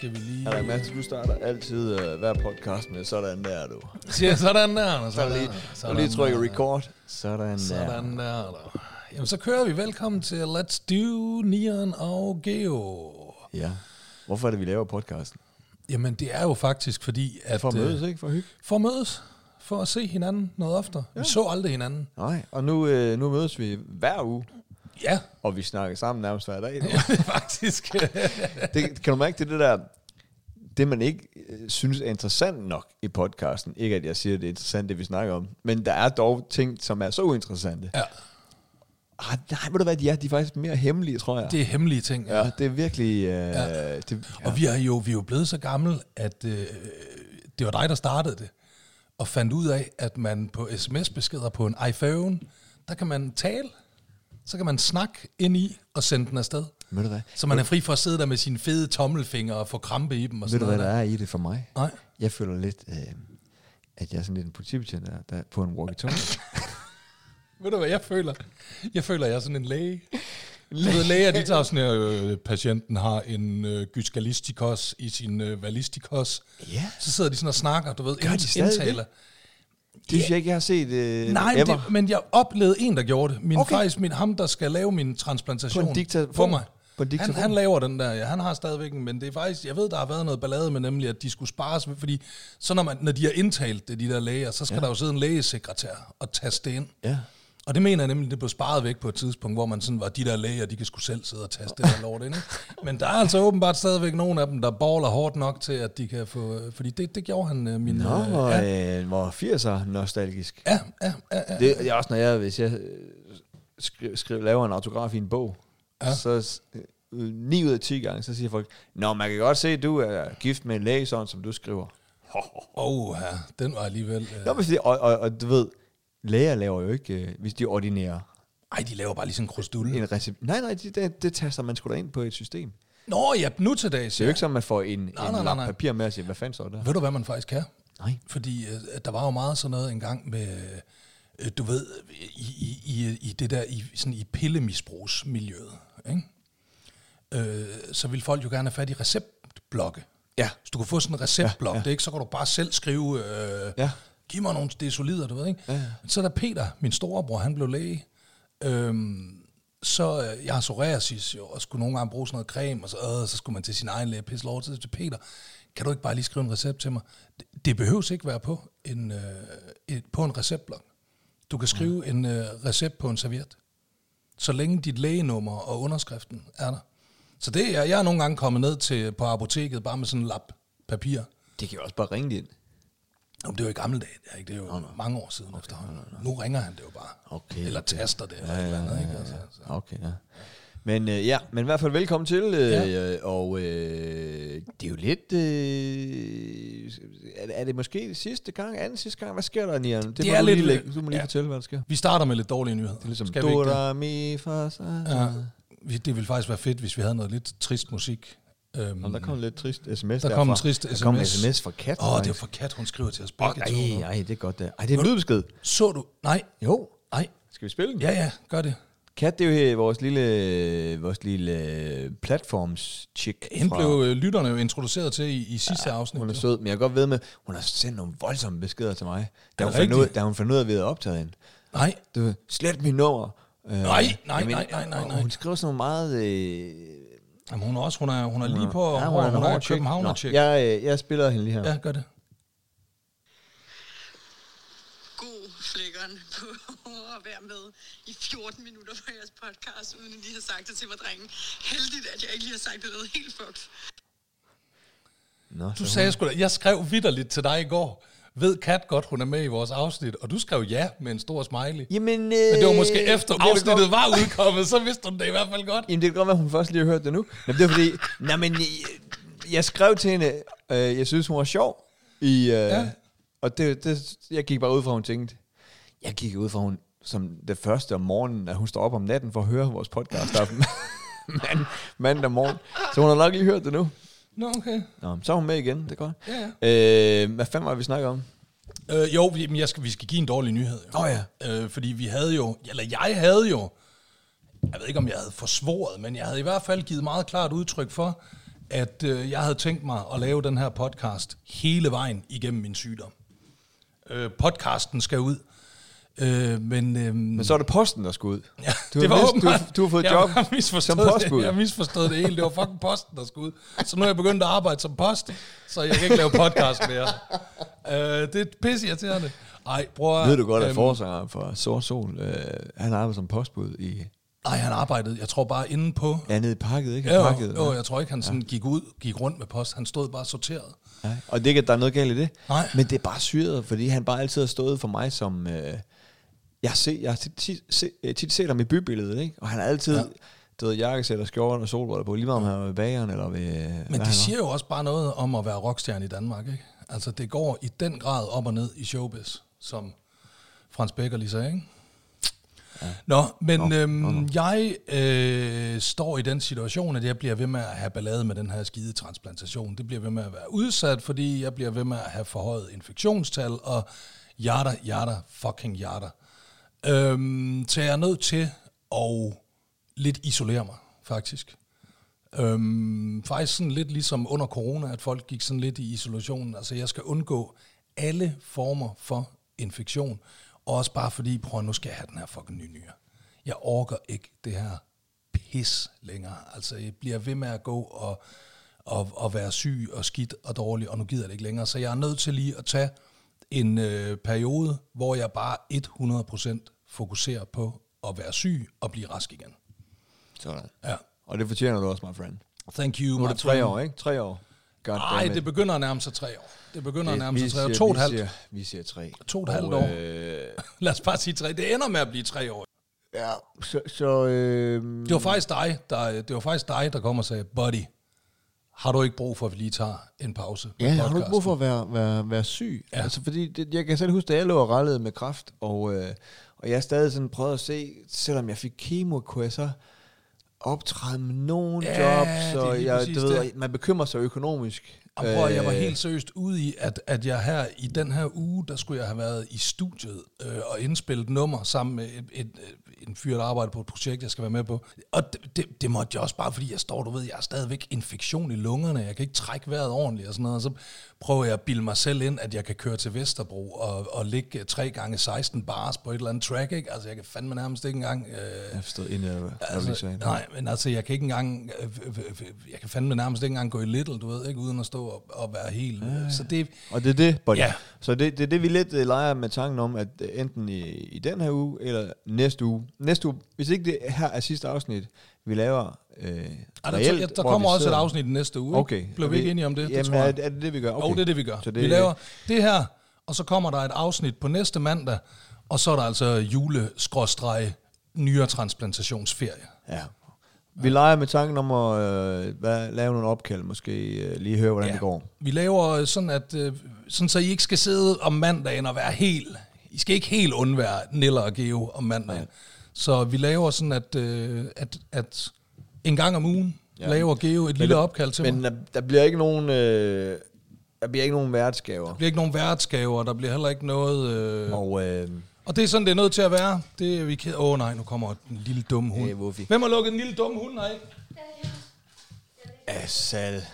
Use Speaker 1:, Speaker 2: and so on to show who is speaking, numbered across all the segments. Speaker 1: gang, Mads, du starter altid øh, hver podcast med sådan der, du.
Speaker 2: Siger sådan der, Anders.
Speaker 1: Så lige, så
Speaker 2: sådan
Speaker 1: lige trykker
Speaker 2: der.
Speaker 1: record. Sådan, der.
Speaker 2: Sådan der. der. Jamen, så kører vi. Velkommen til Let's Do Neon og Geo.
Speaker 1: Ja. Hvorfor er det, vi laver podcasten?
Speaker 2: Jamen, det er jo faktisk fordi, at...
Speaker 1: For at mødes,
Speaker 2: øh,
Speaker 1: ikke? For at hygge.
Speaker 2: For at mødes. For at se hinanden noget oftere. Ja. Vi så aldrig hinanden.
Speaker 1: Nej, og nu, øh, nu mødes vi hver uge,
Speaker 2: Ja,
Speaker 1: og vi snakker sammen nærmest hver dag.
Speaker 2: det er faktisk...
Speaker 1: Det, kan du mærke, det er det der, det man ikke øh, synes er interessant nok i podcasten. Ikke at jeg siger, at det er interessant, det vi snakker om, men der er dog ting, som er så uinteressante.
Speaker 2: ja,
Speaker 1: Ah, nej, ved du hvad, de er, de er faktisk mere hemmelige, tror jeg.
Speaker 2: det er hemmelige ting.
Speaker 1: ja, det er virkelig... Øh, ja. det, ja.
Speaker 2: Og vi er jo, vi er jo blevet så gamle, at øh, det var dig, der startede det, og fandt ud af, at man på sms-beskeder på en iPhone, der kan man tale, så kan man snakke ind i og sende den afsted.
Speaker 1: Ved du hvad?
Speaker 2: Så man er fri for at sidde der med sine fede tommelfingre og få krampe i dem og
Speaker 1: Ved du,
Speaker 2: sådan
Speaker 1: hvad
Speaker 2: noget.
Speaker 1: der er i det for mig?
Speaker 2: Nej.
Speaker 1: Jeg føler lidt, øh, at jeg er sådan lidt en politibetjent, der, der er på en walkie-talkie.
Speaker 2: Ved du, hvad jeg føler? Jeg føler, at jeg er sådan en læge. Du ved, læger, de tager sådan her, øh, patienten har en øh, gyskalistikos i sin øh, valistikos.
Speaker 1: Ja.
Speaker 2: Så sidder de sådan og snakker, du ved,
Speaker 1: Gør de stadig det?
Speaker 2: indtaler.
Speaker 1: det synes jeg ikke, jeg har set øh,
Speaker 2: Nej, men
Speaker 1: ever.
Speaker 2: det, men jeg oplevede en, der gjorde det. Min,
Speaker 1: Okay.
Speaker 2: okay. Faktisk min, ham, der skal lave min transplantation
Speaker 1: På en diktafon?
Speaker 2: for mig.
Speaker 1: På en diktafon?
Speaker 2: han, han laver den der, ja, han har stadigvæk en, men det er faktisk, jeg ved, der har været noget ballade med nemlig, at de skulle spares, fordi så når, man, når de har indtalt det, de der læger, så skal ja. der jo sidde en lægesekretær og taste det ind.
Speaker 1: Ja.
Speaker 2: Og det mener jeg nemlig, det blev sparet væk på et tidspunkt, hvor man sådan var, de der læger, de kan sgu selv sidde og taste det der lort ind. Ikke? Men der er altså åbenbart stadigvæk nogen af dem, der baller hårdt nok til, at de kan få, øh, fordi det, det gjorde han, øh, min...
Speaker 1: Nå,
Speaker 2: øh,
Speaker 1: hvor,
Speaker 2: ja,
Speaker 1: øh, hvor 80'er nostalgisk.
Speaker 2: ja, ja, ja, ja.
Speaker 1: Det det er også, når jeg, hvis jeg øh, skri, skri, laver en autograf i en bog, ja. så s- øh, 9 ud af 10 gange, så siger folk, Nå, man kan godt se, at du er gift med en læge, sådan som du skriver.
Speaker 2: Åh, ja, den var alligevel... Øh,
Speaker 1: Nå, men fordi, og, og, og du ved, læger laver jo ikke, øh, hvis de ordinerer
Speaker 2: ej, de laver bare lige sådan en krusdulle.
Speaker 1: en recept. Nej, nej, det, det, det taster man sgu da ind på et system.
Speaker 2: Nå ja, nu til dags.
Speaker 1: Det er jo
Speaker 2: Ja.
Speaker 1: ikke sådan, man får en, nej, en
Speaker 2: nej,
Speaker 1: nej,
Speaker 2: nej.
Speaker 1: nej. papir med og siger, hvad fanden står der?
Speaker 2: Ved du, hvad man faktisk kan?
Speaker 1: Nej.
Speaker 2: Fordi øh, at der var jo meget sådan noget engang med, øh, du ved, i, i, i, i det der, i, sådan i pillemisbrugsmiljøet, ikke? Øh, så ville folk jo gerne have fat i receptblokke.
Speaker 1: Ja.
Speaker 2: Hvis du kunne få sådan en receptblok, ja, ja. Det, ikke, så kan du bare selv skrive, øh, ja.
Speaker 1: Ja.
Speaker 2: giv mig nogle, det er solider, du ved. Ikke? Ja, ja. Så da Peter, min storebror, han blev læge, øhm, så øh, jeg har psoriasis jo, og skulle nogle gange bruge sådan noget creme, og så, øh, så skulle man til sin egen læge, pisse lov til til Peter, kan du ikke bare lige skrive en recept til mig? Det, det behøves ikke være på en, øh, et, på en receptblok. Du kan skrive ja. en øh, recept på en serviet så længe dit lægenummer og underskriften er der. Så det er, jeg er nogle gange kommet ned til på apoteket bare med sådan en lap papir.
Speaker 1: Det kan jo også bare ringe ind.
Speaker 2: Nå, men det er jo i gamle dage, det er, ikke? det er jo mange år siden efterhånden. Nu ringer han det jo bare.
Speaker 1: Okay,
Speaker 2: Eller
Speaker 1: okay.
Speaker 2: taster det, eller ja, et eller andet. Ikke? Altså, så.
Speaker 1: Okay, ja. Men øh, ja, men i hvert fald velkommen til, øh,
Speaker 2: Ja.
Speaker 1: ja. og øh, det er jo lidt, øh, er, det- er det måske sidste gang, anden sidste gang, hvad sker der, Nian? Det,
Speaker 2: Det
Speaker 1: må
Speaker 2: er
Speaker 1: du
Speaker 2: lidt-
Speaker 1: lige, lægge- du må lige
Speaker 2: ja.
Speaker 1: ja. fortælle, hvad der sker.
Speaker 2: Vi starter med lidt dårlige nyheder. Det,
Speaker 1: Ligesom,
Speaker 2: Skal vi ikke det?
Speaker 1: do, mi, fa, sa,
Speaker 2: Ja,
Speaker 1: ja.
Speaker 2: vi- det ville faktisk være fedt, hvis vi havde noget lidt trist musik. Øhm,
Speaker 1: Nå, der kom lidt trist sms
Speaker 2: Der kom en
Speaker 1: derfra.
Speaker 2: trist
Speaker 1: Der kom en
Speaker 2: SMS.
Speaker 1: sms fra Kat.
Speaker 2: Åh, det er
Speaker 1: faktisk.
Speaker 2: for Kat, hun skriver til os begge to.
Speaker 1: Ej,
Speaker 2: nu.
Speaker 1: ej, det er godt det. Ej, det er en lydbesked.
Speaker 2: Så du? Nej.
Speaker 1: Jo.
Speaker 2: Nej.
Speaker 1: Skal vi spille den?
Speaker 2: Ja, ja, gør det.
Speaker 1: Kat, det er jo her vores lille, øh, vores lille platforms-chick.
Speaker 2: Hende
Speaker 1: fra-
Speaker 2: blev øh, lytterne jo introduceret til i, i sidste ja, afsnit.
Speaker 1: Hun er
Speaker 2: jo.
Speaker 1: sød, men jeg kan godt ved med, hun har sendt nogle voldsomme beskeder til mig, da
Speaker 2: Er
Speaker 1: hun,
Speaker 2: det
Speaker 1: fandt ud,
Speaker 2: rigtigt?
Speaker 1: da hun fandt ud af, at vi havde optaget hende.
Speaker 2: Nej,
Speaker 1: Du, ved, slet mit nummer. Øh,
Speaker 2: Nej, nej, nej, nej, nej,
Speaker 1: og
Speaker 2: nej.
Speaker 1: Hun skriver sådan nogle meget... Øh,
Speaker 2: Jamen, hun er også, hun er, hun er lige på, ja, hun,
Speaker 1: en
Speaker 2: er, hun er
Speaker 1: hård chick.
Speaker 2: københavner-tjek.
Speaker 1: Nå, Jeg, øh, jeg spiller hende lige her.
Speaker 2: ja, gør det.
Speaker 3: god flækkeren på at være med i 14 minutter på jeres podcast, uden at lige har sagt det til mig, drengen. Heldigt, at jeg ikke lige har sagt det noget helt fucked.
Speaker 1: Nå, så
Speaker 2: Du
Speaker 1: hun-
Speaker 2: sagde sgu da, jeg skrev vidderligt til dig i går. Ved Kat godt, hun er med i vores afsnit, og du skrev ja med en stor smiley.
Speaker 1: Jamen, øh,
Speaker 2: Men det var måske efter
Speaker 1: jeg vil
Speaker 2: afsnittet
Speaker 1: godt-
Speaker 2: var udkommet, så vidste hun det i hvert fald godt.
Speaker 1: Jamen, det kan godt være, hun først lige har hørt det nu. Jamen, det er fordi... nej, men, øh, jeg skrev til hende, øh, jeg synes, hun var sjov. I, øh,
Speaker 2: Ja.
Speaker 1: ja. Og det, det, jeg gik bare ud fra, hun tænkte... Jeg gik ud fra, hun som det første om morgenen, at hun står op om natten for at høre vores podcast aften. Mand, mandag morgen. Så hun har nok lige hørt det nu.
Speaker 2: Nå, okay.
Speaker 1: Nå, så er hun med igen, det er godt.
Speaker 2: Ja,
Speaker 1: Øh, hvad fanden var det, vi snakker om?
Speaker 2: Øh, jo, vi- men jeg skal, vi skal give en dårlig nyhed. Jo.
Speaker 1: Nå ja.
Speaker 2: Øh, fordi vi havde jo, eller jeg havde jo, jeg ved ikke om jeg havde forsvoret, men jeg havde i hvert fald givet meget klart udtryk for, at øh, jeg havde tænkt mig at lave den her podcast hele vejen igennem min sygdom. Øh, podcasten skal ud. Øh, men, øh,
Speaker 1: Men så er det posten, der skal ud.
Speaker 2: Ja,
Speaker 1: du
Speaker 2: det var
Speaker 1: mist-
Speaker 2: åbenbart.
Speaker 1: du, du har fået
Speaker 2: jeg
Speaker 1: job
Speaker 2: har misforstået
Speaker 1: som postbud.
Speaker 2: Det. Jeg har misforstået det hele. Det var fucking posten, der skulle ud. Så nu er jeg begyndt at arbejde som post, så jeg kan ikke lave podcast mere. Øh, det er pisse irriterende. Ej, bror.
Speaker 1: Ved du godt, at forsangeren for Sort Sol, øh, han arbejder som postbud i
Speaker 2: Nej, han arbejdede, jeg tror bare inde på...
Speaker 1: andet i pakket, ikke?
Speaker 2: Ja, jo,
Speaker 1: pakket,
Speaker 2: jo, jeg tror ikke, han sådan gik ud, gik rundt med post. Han stod bare sorteret.
Speaker 1: Nej. Og det er ikke, at der er noget galt i det.
Speaker 2: Nej.
Speaker 1: Men det er bare syret, fordi han bare altid har stået for mig som... Øh, jeg, har set, jeg har tit, tit, se, øh, tit set ham i bybilledet, ikke? Og han har altid... Ja. Du ved, jakkesæt og skjorten og solbriller på, lige meget om han var ved bageren eller ved...
Speaker 2: Men det siger jo også bare noget om at være rockstjerne i Danmark, ikke? Altså, det går i den grad op og ned i showbiz, som Frans Becker lige sagde, ikke? Ja. Nå, men nå, øhm, nå, nå. jeg øh, står i den situation, at jeg bliver ved med at have ballade med den her skide transplantation. Det bliver ved med at være udsat, fordi jeg bliver ved med at have forhøjet infektionstal, og jada, jada, fucking jada. Øhm, så jeg er nødt til at lidt isolere mig, faktisk. Øhm, faktisk sådan lidt ligesom under corona, at folk gik sådan lidt i isolation. Altså, jeg skal undgå alle former for infektion. Også bare fordi, prøv at, nu skal jeg have den her fucking nye nyre. Jeg orker ikke det her pis længere. Altså, jeg bliver ved med at gå og, og, og være syg og skidt og dårlig, og nu gider jeg det ikke længere. Så jeg er nødt til lige at tage en øh, periode, hvor jeg bare 100% fokuserer på at være syg og blive rask igen.
Speaker 1: Sådan.
Speaker 2: Ja.
Speaker 1: Og det fortjener du også, my friend.
Speaker 2: Thank you,
Speaker 1: Nu er
Speaker 2: my
Speaker 1: det tre
Speaker 2: friend.
Speaker 1: år, ikke? Tre år. God
Speaker 2: Nej,
Speaker 1: damn
Speaker 2: det
Speaker 1: it.
Speaker 2: begynder at nærme sig tre år. Det begynder at nærme
Speaker 1: vi
Speaker 2: sig tre år.
Speaker 1: siger-
Speaker 2: To og et
Speaker 1: vi
Speaker 2: halvt.
Speaker 1: siger- Vi siger tre.
Speaker 2: To og et halvt
Speaker 1: Og,
Speaker 2: år.
Speaker 1: øh,
Speaker 2: Lad os bare sige tre. Det ender med at blive tre år.
Speaker 1: Ja, så... så øh,
Speaker 2: Det var faktisk dig, der, det var faktisk dig, der kom og sagde, buddy, har du ikke brug for, at vi lige tager en pause? med
Speaker 1: Ja, har du ikke
Speaker 2: podcasten?"
Speaker 1: brug for at være, være, være syg? Ja. Altså, fordi det, jeg kan selv huske, da jeg lå og rallede med kraft, og, øh, og jeg stadig sådan prøvede at se, selvom jeg fik kemo, kunne jeg så optræde med nogle
Speaker 2: Ja, det
Speaker 1: jobs,
Speaker 2: er
Speaker 1: og
Speaker 2: lige
Speaker 1: jeg,
Speaker 2: præcis
Speaker 1: du ved,
Speaker 2: det.
Speaker 1: og man bekymrer sig økonomisk.
Speaker 2: Jamen, prøv, at- jeg var
Speaker 1: Øh,
Speaker 2: helt seriøst ude i, at, at jeg her i den her uge, der skulle jeg have været i studiet øh, og indspillet nummer sammen med et, et, øh, en fyr, der arbejder på et projekt, jeg skal være med på. Og det, det, det måtte jeg også bare, fordi jeg står, du ved, jeg har stadigvæk infektion i lungerne, jeg kan ikke trække vejret ordentligt og sådan noget, og så prøver jeg at bilde mig selv ind, at jeg kan køre til Vesterbro og, og ligge 3 gange 16 bars på et eller andet track, ikke? Altså, jeg kan fandme nærmest ikke engang... Øh,
Speaker 1: Jeg forstod inden jeg, altså, jeg
Speaker 2: Altså,
Speaker 1: sagde.
Speaker 2: nej, men altså, jeg kan ikke engang, øh, øh, øh, jeg kan fandme nærmest ikke engang gå i Little, du ved, ikke, uden at stå og, og være helt, øh, så det,
Speaker 1: Og det er det, buddy.
Speaker 2: Ja.
Speaker 1: Ja. Så det, det er det, vi lidt øh, leger med tanken om, at øh, enten i, i den her uge, eller næste uge. Næste uge, hvis ikke det her er sidste afsnit, vi laver øh,
Speaker 2: Ej, der,
Speaker 1: reelt,
Speaker 2: reelt, der, der
Speaker 1: hvor
Speaker 2: kommer
Speaker 1: vi
Speaker 2: også et
Speaker 1: sidder-
Speaker 2: afsnit i næste uge,
Speaker 1: Okay.
Speaker 2: Blev
Speaker 1: Er
Speaker 2: vi ikke enige om det?
Speaker 1: Jamen,
Speaker 2: det tror jeg.
Speaker 1: Er, er det det, vi gør?
Speaker 2: Okay. Jo, det er det, vi gør.
Speaker 1: Så
Speaker 2: det, vi laver det her, og så kommer der et afsnit på næste mandag, og så er der altså jule nyere transplantationsferie.
Speaker 1: Ja. Vi leger med tanken om at øh, hvad, lave nogle opkald, måske øh, lige høre, hvordan ja. det går.
Speaker 2: Vi laver øh, sådan, at, øh, sådan, så I ikke skal sidde om mandagen og være helt... I skal ikke helt undvære Niller og Geo om mandagen. Så vi laver sådan, at, øh, at, at en gang om ugen ja.
Speaker 1: Ja.
Speaker 2: laver Geo et lille opkald til men,
Speaker 1: Men
Speaker 2: mig.
Speaker 1: der, der bliver ikke nogen... Øh, der bliver ikke nogen værtsgaver.
Speaker 2: Der bliver ikke nogen værtsgaver, der bliver heller ikke noget... Øh,
Speaker 1: Og øh,
Speaker 2: Og det er sådan, det er nødt til at være. Det er vi ked... Åh oh, nej, nu kommer den lille dumme hund.
Speaker 1: Øh, Wuffy.
Speaker 2: Hvem har lukket den lille dumme hund herinde?
Speaker 1: Asal.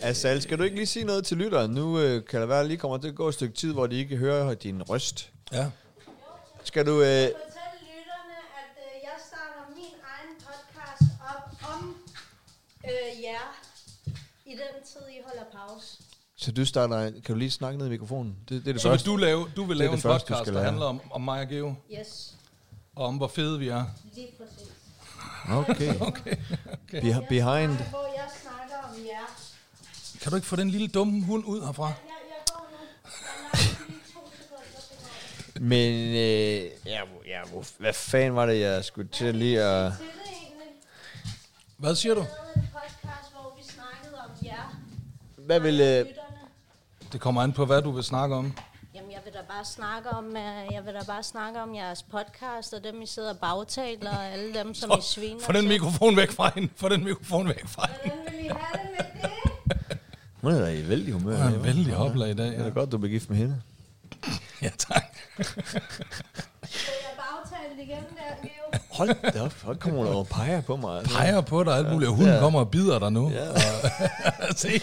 Speaker 1: Asal, skal du ikke lige sige noget til lytteren? Nu øh, kan der være, lige kommer til at gå et stykke tid, hvor de ikke hører din røst.
Speaker 2: Ja.
Speaker 1: Skal du... Øh,
Speaker 4: fortælle lytterne, at øh, jeg starter min egen podcast op om øh, jer i den tid, I holder pause.
Speaker 1: så du starter... en- Kan du lige snakke ned i mikrofonen? Det, det er det
Speaker 2: Så vil
Speaker 1: første.
Speaker 2: du, lave, du vil lave
Speaker 1: det
Speaker 2: en
Speaker 1: første, du
Speaker 2: podcast,
Speaker 1: skal
Speaker 2: der
Speaker 1: lave.
Speaker 2: handler om, om mig og Geo,
Speaker 4: Yes,
Speaker 2: og om hvor fede vi er.
Speaker 4: lige præcis.
Speaker 1: Okay.
Speaker 2: Okay. okay.
Speaker 1: Be- behind.
Speaker 4: Nej, Hvor jeg snakker om jer.
Speaker 2: Kan du ikke få den lille dumme hund ud herfra?
Speaker 4: Jeg, jeg går nu. Jeg når lige to sekunder til mig.
Speaker 1: Men øh, ja, hvor- ja, hvor, hvad fanden var det, jeg skulle til lige at...
Speaker 4: Til det egentlig.
Speaker 2: Hvad siger du?
Speaker 4: Jeg lavede øh, en podcast, hvor vi snakkede om jer.
Speaker 1: Hvad vil...
Speaker 4: og
Speaker 1: Øh,
Speaker 4: lytterne.
Speaker 2: Det kommer an på, hvad du vil snakke om.
Speaker 4: Jamen, jeg vil da bare snakke om, øh, jeg vil da bare snakke om jeres podcast, og dem, I sidder og bagtaler, og alle dem, som I sviner
Speaker 2: Få den
Speaker 4: til.
Speaker 2: mikrofon væk fra hende. Få den mikrofon væk fra hende.
Speaker 4: Hvordan vil I have det med det?
Speaker 1: hun er da i vældig humør.
Speaker 2: Det er en
Speaker 1: hva'?
Speaker 2: vældig hopla i dag.
Speaker 1: Det er
Speaker 2: Ja,
Speaker 1: da godt, du blev gift med hende.
Speaker 2: ja tak.
Speaker 4: Jeg bagtalte igennem der, Geo.
Speaker 1: Hold da op, folk kommer over og peger på mig. altså.
Speaker 2: peger på dig og alt muligt, og hunden
Speaker 1: Ja.
Speaker 2: kommer og bider dig nu.
Speaker 1: Ja.
Speaker 2: Og- Se,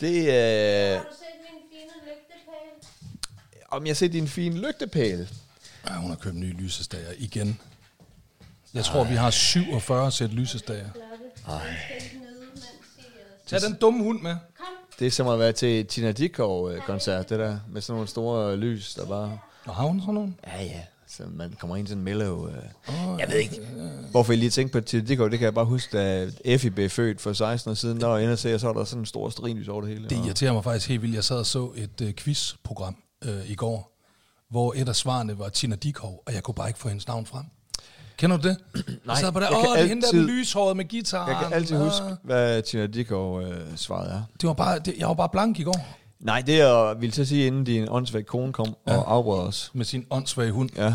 Speaker 1: Det er... øh,
Speaker 4: Har du set min fine lygtepæl?
Speaker 1: Om jeg ser din fine lygtepæl.
Speaker 2: Ej, hun har købt nye lysestager igen. Jeg tror, vi har 47 sæt lysestager.
Speaker 4: Flotte. Den skal ikke nyde, mens I... øh,
Speaker 2: Tag den dumme hund med.
Speaker 4: Kom.
Speaker 1: Det er som at være til Tina Dikov-koncert, det der. Med sådan nogle store øh, lys, der bare...
Speaker 2: Og har hun sådan nogen?
Speaker 1: Ja, ja. Så man kommer ind i sådan en mellow... Øh. Jeg ved ikke, hvorfor jeg lige tænkte på Tina Dikov. Det kan jeg bare huske, da Effie blev født for 16 år siden. Når jeg ender ser, så er der sådan en stor strinlys over det hele.
Speaker 2: Det
Speaker 1: og-
Speaker 2: irriterer mig faktisk helt vildt. Jeg sad og så et øh, quizprogram øh, i går, hvor et af svarene var Tina Dikov, og jeg kunne bare ikke få hendes navn frem. Kender du det?
Speaker 1: Nej,
Speaker 2: jeg sad bare der,
Speaker 1: jeg kan
Speaker 2: åh, det er hende der den
Speaker 1: altid-
Speaker 2: lyshåret med gitaren.
Speaker 1: Jeg kan altid
Speaker 2: Ah.
Speaker 1: huske, hvad Tina Dikov øh, svaret er.
Speaker 2: Det var bare, det, jeg var bare blank i går
Speaker 1: Nej, det jeg ville så sige, inden din åndssvagt kone kom ja. og afbrød os.
Speaker 2: med sin åndssvage hund.
Speaker 1: Ja,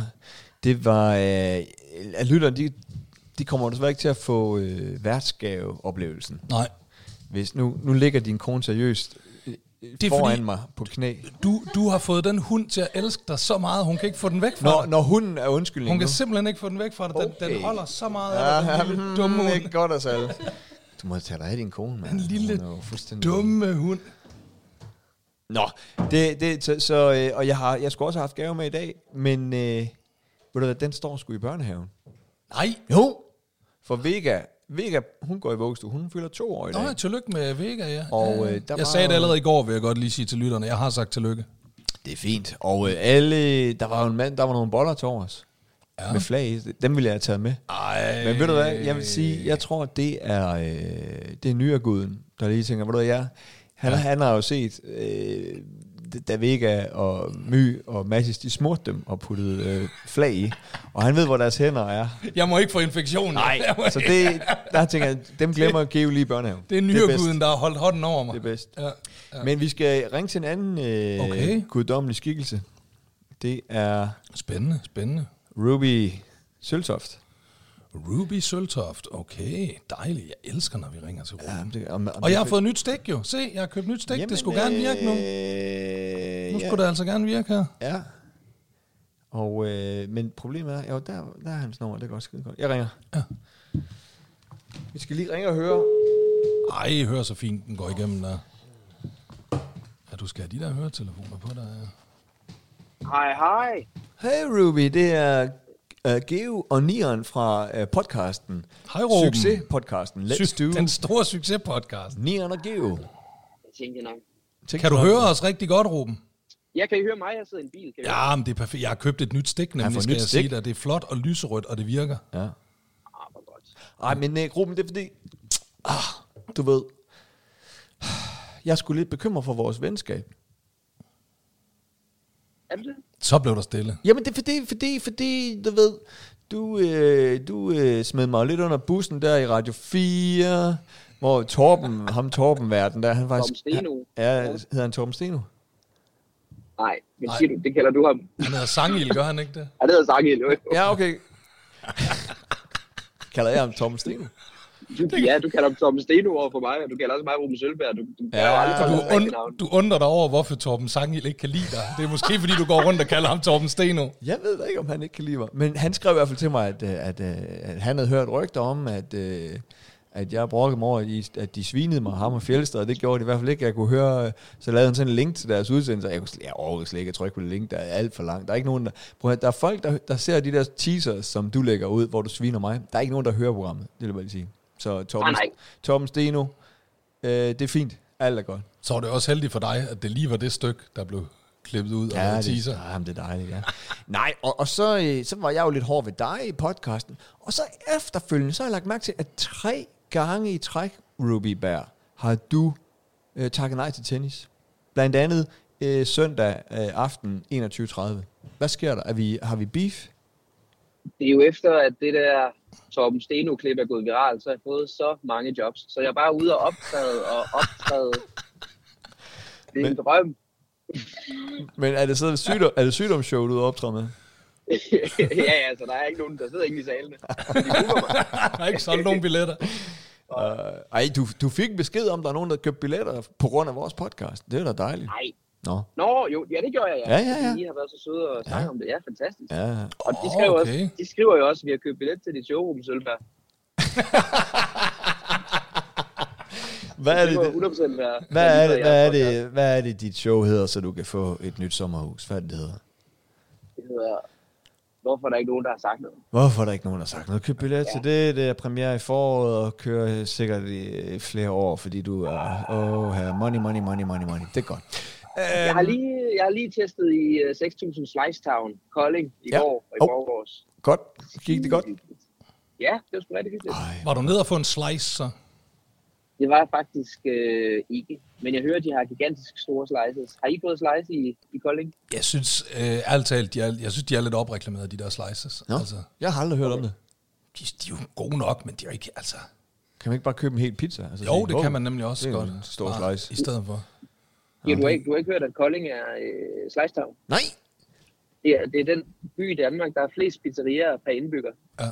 Speaker 1: det var... Øh, at lytterne, de, de kommer desværre ikke til at få øh, værtsgaveoplevelsen.
Speaker 2: Nej,
Speaker 1: Hvis nu, nu ligger din kone seriøst øh,
Speaker 2: er
Speaker 1: foran
Speaker 2: fordi-
Speaker 1: mig på knæ.
Speaker 2: du, du har fået den hund til at elske dig så meget, hun kan ikke få den væk fra
Speaker 1: Når,
Speaker 2: dig.
Speaker 1: når hunden er undskyldning
Speaker 2: Hun
Speaker 1: nu.
Speaker 2: kan simpelthen ikke få den væk fra dig. Den, okay. den
Speaker 1: Okay.
Speaker 2: holder så meget af dig,
Speaker 1: Ja,
Speaker 2: den lille
Speaker 1: hmm,
Speaker 2: dumme
Speaker 1: ikke
Speaker 2: hund.
Speaker 1: godt, altså. Du må tage dig af din kone, mand.
Speaker 2: Den lille
Speaker 1: Hun er jo fuldstændig-
Speaker 2: Dumme hund.
Speaker 1: Nå, det, det, så, så, øh, og jeg, har, jeg skulle også have haft gave med i dag, men øh, ved du hvad, den står sgu i børnehaven.
Speaker 2: Nej.
Speaker 1: Jo. For Vega, Vega hun går i vuggestue, hun fylder to år i
Speaker 2: Nå,
Speaker 1: dag.
Speaker 2: ja, tillykke med Vega, ja.
Speaker 1: Og, øh,
Speaker 2: jeg
Speaker 1: der var-
Speaker 2: sagde det allerede i går, vil jeg godt lige sige til lytterne. Jeg har sagt tillykke.
Speaker 1: Det er fint. Og øh, alle, der var jo en mand, der var nogle boller til overs. Ja. Med flag i. Dem ville jeg have taget med.
Speaker 2: Ej.
Speaker 1: Men ved du hvad, jeg vil sige, jeg tror, det er, øh, det er nyerguden, der lige tænker, ved du hvad, jeg, han, ja. han har jo set, øh, da Vega og My og Massis, de smurte dem og puttede øh, flag i, og han ved, hvor deres hænder er.
Speaker 2: Jeg må ikke få infektion. Jeg må
Speaker 1: så
Speaker 2: ikke-
Speaker 1: det, der tænker jeg, dem glemmer at give lige i børnehaven.
Speaker 2: det er
Speaker 1: bedst.
Speaker 2: nyreguden, der har holdt hånden over mig.
Speaker 1: Det er bedst.
Speaker 2: Ja.
Speaker 1: Ja. Men vi skal ringe til en anden øh,
Speaker 2: Okay.
Speaker 1: okay. guddommelig skikkelse. Det er
Speaker 2: Spændende, spændende.
Speaker 1: Ruby Søltoft.
Speaker 2: Ruby Søltoft. Okay, dejligt. Jeg elsker, når vi ringer til Ruby. Ja.
Speaker 1: det, om, om
Speaker 2: Og jeg har fået nyt stik jo. Se, jeg har købt nyt stik. Jamen, det skulle gerne virke nu. Nu
Speaker 1: Øh,
Speaker 2: skulle det altså gerne virke her.
Speaker 1: ja. ja. Og, øh, men problemet er, jo, der, der er hans nummer, det er godt skide godt. Jeg ringer.
Speaker 2: Ja.
Speaker 1: Vi skal lige ringe og høre.
Speaker 2: Ej, hør så fint, den går igennem der. Ja, du skal have de der høretelefoner på dig. ja.
Speaker 5: Hej, hej.
Speaker 1: Hey Ruby, det er uh, Geo og Nieren fra uh, podcasten.
Speaker 2: Hej, Ruben.
Speaker 1: Succes-podcasten. Let's
Speaker 2: Sy-
Speaker 1: do.
Speaker 2: Den store succespodcast.
Speaker 1: Nieren og Geo.
Speaker 5: Jeg tænkte nok.
Speaker 2: Kan du høre os rigtig godt, Ruben?
Speaker 5: Ja, kan I høre mig? Jeg sidder i en bil. Kan I høre?
Speaker 2: Ja, men det er perfekt. Jeg har købt et nyt stik,
Speaker 1: har
Speaker 2: nemlig,
Speaker 1: fået
Speaker 2: skal
Speaker 1: nyt
Speaker 2: jeg
Speaker 1: stik.
Speaker 2: sige dig. Det er flot og lyserødt, og det virker.
Speaker 1: Ja.
Speaker 5: Ah, hvor godt.
Speaker 1: Ej, men øh, Ruben, det er fordi, ah, du ved, jeg er sgu lidt bekymret for vores venskab.
Speaker 5: Er du det?
Speaker 2: Så blev der stille.
Speaker 1: Jamen, det er fordi, fordi, fordi du ved, du, øh, du øh, smed mig lidt under bussen der i Radio 4, hvor Torben, ham Torben verden der, han faktisk...
Speaker 5: Steno.
Speaker 1: Ja, ja, hedder han Torben Steno?
Speaker 5: Nej, men siger du, det kalder du ham.
Speaker 2: Han hedder Sangild, gør han ikke det?
Speaker 5: Ja, det hedder Sakiel. Ja.
Speaker 1: Ja, okay. Kalder jeg ham Torben Steno?
Speaker 5: Du, ja, du kalder ham Tom Steno over for mig, og du kalder også mig Ruben Sølberg. Du, du kalder
Speaker 1: Ja,
Speaker 2: Du,
Speaker 5: jo aldrig Tom Steno rigtige altså navn.
Speaker 2: und, du undrer dig over, hvorfor Torben Sangild ikke kan lide dig. Det er måske, fordi du går rundt og kalder ham Torben Steno.
Speaker 1: Jeg ved da ikke, om han ikke kan lide mig. Men han skrev i hvert fald til mig, at, øh, at, øh, at han havde hørt rygter om, at, øh, at jeg brokkede mig over, at de, at de svinede mig, ham og Fjeldsted, og det gjorde de i hvert fald ikke. Jeg kunne høre, øh, så lavede han sådan en link til deres udsendelse, og jeg, kunne, slet- jeg overhovedet slet ikke at trykke på det link, der er alt for langt. Der er ikke nogen, der, prøv at, høre, der er folk, der, der ser de der teasers, som du lægger ud, hvor du sviner mig. Der er ikke nogen, der hører programmet, det vil jeg bare lige sige. Så Torben,
Speaker 5: Nej, nej.
Speaker 1: Torben Steno, øh, det er fint. Alt er godt.
Speaker 2: Så var det også heldigt for dig, at det lige var det stykke, der blev klippet ud og ja,
Speaker 1: det,
Speaker 2: teaser.
Speaker 1: ja, men det er dejligt, ja. Nej, og, og så, øh, så var jeg jo lidt hård ved dig i podcasten. Og så efterfølgende, så har jeg lagt mærke til, at tre gange i træk, Ruby Bear, har du øh, takket nej til tennis. Blandt andet øh, søndag øh, aften 21.30. Hvad sker der? Er vi, har vi beef?
Speaker 5: Det er jo efter, at det der Torben Steno-klip er gået viralt, så har jeg fået så mange jobs. Så jeg er bare ude og optræde og optræde. Det er en drøm.
Speaker 1: Men er det, så sygdom, er det sygdomsshow, du er optræder med?
Speaker 5: ja, ja, så der er ikke nogen, der sidder ingen i salene.
Speaker 2: Der er ikke solgt nogen billetter.
Speaker 1: Ej, du, du fik besked om, der er nogen, der købte billetter på grund af vores podcast. Det er da dejligt.
Speaker 5: Nej,
Speaker 1: Nå.
Speaker 5: Nå, jo, ja, det gjorde jeg,
Speaker 1: Ja, ja, ja.
Speaker 5: I har været så søde og snakke ja. om det. Ja, fantastisk.
Speaker 1: Ja.
Speaker 5: Og de,
Speaker 2: Åh,
Speaker 5: skrev okay.
Speaker 2: okay.
Speaker 5: også, de skriver jo også, at vi har købt billet til dit showroom, Sølvberg.
Speaker 1: Hvad er
Speaker 5: Det
Speaker 1: det,
Speaker 5: må
Speaker 1: det,
Speaker 5: 100% være.
Speaker 1: hvad er det,
Speaker 5: jeres
Speaker 1: hvad er
Speaker 5: podcast.
Speaker 1: det, hvad er det dit show hedder, så du kan få et nyt sommerhus? Hvad er det, det hedder?
Speaker 5: Det hedder, hvorfor er der ikke nogen, der har sagt noget?
Speaker 1: Hvorfor er der ikke nogen, der har sagt noget? Køb billet til det, det er premiere i foråret, og kører sikkert i flere år, fordi du er, åh, her, money, money, money, money, money. Det er godt. Øhm.
Speaker 5: Jeg har lige, jeg har lige testet i øh, 6000 Slice Town, Kolding, i
Speaker 1: Ja.
Speaker 5: ja. går og i
Speaker 1: Hov.
Speaker 5: oh. forgårs.
Speaker 1: Godt? Gik det godt?
Speaker 5: Ja, det var sgu rigtig hyggeligt.
Speaker 1: Ej,
Speaker 2: Var du nede og få en slice, så?
Speaker 5: Det var jeg faktisk øh, ikke, men jeg hører, de har gigantisk store slices. Har I fået slice i, i Kolding?
Speaker 2: Jeg synes, øh, ærligt talt, de er, jeg synes, de er lidt opreklameret, de der slices.
Speaker 1: Nå,
Speaker 2: Altså,
Speaker 1: jeg har aldrig hørt om det.
Speaker 2: de, de, er jo gode nok, men de er jo ikke, altså...
Speaker 1: Kan man ikke bare købe en hel pizza? Altså,
Speaker 2: Jo,
Speaker 1: sige,
Speaker 2: det
Speaker 1: wow,
Speaker 2: kan man nemlig også
Speaker 1: det er
Speaker 2: godt.
Speaker 1: en stor
Speaker 2: bare
Speaker 1: slice.
Speaker 2: I stedet for.
Speaker 5: Ja, du, har ikke, du har ikke hørt, at Kolding er øh, Slice Town?
Speaker 1: Nej!
Speaker 5: Det er, det er den by i Danmark, der er flest pizzerier per indbygger.
Speaker 2: Ja.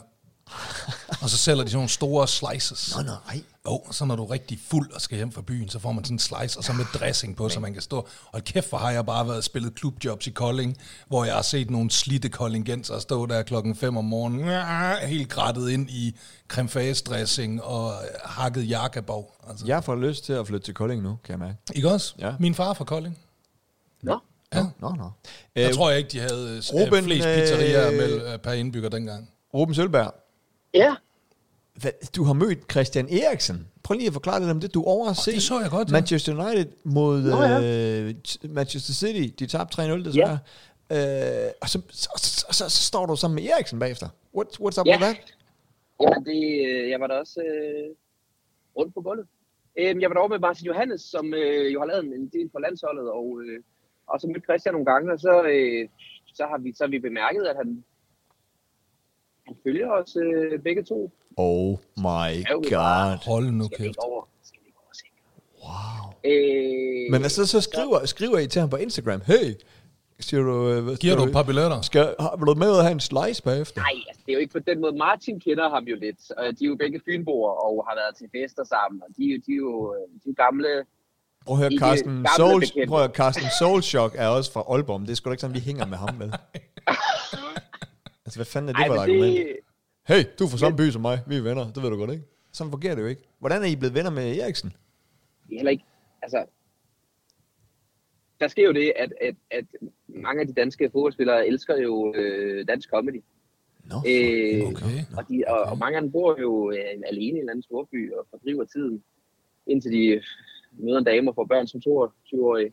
Speaker 2: Og så sælger de sådan nogle store slices.
Speaker 1: Nå, nej.
Speaker 2: Jo, og så når du er rigtig fuld og skal hjem fra byen, så får man sådan en slice, og så med dressing på, så man kan stå. Og kæft, hvor har jeg bare været spillet klubjobs i Kolding, hvor jeg har set nogle slitte koldingenser stå der klokken 5 om morgenen, "Nja", helt grættet ind i creme fraiche dressing og øh, hakket jakkebog. Altså. Ja.
Speaker 1: Jeg får lyst til at flytte til Kolding nu, kan jeg mærke.
Speaker 2: Ikke også?
Speaker 1: Ja.
Speaker 2: Min far er fra Kolding.
Speaker 5: Nå,
Speaker 2: Ja.
Speaker 1: Nå, nå.
Speaker 2: Jeg
Speaker 1: Øh,
Speaker 2: tror jeg ikke, de havde øh,
Speaker 1: Ruben,
Speaker 2: Ruben, flest pizzerier
Speaker 1: øh,
Speaker 2: øh, per indbygger dengang.
Speaker 1: Ruben Sølberg,
Speaker 5: ja.
Speaker 1: Hvad- du har mødt Christian Eriksen. Prøv lige at forklare lidt om det. Du overser
Speaker 2: det så jeg godt, ja.
Speaker 1: Manchester United mod
Speaker 5: Nå, ja.
Speaker 1: øh, t- Manchester City. De tabte 3-0, desværre. Ja. Øh, og så, så, så, så, så står du sammen med Eriksen bagefter. What, what's up
Speaker 5: Ja.
Speaker 1: with that?
Speaker 5: ja det, øh, jeg var der også øh, rundt på gulvet. Øhm, jeg var derovre med Martin Johannes, som øh, jo har lavet en del for landsholdet, og, øh, og så mødte Christian nogle gange, og så, øh, så, har, vi, så har vi bemærket, at han, han følger os øh, begge to.
Speaker 1: Oh my
Speaker 5: jo
Speaker 1: god.
Speaker 5: bare-
Speaker 2: Hold nu
Speaker 5: Skal vi
Speaker 2: kæft.
Speaker 5: ikke over? Skal vi ikke over og se?
Speaker 1: Wow.
Speaker 5: Øh,
Speaker 1: Men altså, så skriver, skriver I til ham på Instagram. Hey, siger du... øh, hvad-
Speaker 2: Giver
Speaker 1: skal
Speaker 2: du et par billetter?
Speaker 1: Skal, har, vil du med ud og have en slice bagefter?
Speaker 5: Nej, altså, det er jo ikke på den måde. Martin kender ham jo lidt. og De er jo begge fynboer og har været til fester sammen. Og de, er jo- de, er jo, øh, de er jo gamle.
Speaker 1: Prøv at høre,
Speaker 5: I det
Speaker 1: Carsten
Speaker 5: gamle
Speaker 1: Soul,
Speaker 5: bekendte.
Speaker 1: prøv at høre, Carsten Soulshock er også fra Aalborg, men det er sgu da ikke sådan, vi hænger med ham med. altså, hvad fanden er det for et
Speaker 5: men
Speaker 1: argument?
Speaker 5: det,
Speaker 1: Hey, du er fra samme by som mig, vi er venner, det ved du godt, ikke? Sådan fungerer det jo ikke. Hvordan er I blevet venner med Eriksen?
Speaker 5: det er heller ikke... Altså, der sker jo det, at, at, at mange af de danske fodboldspillere elsker jo øh, dansk comedy.
Speaker 1: Nå, no,
Speaker 5: Øh,
Speaker 2: Okay.
Speaker 5: Og, de, og, og mange af dem bor jo øh, alene i en eller anden storby og fordriver tiden, indtil de øh, møder en dame og får børn som 22-årige.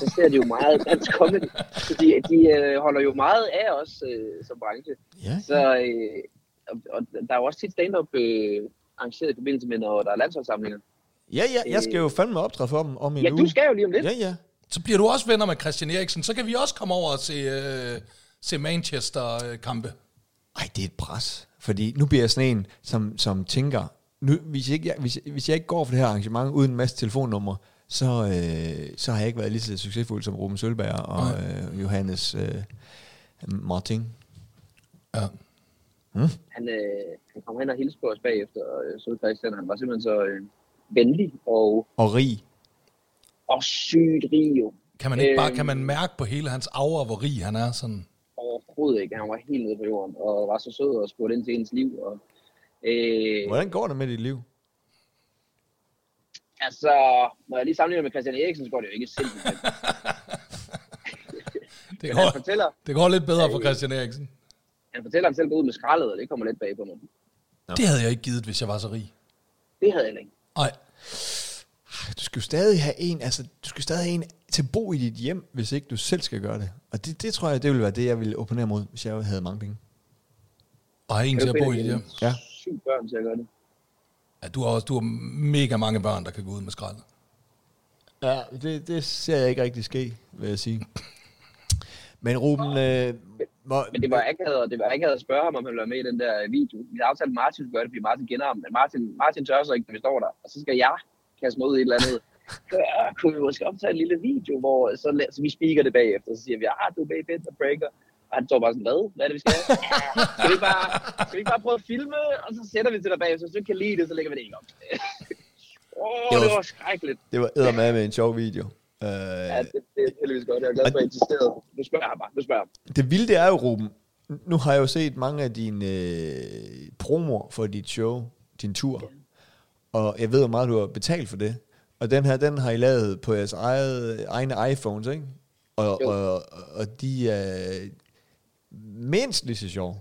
Speaker 5: Så ser de jo meget dansk comedy. Så de, de øh, holder jo meget af os øh, som branche.
Speaker 1: ja.
Speaker 5: Så, øh, og, og der er jo også tit stand-up øh, arrangeret i forbindelse med, når der er landsholdssamlinger.
Speaker 1: ja, ja, jeg skal jo fandme optræde for dem om en
Speaker 5: Øh, Ja,
Speaker 1: uge.
Speaker 5: du skal jo lige om lidt.
Speaker 1: Ja, ja.
Speaker 2: Så bliver du også venner med Christian Eriksen. Så kan vi også komme over og se, øh, se Manchester-kampe.
Speaker 1: Ej, det er et pres. Fordi nu bliver jeg sådan en, som, som tænker, nu, hvis, ikke jeg, hvis, hvis jeg ikke går for det her arrangement uden en masse telefonnumre, så, øh, så har jeg ikke været lige så succesfuld som Ruben Sølberg og øh, Johannes øh, Martin.
Speaker 2: Ja.
Speaker 5: Han, øh, han kom hen og hilste på os bagefter, og øh, så Christian, han var simpelthen så øh, venlig og,
Speaker 1: Og Rig.
Speaker 5: og sygt rig jo.
Speaker 2: Kan man ikke bare
Speaker 5: Øhm.
Speaker 2: kan man mærke på hele hans aura, hvor rig han er? Sådan.
Speaker 5: Overhovedet ikke. Han var helt nede på jorden, og var så sød og spurgte ind til ens liv. Og, øh,
Speaker 1: Hvordan går det med dit liv?
Speaker 5: altså, når jeg lige sammenligner med Christian Eriksen, så går det jo ikke sindssygt. godt.
Speaker 2: Det,
Speaker 5: Men han
Speaker 2: går,
Speaker 5: fortæller,
Speaker 2: det går lidt bedre for Christian Eriksen.
Speaker 5: han fortæller, at han selv går ud med skraldet, og det kommer lidt bag på mig.
Speaker 2: Det havde jeg ikke givet, hvis jeg var så rig.
Speaker 5: Det havde jeg ikke.
Speaker 2: Nej,
Speaker 1: Du skal jo stadig have en, altså, du skal stadig have en til at bo i dit hjem, hvis ikke du selv skal gøre det. Og det, det tror jeg, det ville være det, jeg ville opponere mod, hvis jeg havde mange penge.
Speaker 2: og har en til at bo i det hjem.
Speaker 1: Ja.
Speaker 5: Syv børn til at gøre det.
Speaker 2: Ja, du har, også, du har mega mange børn, der kan gå ud med skrald.
Speaker 1: Ja, det, det ser jeg ikke rigtig ske, vil jeg sige. Men Ruben, øh, hvor,
Speaker 5: Men det var akavet, og det var akavet at spørge ham, om han ville være med i den der øh, video. Vi havde aftalt, at Martin skulle gøre det, fordi Martin kender ham. Men Martin, Martin tør så ikke, når vi står der. Og så skal jeg kaste mig ud i et eller andet. Så, øh, kunne vi måske optage en lille video, hvor så, la- så vi speaker det bagefter. Så siger vi, ah, du er med i Bent og Breaker. Og han står bare sådan, hvad? Hvad er det, vi skal? Ja, skal, vi ikke bare, skal vi ikke bare prøve at filme, og så sætter vi til dig bagefter. Hvis du ikke kan lide det, så lægger vi det ikke op. Åh, oh,
Speaker 1: Det var-
Speaker 5: det var skrækkeligt.
Speaker 1: det var eddermame med en sjov video. Øh,
Speaker 5: Ja, det, det er heldigvis godt. Jeg er glad for, at jeg insisterede. Nu spørger jeg bare. Nu spørger jeg.
Speaker 1: Det vilde det er jo, Ruben, nu har jeg jo set mange af dine øh, promoer for dit show, din tur, og jeg ved, hvor meget du har betalt for det. Og den her, den har I lavet på jeres eget, egne iPhones, ikke? Og,
Speaker 5: Jo.
Speaker 1: og, og de er mindst lige så sjove.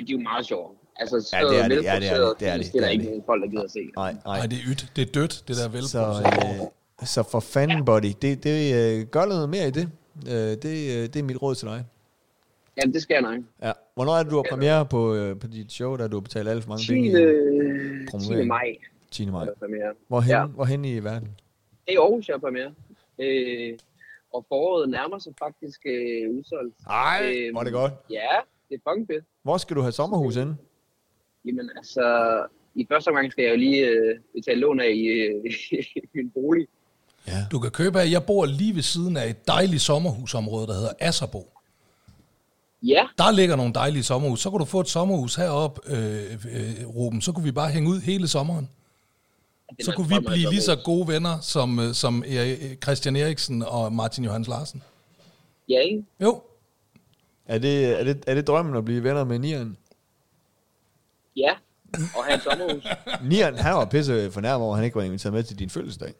Speaker 5: Ja, de er jo meget sjove. Altså, så
Speaker 1: Ja, det er det. Ja, det er det.
Speaker 5: velproduceret
Speaker 1: Det er det.
Speaker 5: film,
Speaker 1: Det er
Speaker 5: Det er der
Speaker 1: det.
Speaker 5: ikke nogen folk, der gider at se.
Speaker 1: Nej, nej.
Speaker 2: Nej, det er ydt. Det er dødt, det der
Speaker 1: Så,
Speaker 2: velproduceret.
Speaker 1: øh, så for fanden, buddy, det, det øh, gør noget mere i det. Øh, det, øh, det er mit råd til dig.
Speaker 5: Jamen, det skal jeg nok.
Speaker 1: Ja. Hvornår er det, du har premiere på, øh, på dit show, da du har betalt alt for mange
Speaker 5: 10.
Speaker 1: penge?
Speaker 5: 10.
Speaker 1: promovering.
Speaker 5: øh, maj
Speaker 1: 10.
Speaker 5: er
Speaker 1: maj.
Speaker 5: der premiere.
Speaker 1: Hvorhen,
Speaker 5: Ja.
Speaker 1: ja. hvorhen i verden?
Speaker 5: Det er i Aarhus, jeg er premiere. Øh, og foråret nærmer sig faktisk øh, udsolgt. Øh,
Speaker 1: Ej, hvor er det godt.
Speaker 5: Ja, det er fucking fedt.
Speaker 1: Hvor skal du have sommerhus inde?
Speaker 5: Jamen altså, i første omgang skal jeg jo lige øh, betale lån af i, øh, i min bolig.
Speaker 2: Du kan købe af, jeg bor lige ved siden af et dejligt sommerhusområde, der hedder Asserbo.
Speaker 5: Ja,
Speaker 2: Der ligger nogle dejlige sommerhus. Så kunne du få et sommerhus heroppe, øh, øh, Ruben. Så kunne vi bare hænge ud hele sommeren.
Speaker 5: den
Speaker 2: Så
Speaker 5: er
Speaker 2: kunne vi
Speaker 5: drøm, jeg
Speaker 2: blive
Speaker 5: drømmer
Speaker 2: lige så
Speaker 5: om.
Speaker 2: gode venner som, øh, som øh, Christian Eriksen og Martin Johans Larsen.
Speaker 5: Ja, ikke?
Speaker 2: Jo,
Speaker 1: Er det, er, det, er det drømmen at blive venner med Nieren?
Speaker 5: Ja, og have et sommerhus.
Speaker 1: Nieren, han var pisse fornærmet over, at han ikke var inviteret med til din fødselsdag.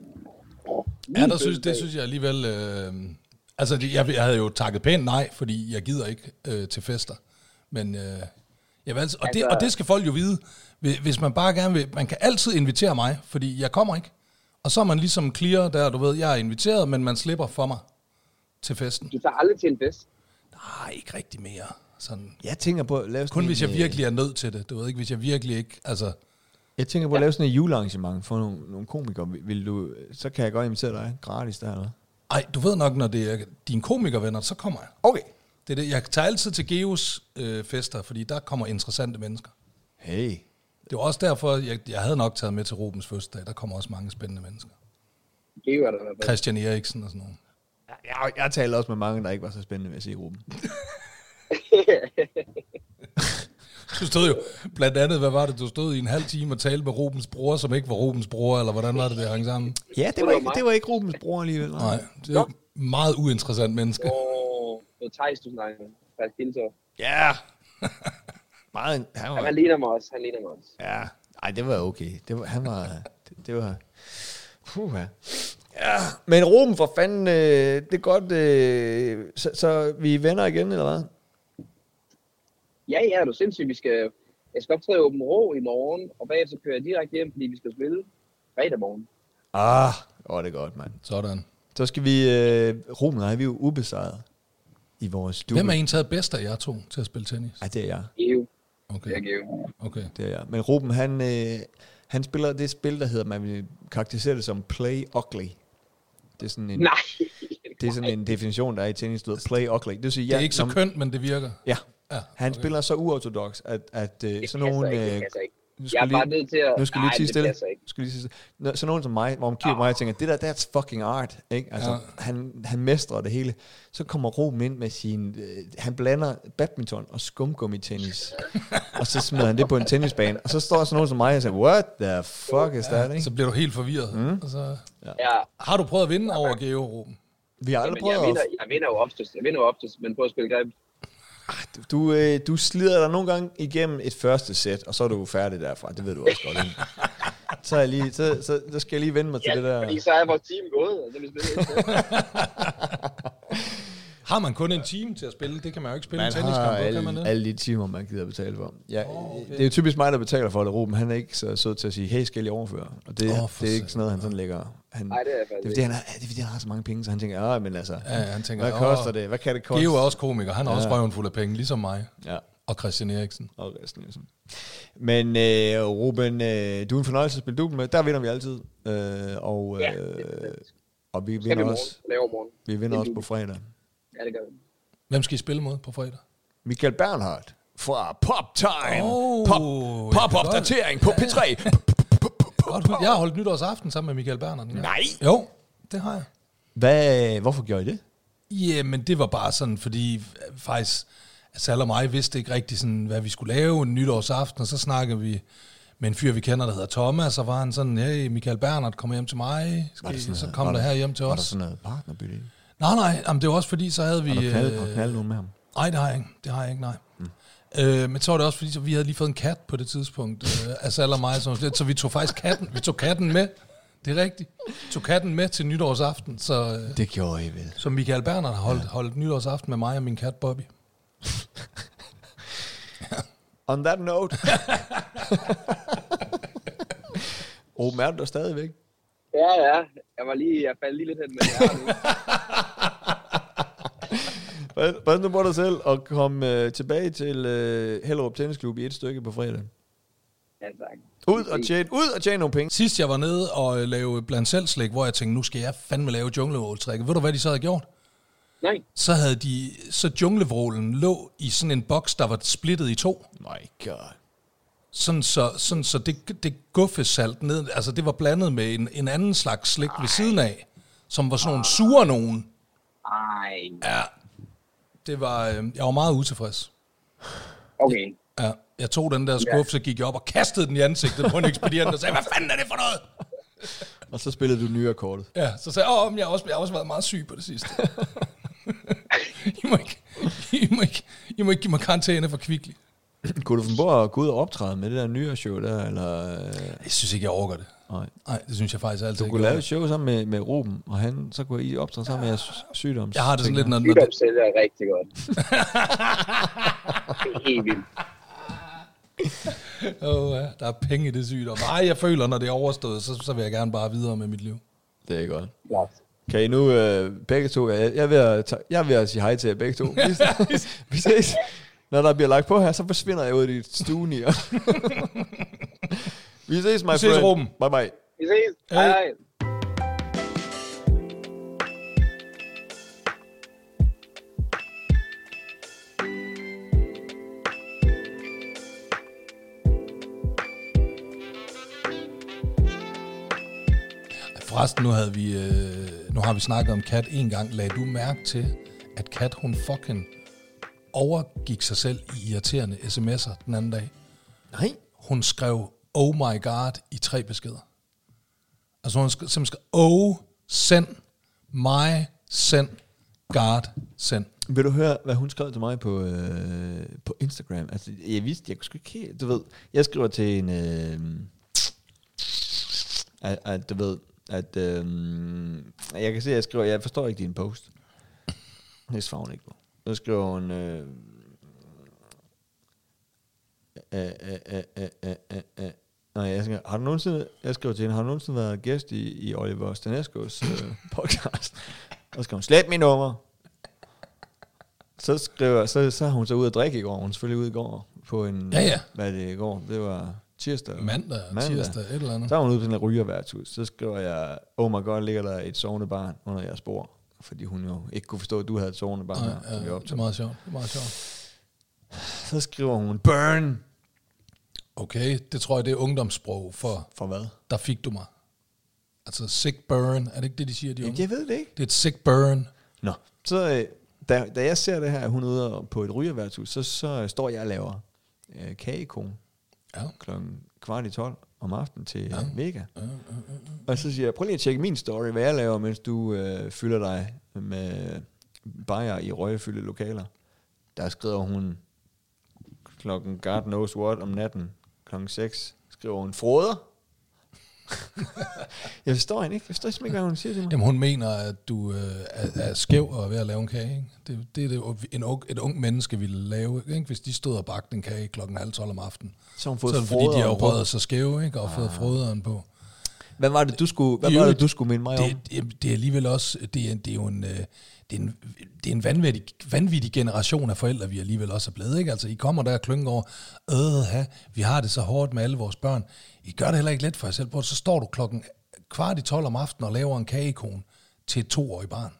Speaker 2: Ja,
Speaker 5: Min
Speaker 2: der synes, det
Speaker 5: fødselsdag.
Speaker 2: synes jeg alligevel... Øh, altså, det- jeg, jeg havde jo takket pænt nej, fordi jeg gider ikke øh, til fester. Men øh, jeg vil altid, og, det,
Speaker 5: Altså-
Speaker 2: og det skal folk jo vide, Hvi- hvis man bare gerne vil... Man kan altid invitere mig, fordi jeg kommer ikke. Og så er man ligesom clear der, du ved, jeg er inviteret, men man slipper for mig til festen.
Speaker 5: Du tager aldrig til en fest.
Speaker 2: Nej, ikke rigtig mere. Sådan.
Speaker 1: Jeg tænker på at lave sådan
Speaker 2: Kun
Speaker 1: en,
Speaker 2: hvis jeg
Speaker 1: øh,
Speaker 2: virkelig er nødt til det. Du ved ikke, hvis jeg virkelig ikke... Altså,
Speaker 1: Jeg tænker på at lave sådan et julearrangement for nogle, nogle komikere. Vil- Vil du, så kan jeg godt invitere dig gratis der. Eller?
Speaker 2: ej, du ved nok, når det er dine komikervenner, så kommer jeg.
Speaker 1: Okay.
Speaker 2: Det er det. Jeg tager altid til Geos øh, fester, fordi der kommer interessante mennesker.
Speaker 1: Hey.
Speaker 2: Det var også derfor, jeg, jeg havde nok taget med til Rubens fødselsdag. Der kommer også mange spændende mennesker.
Speaker 5: Det er jo der i hvert fald.
Speaker 2: Christian Eriksen og sådan noget.
Speaker 1: Jeg, jeg taler også med mange, der ikke var så spændende ved at se Ruben.
Speaker 2: Du stod jo blandt andet, hvad var det, du stod i en halv time og talte med Rubens bror, som ikke var Rubens bror, eller hvordan var det, det hang sammen?
Speaker 1: Ja, det var, ikke, det var ikke Rubens bror alligevel.
Speaker 2: Nej, det er jo et meget uinteressant menneske.
Speaker 5: Åh, det var Thijs, du snakkede med. Thijs Kilsov.
Speaker 1: Ja. Meget, han var,
Speaker 5: Jamen, han ligner mig også. Han ligner mig også.
Speaker 1: Ja, ej, det var okay. Det var, han var, det, det var, puh, ja. ja. Men Ruben, for fanden, øh, det er godt, øh, så, så vi er venner igen, eller hvad?
Speaker 5: Ja, ja, er du sindssygt. Vi skal, jeg skal optræde i Åben Rå i morgen, og bagefter kører jeg direkte hjem, fordi vi skal spille fredag morgen.
Speaker 1: Ah, åh, det er godt, mand.
Speaker 2: Sådan.
Speaker 1: Så skal vi, øh, Ruben og jeg, vi er jo ubesejret i vores stue.
Speaker 2: Hvem er en taget bedst af jer to til at spille tennis?
Speaker 1: Ej, det er jeg,
Speaker 5: Ev. Jeg
Speaker 2: Okay,
Speaker 5: giver.
Speaker 2: okay.
Speaker 1: det er jeg. Men Ruben, han, øh, han spiller det spil, der hedder, man vil karakterisere det som play ugly. Det er sådan en,
Speaker 5: Nej.
Speaker 1: det er sådan en definition, der er i tennis, der hedder play ugly. Det, vil sige,
Speaker 2: Det er ikke så
Speaker 1: når-
Speaker 2: kønt, men det virker.
Speaker 1: Ja.
Speaker 2: Ja,
Speaker 1: Han okay. spiller så uortodox, at, at øh, sådan nogen...
Speaker 5: passer ikke, det
Speaker 1: øh,
Speaker 5: passer ikke.
Speaker 1: nu
Speaker 5: Jeg er bare
Speaker 1: lige-
Speaker 5: nødt til at-
Speaker 1: Nu skal jeg
Speaker 5: Nej,
Speaker 1: lige tige
Speaker 5: det
Speaker 1: stille.
Speaker 5: passer ikke.
Speaker 1: Nu Skal jeg lige tige stille. Nå, sådan nogen som mig, hvor man kigger på mig og tænker, det der, that's fucking art. Ikke? Altså,
Speaker 2: Ja.
Speaker 1: han, han mestrer det hele. Så kommer Rom ind med sin... Øh, han blander badminton og skumgummi-tennis. og så smider han det på en tennisbane. Og så står sådan nogen som mig og siger, what the fuck is that? Ikke? Mm.
Speaker 2: Så bliver du helt forvirret. Og så,
Speaker 5: Ja,
Speaker 2: har du prøvet at vinde over Geo, Ruben?
Speaker 1: Vi har aldrig
Speaker 5: men jeg
Speaker 1: prøvet
Speaker 5: vinder,
Speaker 1: at...
Speaker 5: jeg vinder jo oftest. Jeg vinder jo oftest, men på at spille greb.
Speaker 1: Du, øh, du slider dig nogle gange igennem et første sæt, og så er du færdig derfra. Det ved du også godt. Ikke? Så, er jeg lige, så, så, så skal jeg lige vende mig til
Speaker 5: Ja,
Speaker 1: det der...
Speaker 5: fordi så er vores team gået. Altså, vi spiller ikke.
Speaker 2: Har man kun en time til at spille? Det kan man jo ikke spille
Speaker 1: Man
Speaker 2: en tenniskamp.
Speaker 1: har
Speaker 2: på, kan man
Speaker 1: alle,
Speaker 2: det?
Speaker 1: alle de timer, man gider betale for. Ja, oh, okay. Det er jo typisk mig, der betaler for det, Ruben. Han er ikke så sød til at sige, hey, skal jeg lige overføre? Og det,
Speaker 2: Åh,
Speaker 1: oh,
Speaker 2: for
Speaker 1: det er
Speaker 2: satan.
Speaker 1: ikke sådan noget, han sådan lægger. Han,
Speaker 5: Nej, det er jeg faktisk
Speaker 1: det er, fordi, han har, det er, fordi han har så mange penge, så han tænker, ah, men altså,
Speaker 2: Ja, han tænker,
Speaker 1: hvad
Speaker 2: "Åh,
Speaker 1: koster det? Hvad kan det koste?
Speaker 2: Geo er også komiker. Han er ja. også røven fuld af penge, ligesom mig.
Speaker 1: Ja,
Speaker 2: Og Christian Eriksen.
Speaker 1: og resten er sådan. Men øh, Ruben, øh, du er en fornøjelse at spille duben med. Der vinder vi altid. Øh, og,
Speaker 5: Ja,
Speaker 1: øh,
Speaker 5: det er fedt.
Speaker 1: og vi
Speaker 5: Skal vi
Speaker 1: vinder,
Speaker 5: i
Speaker 1: også,
Speaker 5: morgen? Laver i morgen.
Speaker 1: vi vinder også på fredag.
Speaker 5: Ja, det gør vi.
Speaker 2: Hvem skal I spille mod på fredag?
Speaker 1: Michael Bernhardt fra Pop Time.
Speaker 2: Åh, jeg kan
Speaker 1: pop, pop opdatering på P3.
Speaker 2: Godt, hus- jeg har holdt nytårsaften sammen med Michael Bernhardt. Ja.
Speaker 1: Nej.
Speaker 2: Jo, det har jeg.
Speaker 1: Hvad, hvorfor gjorde I det?
Speaker 2: Jamen, det var bare sådan, fordi øh, faktisk Sal og mig vidste ikke rigtig, sådan, hvad vi skulle lave en nytårsaften, og så snakkede vi med en fyr, vi kender, der hedder Thomas, og var han sådan, hey, Michael Bernhardt, kom hjem til mig,
Speaker 1: Var
Speaker 2: skal,
Speaker 1: det sådan
Speaker 2: så
Speaker 1: noget-
Speaker 2: kom
Speaker 1: var
Speaker 2: der
Speaker 1: der-
Speaker 2: her hjem til
Speaker 1: Var der
Speaker 2: os.
Speaker 1: sådan noget partnerbytte i?
Speaker 2: Nej, nej, jamen, det var også fordi, så havde vi...
Speaker 1: Har du knaldet, har du
Speaker 2: øh,
Speaker 1: knaldet nogen med ham?
Speaker 2: Nej, det har jeg ikke. Det har jeg ikke, nej. Mm. Øh, men så var det også fordi, så vi havde lige fået en kat på det tidspunkt. Øh, altså alle og mig, så, så vi tog faktisk katten. Vi tog katten med. Det er rigtigt. Tog katten med til nytårsaften, så, øh,
Speaker 1: Det gjorde I vel.
Speaker 2: så Michael Bernhardt har holdt, holdt nytårsaften med mig og min kat Bobby.
Speaker 1: On that note. Åben er du der stadigvæk?
Speaker 5: Ja, ja. Jeg, var lige, jeg faldt lige lidt hen, men jeg er her nu.
Speaker 1: Pas- Pas nu på dig selv og kom øh, tilbage til øh, Hellerup Tennisklub i et stykke på fredag.
Speaker 5: Ja, tak.
Speaker 1: Ud og tjene, ud og tjene nogle penge.
Speaker 2: Sidst jeg var nede og øh, lave blandt selv slik, hvor jeg tænkte, nu skal jeg fandme lave junglevåltrækket. Ved du, hvad de så havde gjort?
Speaker 5: Nej,
Speaker 2: Så havde de, så junglevålen lå i sådan en boks, der var splittet i to.
Speaker 1: My god.
Speaker 2: Sådan så, sådan så det, det guffesalt ned, altså det var blandet med en, en anden slags slik ved siden af, som var sådan nogle sure nogen.
Speaker 5: nej.
Speaker 2: Ja. Det var, øh, jeg var meget utilfreds.
Speaker 5: Okay.
Speaker 2: Ja. Jeg tog den der skuffe, så gik jeg op og kastede den i ansigtet på en ekspedient og sagde, hvad fanden er det for noget?
Speaker 1: Og så spillede du nyrekortet.
Speaker 2: Ja, så sagde jeg, åh, men jeg har, også, jeg har også været meget syg på det sidste. I, må ikke, I, må ikke, I må ikke give mig karantæne for kvickly.
Speaker 1: Kunne du finde på at gå ud og optræde med det der nyreshow der? Eller, øh,
Speaker 2: Jeg synes ikke, jeg overgår det.
Speaker 1: nej.
Speaker 2: Nej, det synes jeg faktisk altid
Speaker 1: Du kunne lave et show sammen med, med Ruben, og han, så kunne I optræde sammen med jeres sygdoms.
Speaker 2: Jeg har det sådan lidt, når, når det,
Speaker 5: Sygdom sælger jeg rigtig godt. det er helt vildt.
Speaker 2: Åh, ja, der er penge i det sygdom. Nej, jeg føler, når det er overstået, så, så vil jeg gerne bare videre med mit liv.
Speaker 1: Det er godt.
Speaker 5: Godt.
Speaker 1: Kan I nu øh, begge to, jeg, jeg, er ved at, ta- jeg er ved at sige hej til jer begge to. Vi, vi ses. Når der bliver lagt på her, så forsvinder jeg ud i stuen i. vi ses, my
Speaker 2: Vi ses,
Speaker 1: friend.
Speaker 2: Ruben.
Speaker 1: Bye bye.
Speaker 5: Vi ses. Hej.
Speaker 2: Hej.
Speaker 5: hej.
Speaker 2: Forresten, nu, havde vi, øh, nu har vi snakket om Kat en gang. Lagde du mærke til, at Kat hun fucking overgik sig selv i irriterende sms'er den anden dag?
Speaker 1: Nej.
Speaker 2: Hun skrev, oh my god, i tre beskeder. Altså hun sk- simpelthen skrev, oh, send, my, send, god, send.
Speaker 1: Vil du høre, hvad hun skrev til mig på, øh, på Instagram? Altså, jeg vidste, jeg kunne sgu ikke helt, du ved. Jeg skriver til en, øh, at, at, du ved, at, øh, jeg kan se, at jeg skriver, jeg forstår ikke din post. Det svarer hun ikke på. Så skriver hun, øh, øh, øh, øh, øh, øh, øh, øh. Nej, jeg skriver, har du nogensinde, jeg skriver til hende, har du nogensinde været gæst i, i Oliver Stanescos øh, podcast? Og så skriver hun, slet mit nummer. Så skriver, så, så har hun så ud at drikke i går. Hun er selvfølgelig ude i går på en,
Speaker 2: Ja, ja.
Speaker 1: hvad er det i går? Det var tirsdag.
Speaker 2: Mandag, tirsdag, et eller andet.
Speaker 1: Så er hun ude på sådan en rygerværtshus. Så skriver jeg, oh my god, ligger der et sovende barn under jeres bord? Fordi hun jo ikke kunne forstå, at du havde et sovende barn, her, som vi
Speaker 2: Ja, øh, det er
Speaker 1: optog.
Speaker 2: meget sjovt. Det er meget sjovt.
Speaker 1: Så skriver hun, burn!
Speaker 2: Okay, det tror jeg, det er ungdomssprog for
Speaker 1: For hvad?
Speaker 2: der fik du mig. Altså sick burn, er det ikke det, de siger, de unge?
Speaker 1: Jeg ved det ikke.
Speaker 2: Det er et sick burn.
Speaker 1: Nå. Så øh, da, da jeg ser det her, at hun er ude og- på et rygerværtshus, så, så øh, står jeg og laver øh, kagekone
Speaker 2: Ja.
Speaker 1: klokken kvart i 12 om aftenen til ja. Vega. Og så siger jeg, prøv lige at tjekke min story, hvad jeg laver, mens du øh, fylder dig med bajer i røgefyldte lokaler. Der skriver hun klokken God knows what om natten, klokken 6, skriver hun, froder. jeg forstår hende ikke. Jeg forstår simpelthen ikke, hvad hun siger til mig.
Speaker 2: Jamen hun mener, at du øh, er, er skæv og er ved at lave en kage. Ikke? Det, det er det, en, ung- et ung menneske ville lave, ikke? hvis de stod og bagte en kage klokken halv tolv om aftenen.
Speaker 1: Så har hun fået
Speaker 2: så er det fordi, de har
Speaker 1: froderen på.
Speaker 2: røget sig skæve ikke? og fået frøderen på.
Speaker 1: Hvad var det, du skulle, hvad
Speaker 2: I
Speaker 1: var det,
Speaker 2: øvrigt,
Speaker 1: du skulle minde mig om?
Speaker 2: det, det, det er alligevel også, det er, det er jo en, øh, det er en, det er en vanvittig, vanvittig generation af forældre, vi alligevel også er blevet. Ikke? Altså, I kommer der og klynker over, øh, ha, vi har det så hårdt med alle vores børn. I gør det heller ikke let for jer selv. Prøv, at- så står du klokken kvart i 12 om aftenen og laver en kagekone til et toårigt barn.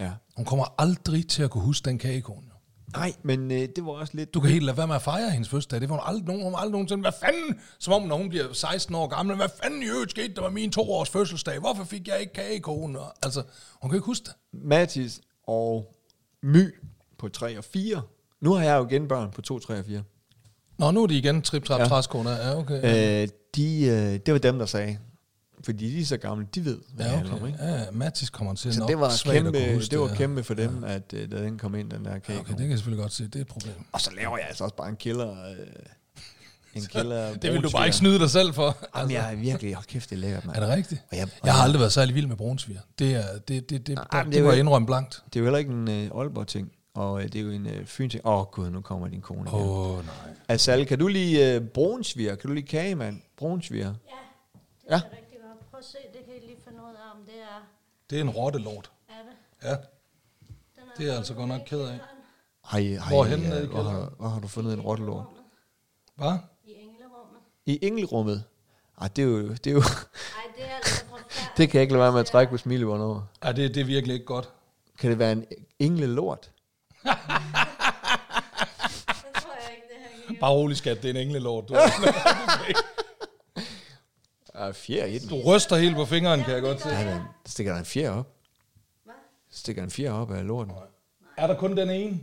Speaker 1: Ja.
Speaker 2: Hun kommer aldrig til at kunne huske den kagekone. jo.
Speaker 1: Nej, men øh, det var også lidt...
Speaker 2: Du kan helt lade være med at fejre hendes fødselsdag. Det var hun aldrig, nogen, hun var aldrig nogensinde. Hvad fanden? Som om, når hun bliver 16 år gammel. Hvad fanden i øvrigt skete der med min toårs fødselsdag? Hvorfor fik jeg ikke kagekone? Og- Altså, hun kan ikke huske det.
Speaker 1: Mathis og My på 3 og 4. Nu har jeg jo igen børn på 2, 3 og 4.
Speaker 2: Nå, nu er de igen trip trap
Speaker 1: Ja.
Speaker 2: ja. træskoene. Ja, okay. Ja,
Speaker 1: Øh, de, øh, det var dem, der sagde. Fordi de er så gamle, de ved, hvad det
Speaker 2: ja,
Speaker 1: handler om,
Speaker 2: okay.
Speaker 1: ikke?
Speaker 2: ja, Mathis kommer til
Speaker 1: Så
Speaker 2: nok
Speaker 1: Altså, det var,
Speaker 2: svagt at
Speaker 1: kæmpe,
Speaker 2: kunne huske
Speaker 1: det var
Speaker 2: her.
Speaker 1: kæmpe for dem, at øh, da den kom ind, den der kage.
Speaker 2: Okay, det kan jeg selvfølgelig godt se. Det er et problem.
Speaker 1: Og så laver jeg altså også bare en killer... Øh, en killer
Speaker 2: Det vil du
Speaker 1: brunsviger.
Speaker 2: bare ikke snyde dig selv for.
Speaker 1: Jamen,
Speaker 2: Altså,
Speaker 1: jeg er virkelig... Hold kæft, det er lækkert, mand.
Speaker 2: er det rigtigt?
Speaker 1: Og jeg- og
Speaker 2: Jeg har
Speaker 1: jeg-
Speaker 2: aldrig været særlig vild med brunsviger. Det, er, det, det, det, det,
Speaker 1: men det er
Speaker 2: det må
Speaker 1: jo-
Speaker 2: jeg indrømme blankt.
Speaker 1: Det er jo heller ikke en øh, Aalborg-ting, og øh, det er jo en øh, Fyn-ting. Åh, oh, gud, nu kommer din kone
Speaker 2: Åh,
Speaker 1: igen. Oh.
Speaker 2: oh, nej.
Speaker 1: Altså, kan du lide øh, brunsviger? Kan du lide kage, mand? Brunsviger?
Speaker 4: Ja, det
Speaker 1: Ja.
Speaker 4: er rigtig godt. Prøv at se, det kan I lige finde ud af, om det er...
Speaker 2: Det er en rottelort.
Speaker 4: Er det?
Speaker 2: Ja.
Speaker 4: Den
Speaker 2: Det er jeg altså godt nok ked af.
Speaker 4: kælderen
Speaker 1: Har I, har
Speaker 2: Hvorhenne
Speaker 1: I,
Speaker 2: nede i
Speaker 1: øh, hvor, har,
Speaker 2: kælderen?
Speaker 1: hvor har du fundet en rottelort?
Speaker 2: Hvad?
Speaker 4: I englerummet.
Speaker 1: I engelrummet? Ej, det er jo... Det, er jo
Speaker 4: Ej, det er altså forfærdeligt.
Speaker 1: det kan jeg ikke lade være med at trække på smilebånd over.
Speaker 2: Ja, det, det er virkelig ikke godt.
Speaker 1: Kan det være en englelort?
Speaker 4: Det tror jeg ikke, det her kan
Speaker 2: Bare rolig, skat. Det er en englelort. Du,
Speaker 1: Der er fjer i den.
Speaker 2: du ryster helt på fingeren, kan jeg godt se.
Speaker 1: Der, er da en- der stikker der en fjer op.
Speaker 4: Hvad?
Speaker 1: Stikker en fjer op af lorten.
Speaker 2: Er der kun den ene?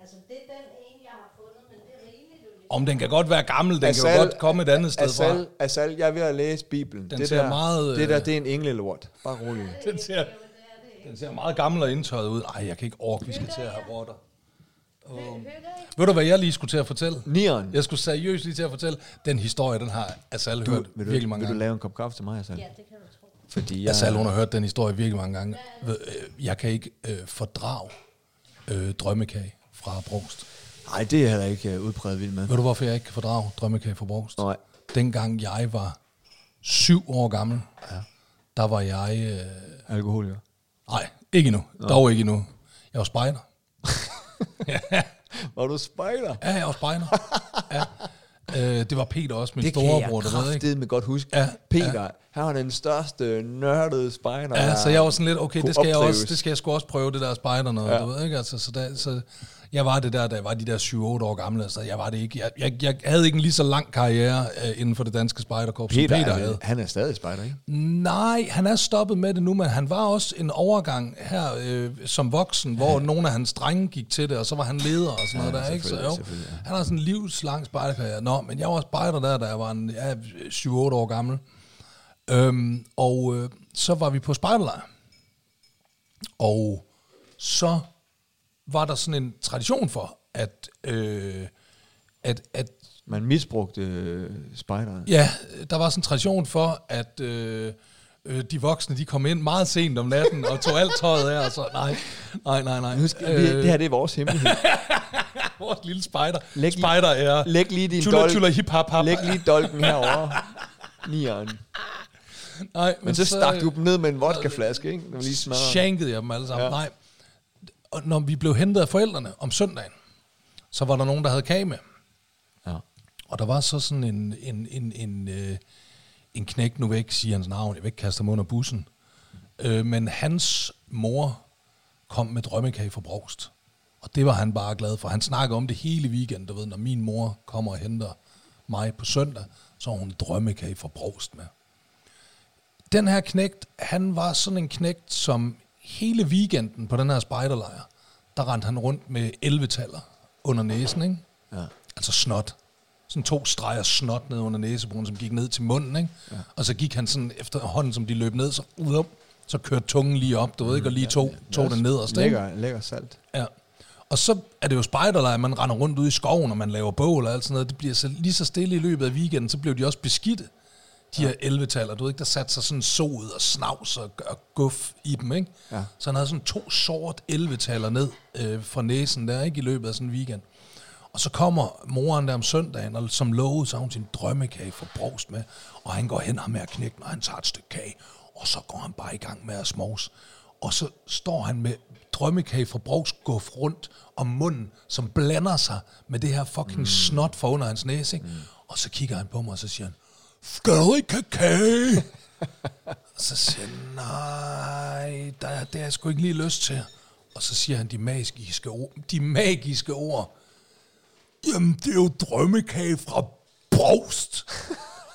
Speaker 4: Altså, det er den ene, jeg har fundet, men det er rigeligt. jo.
Speaker 2: Om den kan godt være gammel. Den kan
Speaker 1: Asal-
Speaker 2: jo godt komme et andet sted fra.
Speaker 1: Asal, Asal, jeg er ved at læse Bibelen.
Speaker 2: Den
Speaker 1: det,
Speaker 2: ser
Speaker 1: der,
Speaker 2: meget, øh,
Speaker 1: det der, det er en englelort. Bare rolig.
Speaker 2: Den ser, den ser meget gammel og indtørret ud. Ej, jeg kan ikke orke, vi skal til at have rotter. Øhm,
Speaker 4: Hører I?
Speaker 2: Ved du, hvad jeg lige skulle til at fortælle?
Speaker 1: Nieren.
Speaker 2: Jeg skulle seriøst lige til at fortælle, den historie, den har Asal hørt
Speaker 1: vil du,
Speaker 2: virkelig mange
Speaker 1: vil du
Speaker 2: gange.
Speaker 1: lave en kop kaffe til mig, Asal?
Speaker 4: Ja, det kan du tro.
Speaker 1: Fordi jeg,
Speaker 2: Asal, hun har hørt den historie virkelig mange gange. Ved- øh, Jeg kan ikke øh, fordrage øh, drømmekage fra Brogst.
Speaker 1: Nej, det er jeg heller ikke uh, udpræget vild med.
Speaker 2: Ved du, hvorfor jeg ikke kan fordrage drømmekage fra Brogst?
Speaker 1: Nej.
Speaker 2: Dengang jeg var syv år gammel, ja. der var jeg... Øh,
Speaker 1: Alkoholiker.
Speaker 2: nej, ikke endnu. Dog ikke endnu. Jeg var spejder.
Speaker 1: Var du spejder?
Speaker 2: Ja, jeg var spejder. ja. Øh, det var Peter også, min
Speaker 1: Det kan
Speaker 2: storebror,
Speaker 1: jeg
Speaker 2: der ved, ikke?
Speaker 1: kraftedeme med godt huske.
Speaker 2: Ja,
Speaker 1: Peter, han var den største nørdede spejder.
Speaker 2: Ja,
Speaker 1: der
Speaker 2: så jeg var sådan lidt, okay,
Speaker 1: kunne
Speaker 2: det skal, jeg også,
Speaker 1: opleves.
Speaker 2: det skal jeg sgu også prøve, det der spejder noget, ja. du ved ikke, altså, så, der, så jeg var det der, da jeg var de der 7-8 år gamle, altså, jeg var det ikke, jeg, jeg, jeg havde ikke en lige så lang karriere øh, inden for det danske spejderkorps, som
Speaker 1: Peter,
Speaker 2: Peter
Speaker 1: er,
Speaker 2: havde.
Speaker 1: han er stadig spejder, ikke?
Speaker 2: Nej, han er stoppet med det nu, men han var også en overgang her øh, som voksen, hvor nogle af hans drenge gik til det, og så var han leder og sådan noget ja, der, ikke? Så,
Speaker 1: selvfølgelig,
Speaker 2: jo,
Speaker 1: selvfølgelig, ja.
Speaker 2: Han har sådan en livslang spejderkarriere. Nå, men jeg var spejder der, da jeg var en, ja, 7-8 år gammel. Øhm, og øh, så var vi på spejderlejr. Og så var der sådan en tradition for, at, øh, at, at
Speaker 1: Man misbrugte øh, spejderen.
Speaker 2: Ja, der var sådan en tradition for, at øh, øh, de voksne de kom ind meget sent om natten og tog alt tøjet af, og så nej, nej, nej, nej.
Speaker 1: Nu skal, øh, vi, det her det er vores hemmelighed.
Speaker 2: Vores lille spider.
Speaker 1: Læg-
Speaker 2: spider er...
Speaker 1: Læg lige din
Speaker 2: Tjula,
Speaker 1: dolk.
Speaker 2: tjula, hip, hop, hop.
Speaker 1: Læg lige dolken herovre. Nieren.
Speaker 2: Nej, men, øh,
Speaker 1: Men så stak du dem ned med en vodkaflaske, ikke? Når man lige smadrer.
Speaker 2: shankede jeg dem alle sammen. Ja. Nej. Og når vi blev hentet af forældrene om søndagen, så var der nogen, der havde kage med.
Speaker 1: Ja.
Speaker 2: Og der var så sådan en, en, en, en, øh, en knægt, nu vil jeg ikke sige hans navn, jeg vil ikke kaste ham under bussen, øh, men hans mor kom med drømmekage fra Brogst. Og det var han bare glad for. Han snakkede om det hele weekenden, du ved, når min mor kommer og henter mig på søndag, så har hun en drømmekage fra Brogst med. Den her knægt, han var sådan en knægt, som hele weekenden på den her spejderlejr, der rendte han rundt med 11-taller under næsen, ikke?
Speaker 1: Ja.
Speaker 2: altså snot. Sådan to streger snot ned under næsebroen, som gik ned til munden, ikke? Ja. Og så gik han sådan efter hånden, som de løb ned, så ud op, så kørte tungen lige op, du ved ikke, og lige tog, tog den nederst, ikke?
Speaker 1: Lækker, lækker salt.
Speaker 2: Ja. Og så er det jo spejderlejr, man render rundt ude i skoven, og man laver bål og alt sådan noget. Det bliver så, lige så stille i løbet af weekenden, så blev de også beskidte, de her 11-taller. Du ved ikke, der satte sig sådan sod og snavs og, og guf i dem, ikke?
Speaker 1: Ja.
Speaker 2: Så han havde sådan to sort 11-taller ned øh, fra næsen der, ikke? I løbet af sådan en weekend. Og så kommer moren der om søndagen, og som lovede, så har hun sin drømmekage for brugst med. Og han går hen og med at knække, og han tager et stykke kage. Og så går han bare i gang med at smås. Og så står han med drømmekage fra Brogs guf rundt om munden, som blander sig med det her fucking mm. snot for under hans næse. Ikke? Mm. Og så kigger han på mig, og så siger han, skal du ikke have kage? Og så siger han, nej, der, det har jeg sgu ikke lige lyst til. Og så siger han de magiske ord, de magiske ord Jamen, det er jo drømmekage fra Brost.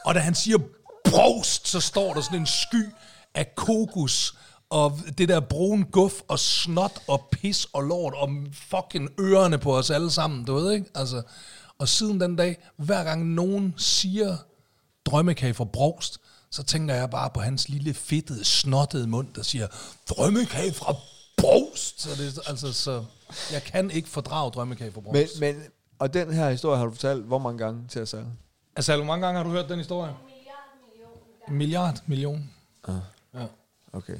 Speaker 2: og da han siger Brost, så står der sådan en sky af kokos og det der brun guf og snot og pis og lort og fucking ørerne på os alle sammen, du ved ikke? Altså, Og siden den dag, hver gang nogen siger drømmekage fra Brogst, så tænker jeg bare på hans lille fedtede, snottede mund, der siger, drømmekage fra Brogst! Så, det, altså, så jeg kan ikke fordrage drømmekage fra Brogst.
Speaker 1: Men, men, og den her historie har du fortalt hvor mange gange til at sige?
Speaker 2: Altså, hvor mange gange har du hørt den historie? En milliard million. Ja.
Speaker 1: Okay.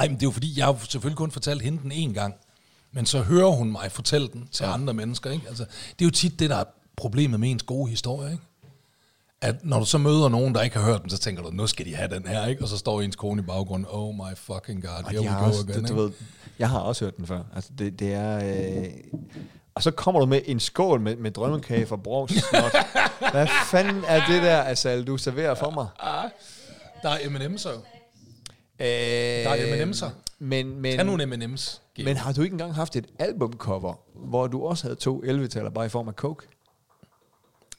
Speaker 2: Ej, men det er jo fordi, jeg har selvfølgelig kun fortalt hende den en gang. Men så hører hun mig fortælle den til ja. andre mennesker, ikke? Altså, det er jo tit det, der er problemet med ens gode historie, ikke? At når du så møder nogen, der ikke har hørt dem, så tænker du, nu skal de have den her, ikke? Og så står ens kone i baggrunden, oh my fucking god,
Speaker 1: Og
Speaker 2: here
Speaker 1: de
Speaker 2: we
Speaker 1: har
Speaker 2: go
Speaker 1: også,
Speaker 2: again,
Speaker 1: det, du
Speaker 2: ikke?
Speaker 1: ved, jeg har også hørt den før. Altså, det, det er... Øh, og så kommer du med en skål med, med drømmekage fra Brogs Snot. Hvad fanden er det der, Asal, du serverer for mig?
Speaker 2: Der er M&M's jo.
Speaker 1: Øh, der
Speaker 2: er M&M'ser.
Speaker 1: Men, men,
Speaker 2: Tag nogle M&M's. Geo.
Speaker 1: men har du ikke engang haft et albumcover, hvor du også havde to 11-taller bare i form af coke?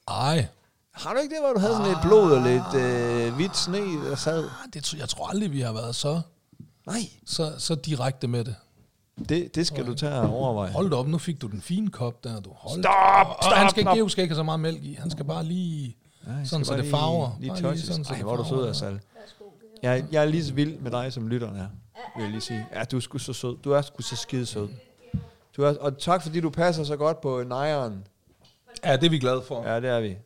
Speaker 2: Ej,
Speaker 1: Har du ikke det, hvor du havde sådan lidt blod og lidt øh, hvidt sne, der sad?
Speaker 2: Ah, det, tror- jeg tror aldrig, vi har været så,
Speaker 1: Nej,
Speaker 2: så, så direkte med det.
Speaker 1: det, det skal du tage og overveje.
Speaker 2: Hold da op, nu fik du den fine kop der, du. Hold
Speaker 1: Stop,
Speaker 2: Og
Speaker 1: stop,
Speaker 2: han skal,
Speaker 1: stop.
Speaker 2: Geo skal ikke have så meget mælk i. Han skal bare lige... Sådan,
Speaker 1: Nej, skal
Speaker 2: så
Speaker 1: bare
Speaker 2: det farver.
Speaker 1: Lige,
Speaker 2: Bare lige
Speaker 1: lige touches.
Speaker 2: sådan, så
Speaker 1: Ej,
Speaker 2: det
Speaker 1: hvor er du sød,
Speaker 2: farver.
Speaker 1: Asal. Jeg, jeg er lige så vild med dig, som lytteren er, vil jeg lige sige. Ja, du er sgu så sød. Du er sgu så skide sød. Du er, og tak, fordi du passer så godt på nejeren.
Speaker 2: Ja, det er vi glade for.
Speaker 1: Ja, det er vi.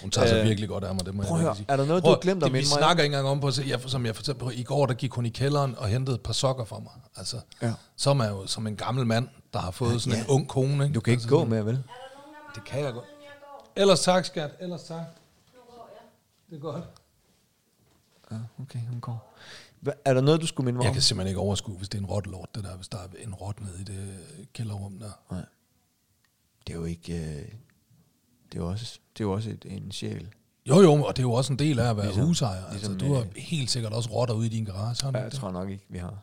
Speaker 2: Hun tager sig
Speaker 1: Øh,
Speaker 2: virkelig godt af mig, det må
Speaker 1: prøv at
Speaker 2: jeg
Speaker 1: høre,
Speaker 2: virkelig sige.
Speaker 1: er der noget, du
Speaker 2: Prøv,
Speaker 1: har glemt at
Speaker 2: det, Vi
Speaker 1: minde mig om?
Speaker 2: snakker ikke engang om på, så jeg, som jeg fortalte på i går, der gik hun i kælderen og hentede et par sokker fra mig. Altså,
Speaker 1: Ja.
Speaker 2: som er jo som en gammel mand, der har fået sådan
Speaker 1: Ja.
Speaker 2: en ung kone. Ikke?
Speaker 1: Du kan ikke
Speaker 2: altså,
Speaker 1: gå med, vel?
Speaker 2: Det kan jeg godt. Ellers tak, skat. Ellers tak. Det er godt.
Speaker 1: Okay, hun går. Hva, er der noget, du skulle minde mig
Speaker 2: Jeg
Speaker 1: om?
Speaker 2: kan simpelthen ikke overskue, hvis det er en rot lort, det der, hvis der er en rot nede i det øh, kælderrum der.
Speaker 1: Nej. Det er jo ikke... Øh, det er jo også, det er jo også et, en sjæl.
Speaker 2: Jo, jo, og det er jo også en del af at være ligesom, husejer.
Speaker 1: ligesom,
Speaker 2: Ligesom, altså, du har
Speaker 1: øh,
Speaker 2: helt sikkert også rotter ude i din garage, har du ikke
Speaker 1: Ja, jeg
Speaker 2: det?
Speaker 1: tror nok ikke, vi har.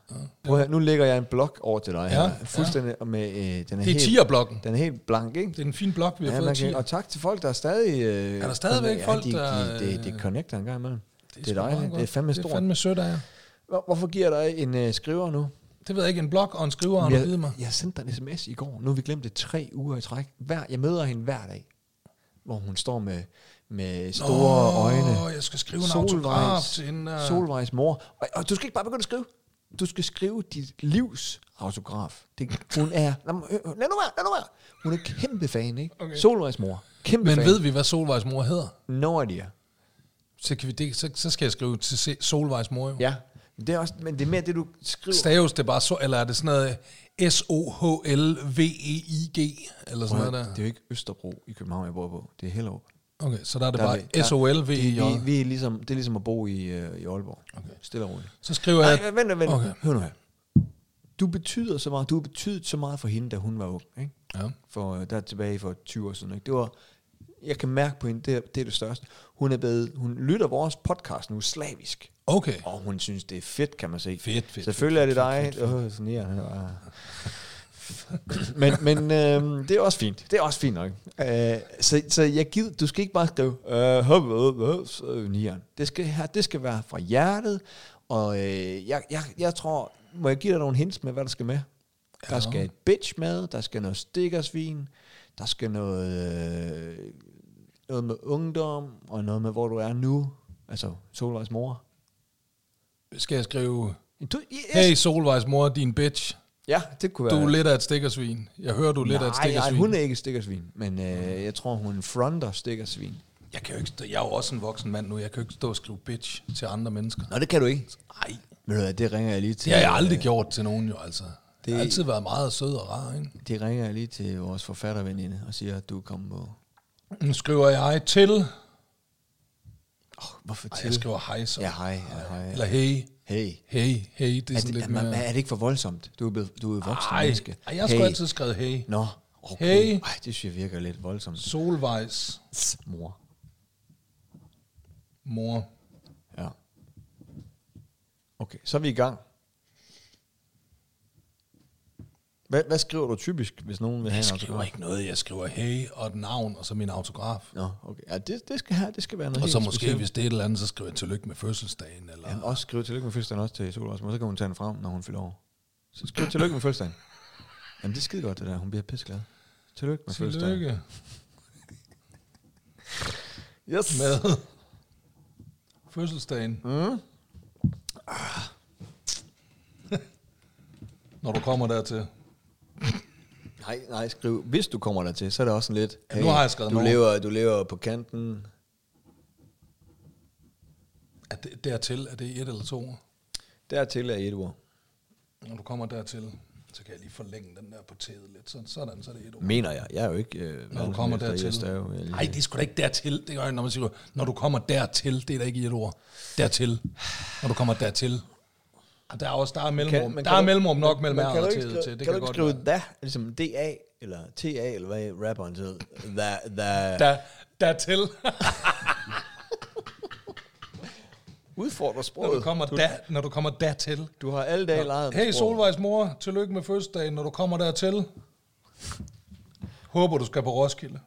Speaker 1: Prøv at høre, nu lægger jeg en blok over til dig ja,
Speaker 2: Ja,
Speaker 1: her. Fuldstændig ja. med... Øh, den er
Speaker 2: Det er
Speaker 1: helt,
Speaker 2: tierblokken.
Speaker 1: Den er helt blank, ikke?
Speaker 2: Det er en fin blok, vi har
Speaker 1: Ja,
Speaker 2: fået
Speaker 1: man
Speaker 2: i tier.
Speaker 1: kan, og tak til folk, der er stadig... Øh,
Speaker 2: Er der stadigvæk
Speaker 1: ja,
Speaker 2: folk,
Speaker 1: de,
Speaker 2: der,
Speaker 1: De, det, det
Speaker 2: øh,
Speaker 1: connecter en gang imellem. Det er,
Speaker 2: sgu meget
Speaker 1: dejligt.
Speaker 2: godt.
Speaker 1: Det er fandme
Speaker 2: Det
Speaker 1: stort.
Speaker 2: er fandme sødt af jer.
Speaker 1: Hvor- Hvorfor giver der en øh, skriver nu?
Speaker 2: Det ved jeg ikke, en blog og en skriver har du givet mig.
Speaker 1: jeg, jeg sendte dig en sms i går. Nu har vi glemt det tre uger i træk. Hver, jeg møder hende hver dag, hvor hun står med, med store
Speaker 2: Åh,
Speaker 1: øjne.
Speaker 2: jeg skal skrive en autograf til hende. øh.
Speaker 1: Solvejs mor. Og, og du skal ikke bare begynde at skrive. Du skal skrive dit livs autograf. Det, hun er... Lad mig- øh, lad nu være, lad nu være. Hun er kæmpe fan, ikke? Okay. Solvejs mor. Kæmpe
Speaker 2: Men
Speaker 1: fan.
Speaker 2: ved vi, hvad Solvejs mor hedder?
Speaker 1: No idea.
Speaker 2: Så, kan vi det, så, så skal jeg skrive til se- Solvejs mor jo.
Speaker 1: Ja, men det er, også, men det er mere det, du skriver.
Speaker 2: Staves det bare så, eller er det sådan noget øh, S-O-H-L-V-E-I-G, eller sådan noget
Speaker 1: det, er
Speaker 2: der?
Speaker 1: jo ikke Østerbro i København, jeg bor på. Det er Hellerup.
Speaker 2: Okay, så der er det
Speaker 1: Der er vi- der-
Speaker 2: bare S-O-L-V-E-J.
Speaker 1: Vi, vi er ligesom, det er ligesom at bo i, øh, i Aalborg. Okay. Stille og roligt.
Speaker 2: Så skriver jeg...
Speaker 1: Nej, vent, vent, vent. Okay.
Speaker 2: Okay.
Speaker 1: Hør nu her. Du betyder så meget, du har betydet så meget for hende, da hun var ung. Ikke?
Speaker 2: Ja.
Speaker 1: For, øh, der er tilbage for 20 år siden. Ikke? Det var, jeg kan mærke på hende, det er det, er det største. Hun, er blevet, hun lytter vores podcast nu slavisk.
Speaker 2: Okay.
Speaker 1: Og hun synes, det er fedt, kan man se.
Speaker 2: Fedt, fedt,
Speaker 1: Selvfølgelig
Speaker 2: fedt,
Speaker 1: er det dig. Åh, oh, sådan her. han var- men men øh, det er også fint. Det er også fint nok. Øh, så, så jeg gider, du skal ikke bare skrive, øh, hup, hup, hup, så er vi nieren. det skal, her, det skal være fra hjertet, og øh, jeg, jeg, jeg tror, må jeg give dig nogle hints med, hvad der skal med? Der
Speaker 2: Ja.
Speaker 1: skal et bitch med, der skal noget stikkersvin, der skal noget, øh, noget med ungdom, og noget med, hvor du er nu. Altså, Solvejs mor.
Speaker 2: Skal jeg skrive...
Speaker 1: Du, yes.
Speaker 2: Hey Solvejs mor, din bitch.
Speaker 1: Ja, det kunne
Speaker 2: Du
Speaker 1: være...
Speaker 2: er lidt af et stikkersvin. Jeg hører, du er lidt af et
Speaker 1: nej, nej,
Speaker 2: stikkersvin. Mm.
Speaker 1: hun er ikke et stikkersvin, men øh, jeg tror, hun fronter stikkersvin.
Speaker 2: Jeg, kan jo ikke stå, jeg er jo også en voksen mand nu. Jeg kan jo ikke stå og skrive bitch til andre mennesker.
Speaker 1: Nå, det kan du ikke.
Speaker 2: Nej.
Speaker 1: Ved du hvad, det ringer jeg lige til...
Speaker 2: Det har jeg aldrig
Speaker 1: øh,
Speaker 2: gjort til nogen jo, altså. Det, jeg har altid været meget sød og rar, ikke?
Speaker 1: Det ringer jeg lige til vores forfatterveninde og siger, at du er kommet på...
Speaker 2: Nu skriver jeg til...
Speaker 1: Hvorfor
Speaker 2: Ej,
Speaker 1: til?
Speaker 2: jeg skriver hej så.
Speaker 1: Ja, hej, ja, hej.
Speaker 2: Eller hey.
Speaker 1: Hey.
Speaker 2: Hey, hey. Det er,
Speaker 1: Er
Speaker 2: sådan
Speaker 1: det,
Speaker 2: lidt
Speaker 1: er, man,
Speaker 2: mere...
Speaker 1: er det ikke for voldsomt? Du er, blevet, du er voksen
Speaker 2: Ej,
Speaker 1: menneske.
Speaker 2: ej, jeg har sgu altid skrevet hey.
Speaker 1: Nå, okay.
Speaker 2: Hey.
Speaker 1: Ej, det synes jeg virker lidt voldsomt.
Speaker 2: Solvejs
Speaker 1: Mor.
Speaker 2: mor.
Speaker 1: Ja. Okay, så er vi i gang. Hvad, hvad skriver du typisk, hvis nogen vil have
Speaker 2: Jeg
Speaker 1: en
Speaker 2: skriver
Speaker 1: autograf?
Speaker 2: ikke noget. Jeg skriver hey og et navn, og så min autograf.
Speaker 1: Nå, okay. Ja, det, det, skal, have, det skal være noget
Speaker 2: Og
Speaker 1: helt
Speaker 2: så måske,
Speaker 1: specielt.
Speaker 2: hvis det er et eller andet, så skriver jeg tillykke med fødselsdagen. Eller...
Speaker 1: Han også skriver tillykke med fødselsdagen også til Solvejs, og så kan hun tage den frem, når hun fylder over. Så skriv tillykke med fødselsdagen. Jamen, det er skide godt, det der. Hun bliver pisseglad. Tillykke med fødselsdagen.
Speaker 2: Tillykke.
Speaker 1: Yes.
Speaker 2: med fødselsdagen. Mm. Når du kommer dertil.
Speaker 1: Nej, nej, skriv. Hvis du kommer dertil, så er det også sådan lidt...
Speaker 2: Ja, nu har jeg skrevet
Speaker 1: du
Speaker 2: noget.
Speaker 1: lever, du lever på kanten.
Speaker 2: Er det, dertil, er det et eller to ord?
Speaker 1: Dertil er et ord.
Speaker 2: Når du kommer dertil, så kan jeg lige forlænge den der på tæet lidt. Sådan, sådan så er det et ord.
Speaker 1: Mener jeg. Jeg er jo ikke... Øh,
Speaker 2: Når du kommer
Speaker 1: verdensmester i at
Speaker 2: dertil.
Speaker 1: stave. Jeg er øh, lige-
Speaker 2: Nej, det er sgu da ikke dertil. Det gør jeg, når man siger, når du kommer dertil, det er da ikke i et ord. Dertil. Når du kommer dertil. Og der er også, der er mellemrum. Kan,
Speaker 1: men
Speaker 2: der er
Speaker 1: du-
Speaker 2: mellemrum nok
Speaker 1: men-
Speaker 2: mellem
Speaker 1: men
Speaker 2: R
Speaker 1: kan du
Speaker 2: og
Speaker 1: ikke
Speaker 2: T
Speaker 1: skrive-
Speaker 2: til. Det kan,
Speaker 1: kan du ikke
Speaker 2: godt
Speaker 1: skrive
Speaker 2: være.
Speaker 1: da, ligesom DA, eller TA, eller hvad rapperen hed? Da, da,
Speaker 2: Der, dertil.
Speaker 1: Udfordrer
Speaker 2: når, du
Speaker 1: sproget.
Speaker 2: kommer da, når du kommer dertil.
Speaker 1: Du har alle dage lejet med
Speaker 2: Hey
Speaker 1: sproget.
Speaker 2: Solvejs mor, tillykke med fødselsdagen, når du kommer dertil. Håber du skal på Roskilde.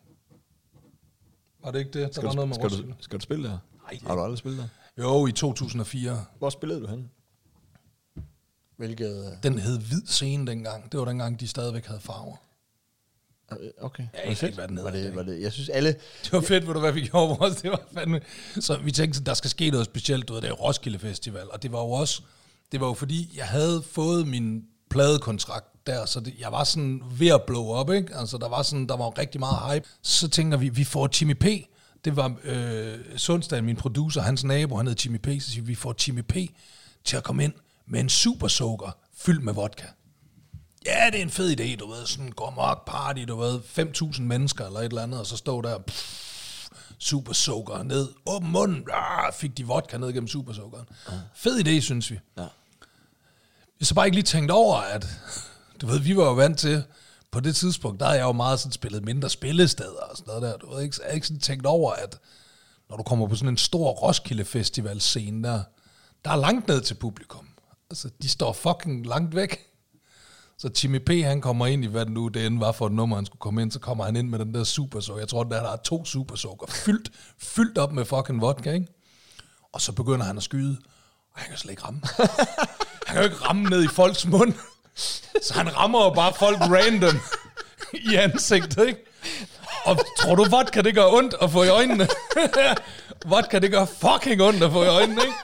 Speaker 2: Var det ikke det? Der var noget med
Speaker 1: skal,
Speaker 2: Roskilde.
Speaker 1: du, skal du spille der? Nej. Har du aldrig spillet der?
Speaker 2: Jo, i 2004.
Speaker 1: Hvor spillede du henne? Hvilket...
Speaker 2: Den hed Hvid Scene dengang. Det var dengang, de stadigvæk havde farver.
Speaker 1: øh, Okay.
Speaker 2: Jeg aner ikke, hvad den
Speaker 1: var
Speaker 2: hedder i
Speaker 1: det,
Speaker 2: dag.
Speaker 1: var det, jeg synes alle...
Speaker 2: Det var fedt, ved du hvad vi gjorde vores. Det var fandme. Så vi tænkte, sådan, der skal ske noget specielt, du ved, det er Roskilde Festival. Og det var jo også, det var jo fordi, jeg havde fået min pladekontrakt der, så det, jeg var sådan ved at blow op, ikke? Altså, der var sådan, der var jo rigtig meget hype. Så tænker vi, vi får Jimmy P. Det var øh, Sundstad, min producer, hans nabo, han hed Jimmy P. Så siger vi, vi får Jimmy P. til at komme ind med en super soaker fyldt med vodka. Ja, det er en fed idé, du ved, sådan gå amok party, du ved, 5.000 mennesker eller et eller andet, og så stå der, pff, supersukker ned. Åben munden. Ah, fik de vodka ned gennem supersukkeren. Ja. Fed idé, synes vi.
Speaker 1: Ja.
Speaker 2: Jeg så bare ikke lige tænkt over, at du ved, vi var jo vant til, på det tidspunkt, der havde jeg jo meget sådan spillet mindre spillesteder og sådan noget der. Du ved, ikke, så jeg havde ikke sådan tænkt over, at når du kommer på sådan en stor Roskilde Festival scene der, der er langt ned til publikum. Altså, de står fucking langt væk. Så Jimmy P, han kommer ind i, hvad det nu det end var for et nummer, han skulle komme ind, så kommer han ind med den der supersukker. Jeg tror, der, der er to supersukker, fyldt, fyldt op med fucking vodka, ikke? Og så begynder han at skyde, og han kan slet ikke ramme. han kan jo ikke ramme ned i folks mund. Så han rammer jo bare folk random i ansigtet, ikke? Og tror du, vodka det gør ondt at få i øjnene? vodka det gør fucking ondt at få i øjnene, ikke?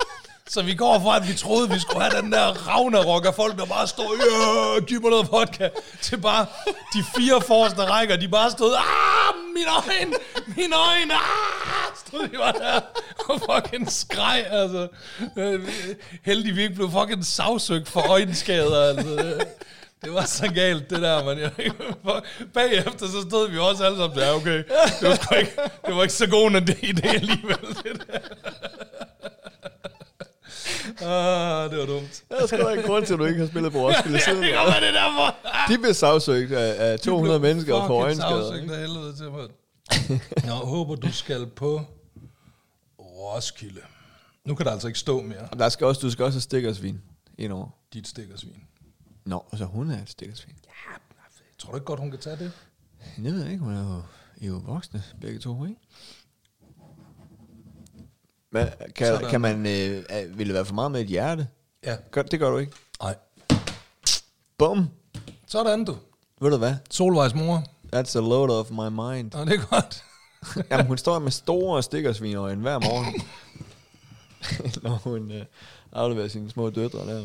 Speaker 2: Så vi går fra, at vi troede, vi skulle have den der Ragnarok af folk, der bare stod, ja, giv mig noget vodka, til bare de fire forreste rækker, de bare stod, ah, min øjne, min øjne, ah, stod de bare der og fucking skreg, altså. Øh, Heldig, vi ikke blev fucking savsøgt for øjenskader, altså. Det var så galt, det der, man. Bagefter så stod vi også alle sammen, ja, okay, det var, sgu ikke, det var ikke så god en idé alligevel, det der. Ah, det var dumt.
Speaker 1: Der er sgu da en grund til, at du ikke har spillet på Roskilde siden.
Speaker 2: Det kommer det der for.
Speaker 1: De blev sagsøgt af, af 200 mennesker for øjenskader.
Speaker 2: Fucking
Speaker 1: ikke?
Speaker 2: af helvede til mig. Nå, håber du skal på Roskilde. Nu kan der altså ikke stå mere,
Speaker 1: Der skal også, du skal også have stikkersvin indover.
Speaker 2: dit stikkersvin.
Speaker 1: Nå, og så hun er et stikkersvin.
Speaker 2: Tror du ikke godt, hun kan tage det?
Speaker 1: Jeg ved ikke, hun er jo, I er jo voksne, begge to, ikke? Men kan,
Speaker 2: Sådan.
Speaker 1: kan man, øh, er- vil det være for meget med et hjerte?
Speaker 2: Ja.
Speaker 1: Gør, det gør du ikke.
Speaker 2: Nej.
Speaker 1: Bum!
Speaker 2: Sådan du.
Speaker 1: Ved du hvad?
Speaker 2: Solvejs mor.
Speaker 1: That's a load of my mind.
Speaker 2: Nå, det er godt.
Speaker 1: Jamen, hun står med store stikkersvinøjne hver morgen. Når hun øh, afleverer sine små døtre der.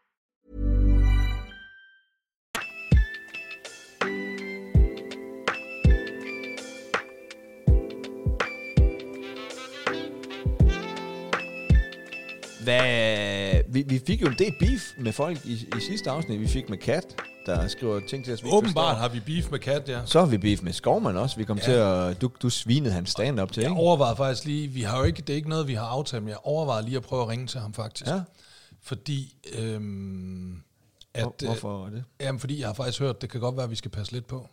Speaker 1: Hvad, vi, vi fik jo en del beef med folk i, i sidste afsnit. Vi fik med Kat, der skriver ting til os. vi ikke
Speaker 2: Åbenbart
Speaker 1: forstår.
Speaker 2: har vi beef med Kat, ja.
Speaker 1: Så har vi beef med Skovman også. Vi kom ja. til at... Du, du svinede hans stand-up til,
Speaker 2: Jeg
Speaker 1: ikke?
Speaker 2: overvejer faktisk lige, vi har jo ikke, det er ikke noget, vi har aftalt, men jeg overvejer lige at prøve at ringe til ham faktisk.
Speaker 1: Ja.
Speaker 2: Fordi, øhm, at,
Speaker 1: Hvor, hvorfor er det?
Speaker 2: Øh, jamen, fordi jeg har faktisk hørt, det kan godt være, at vi skal passe lidt på.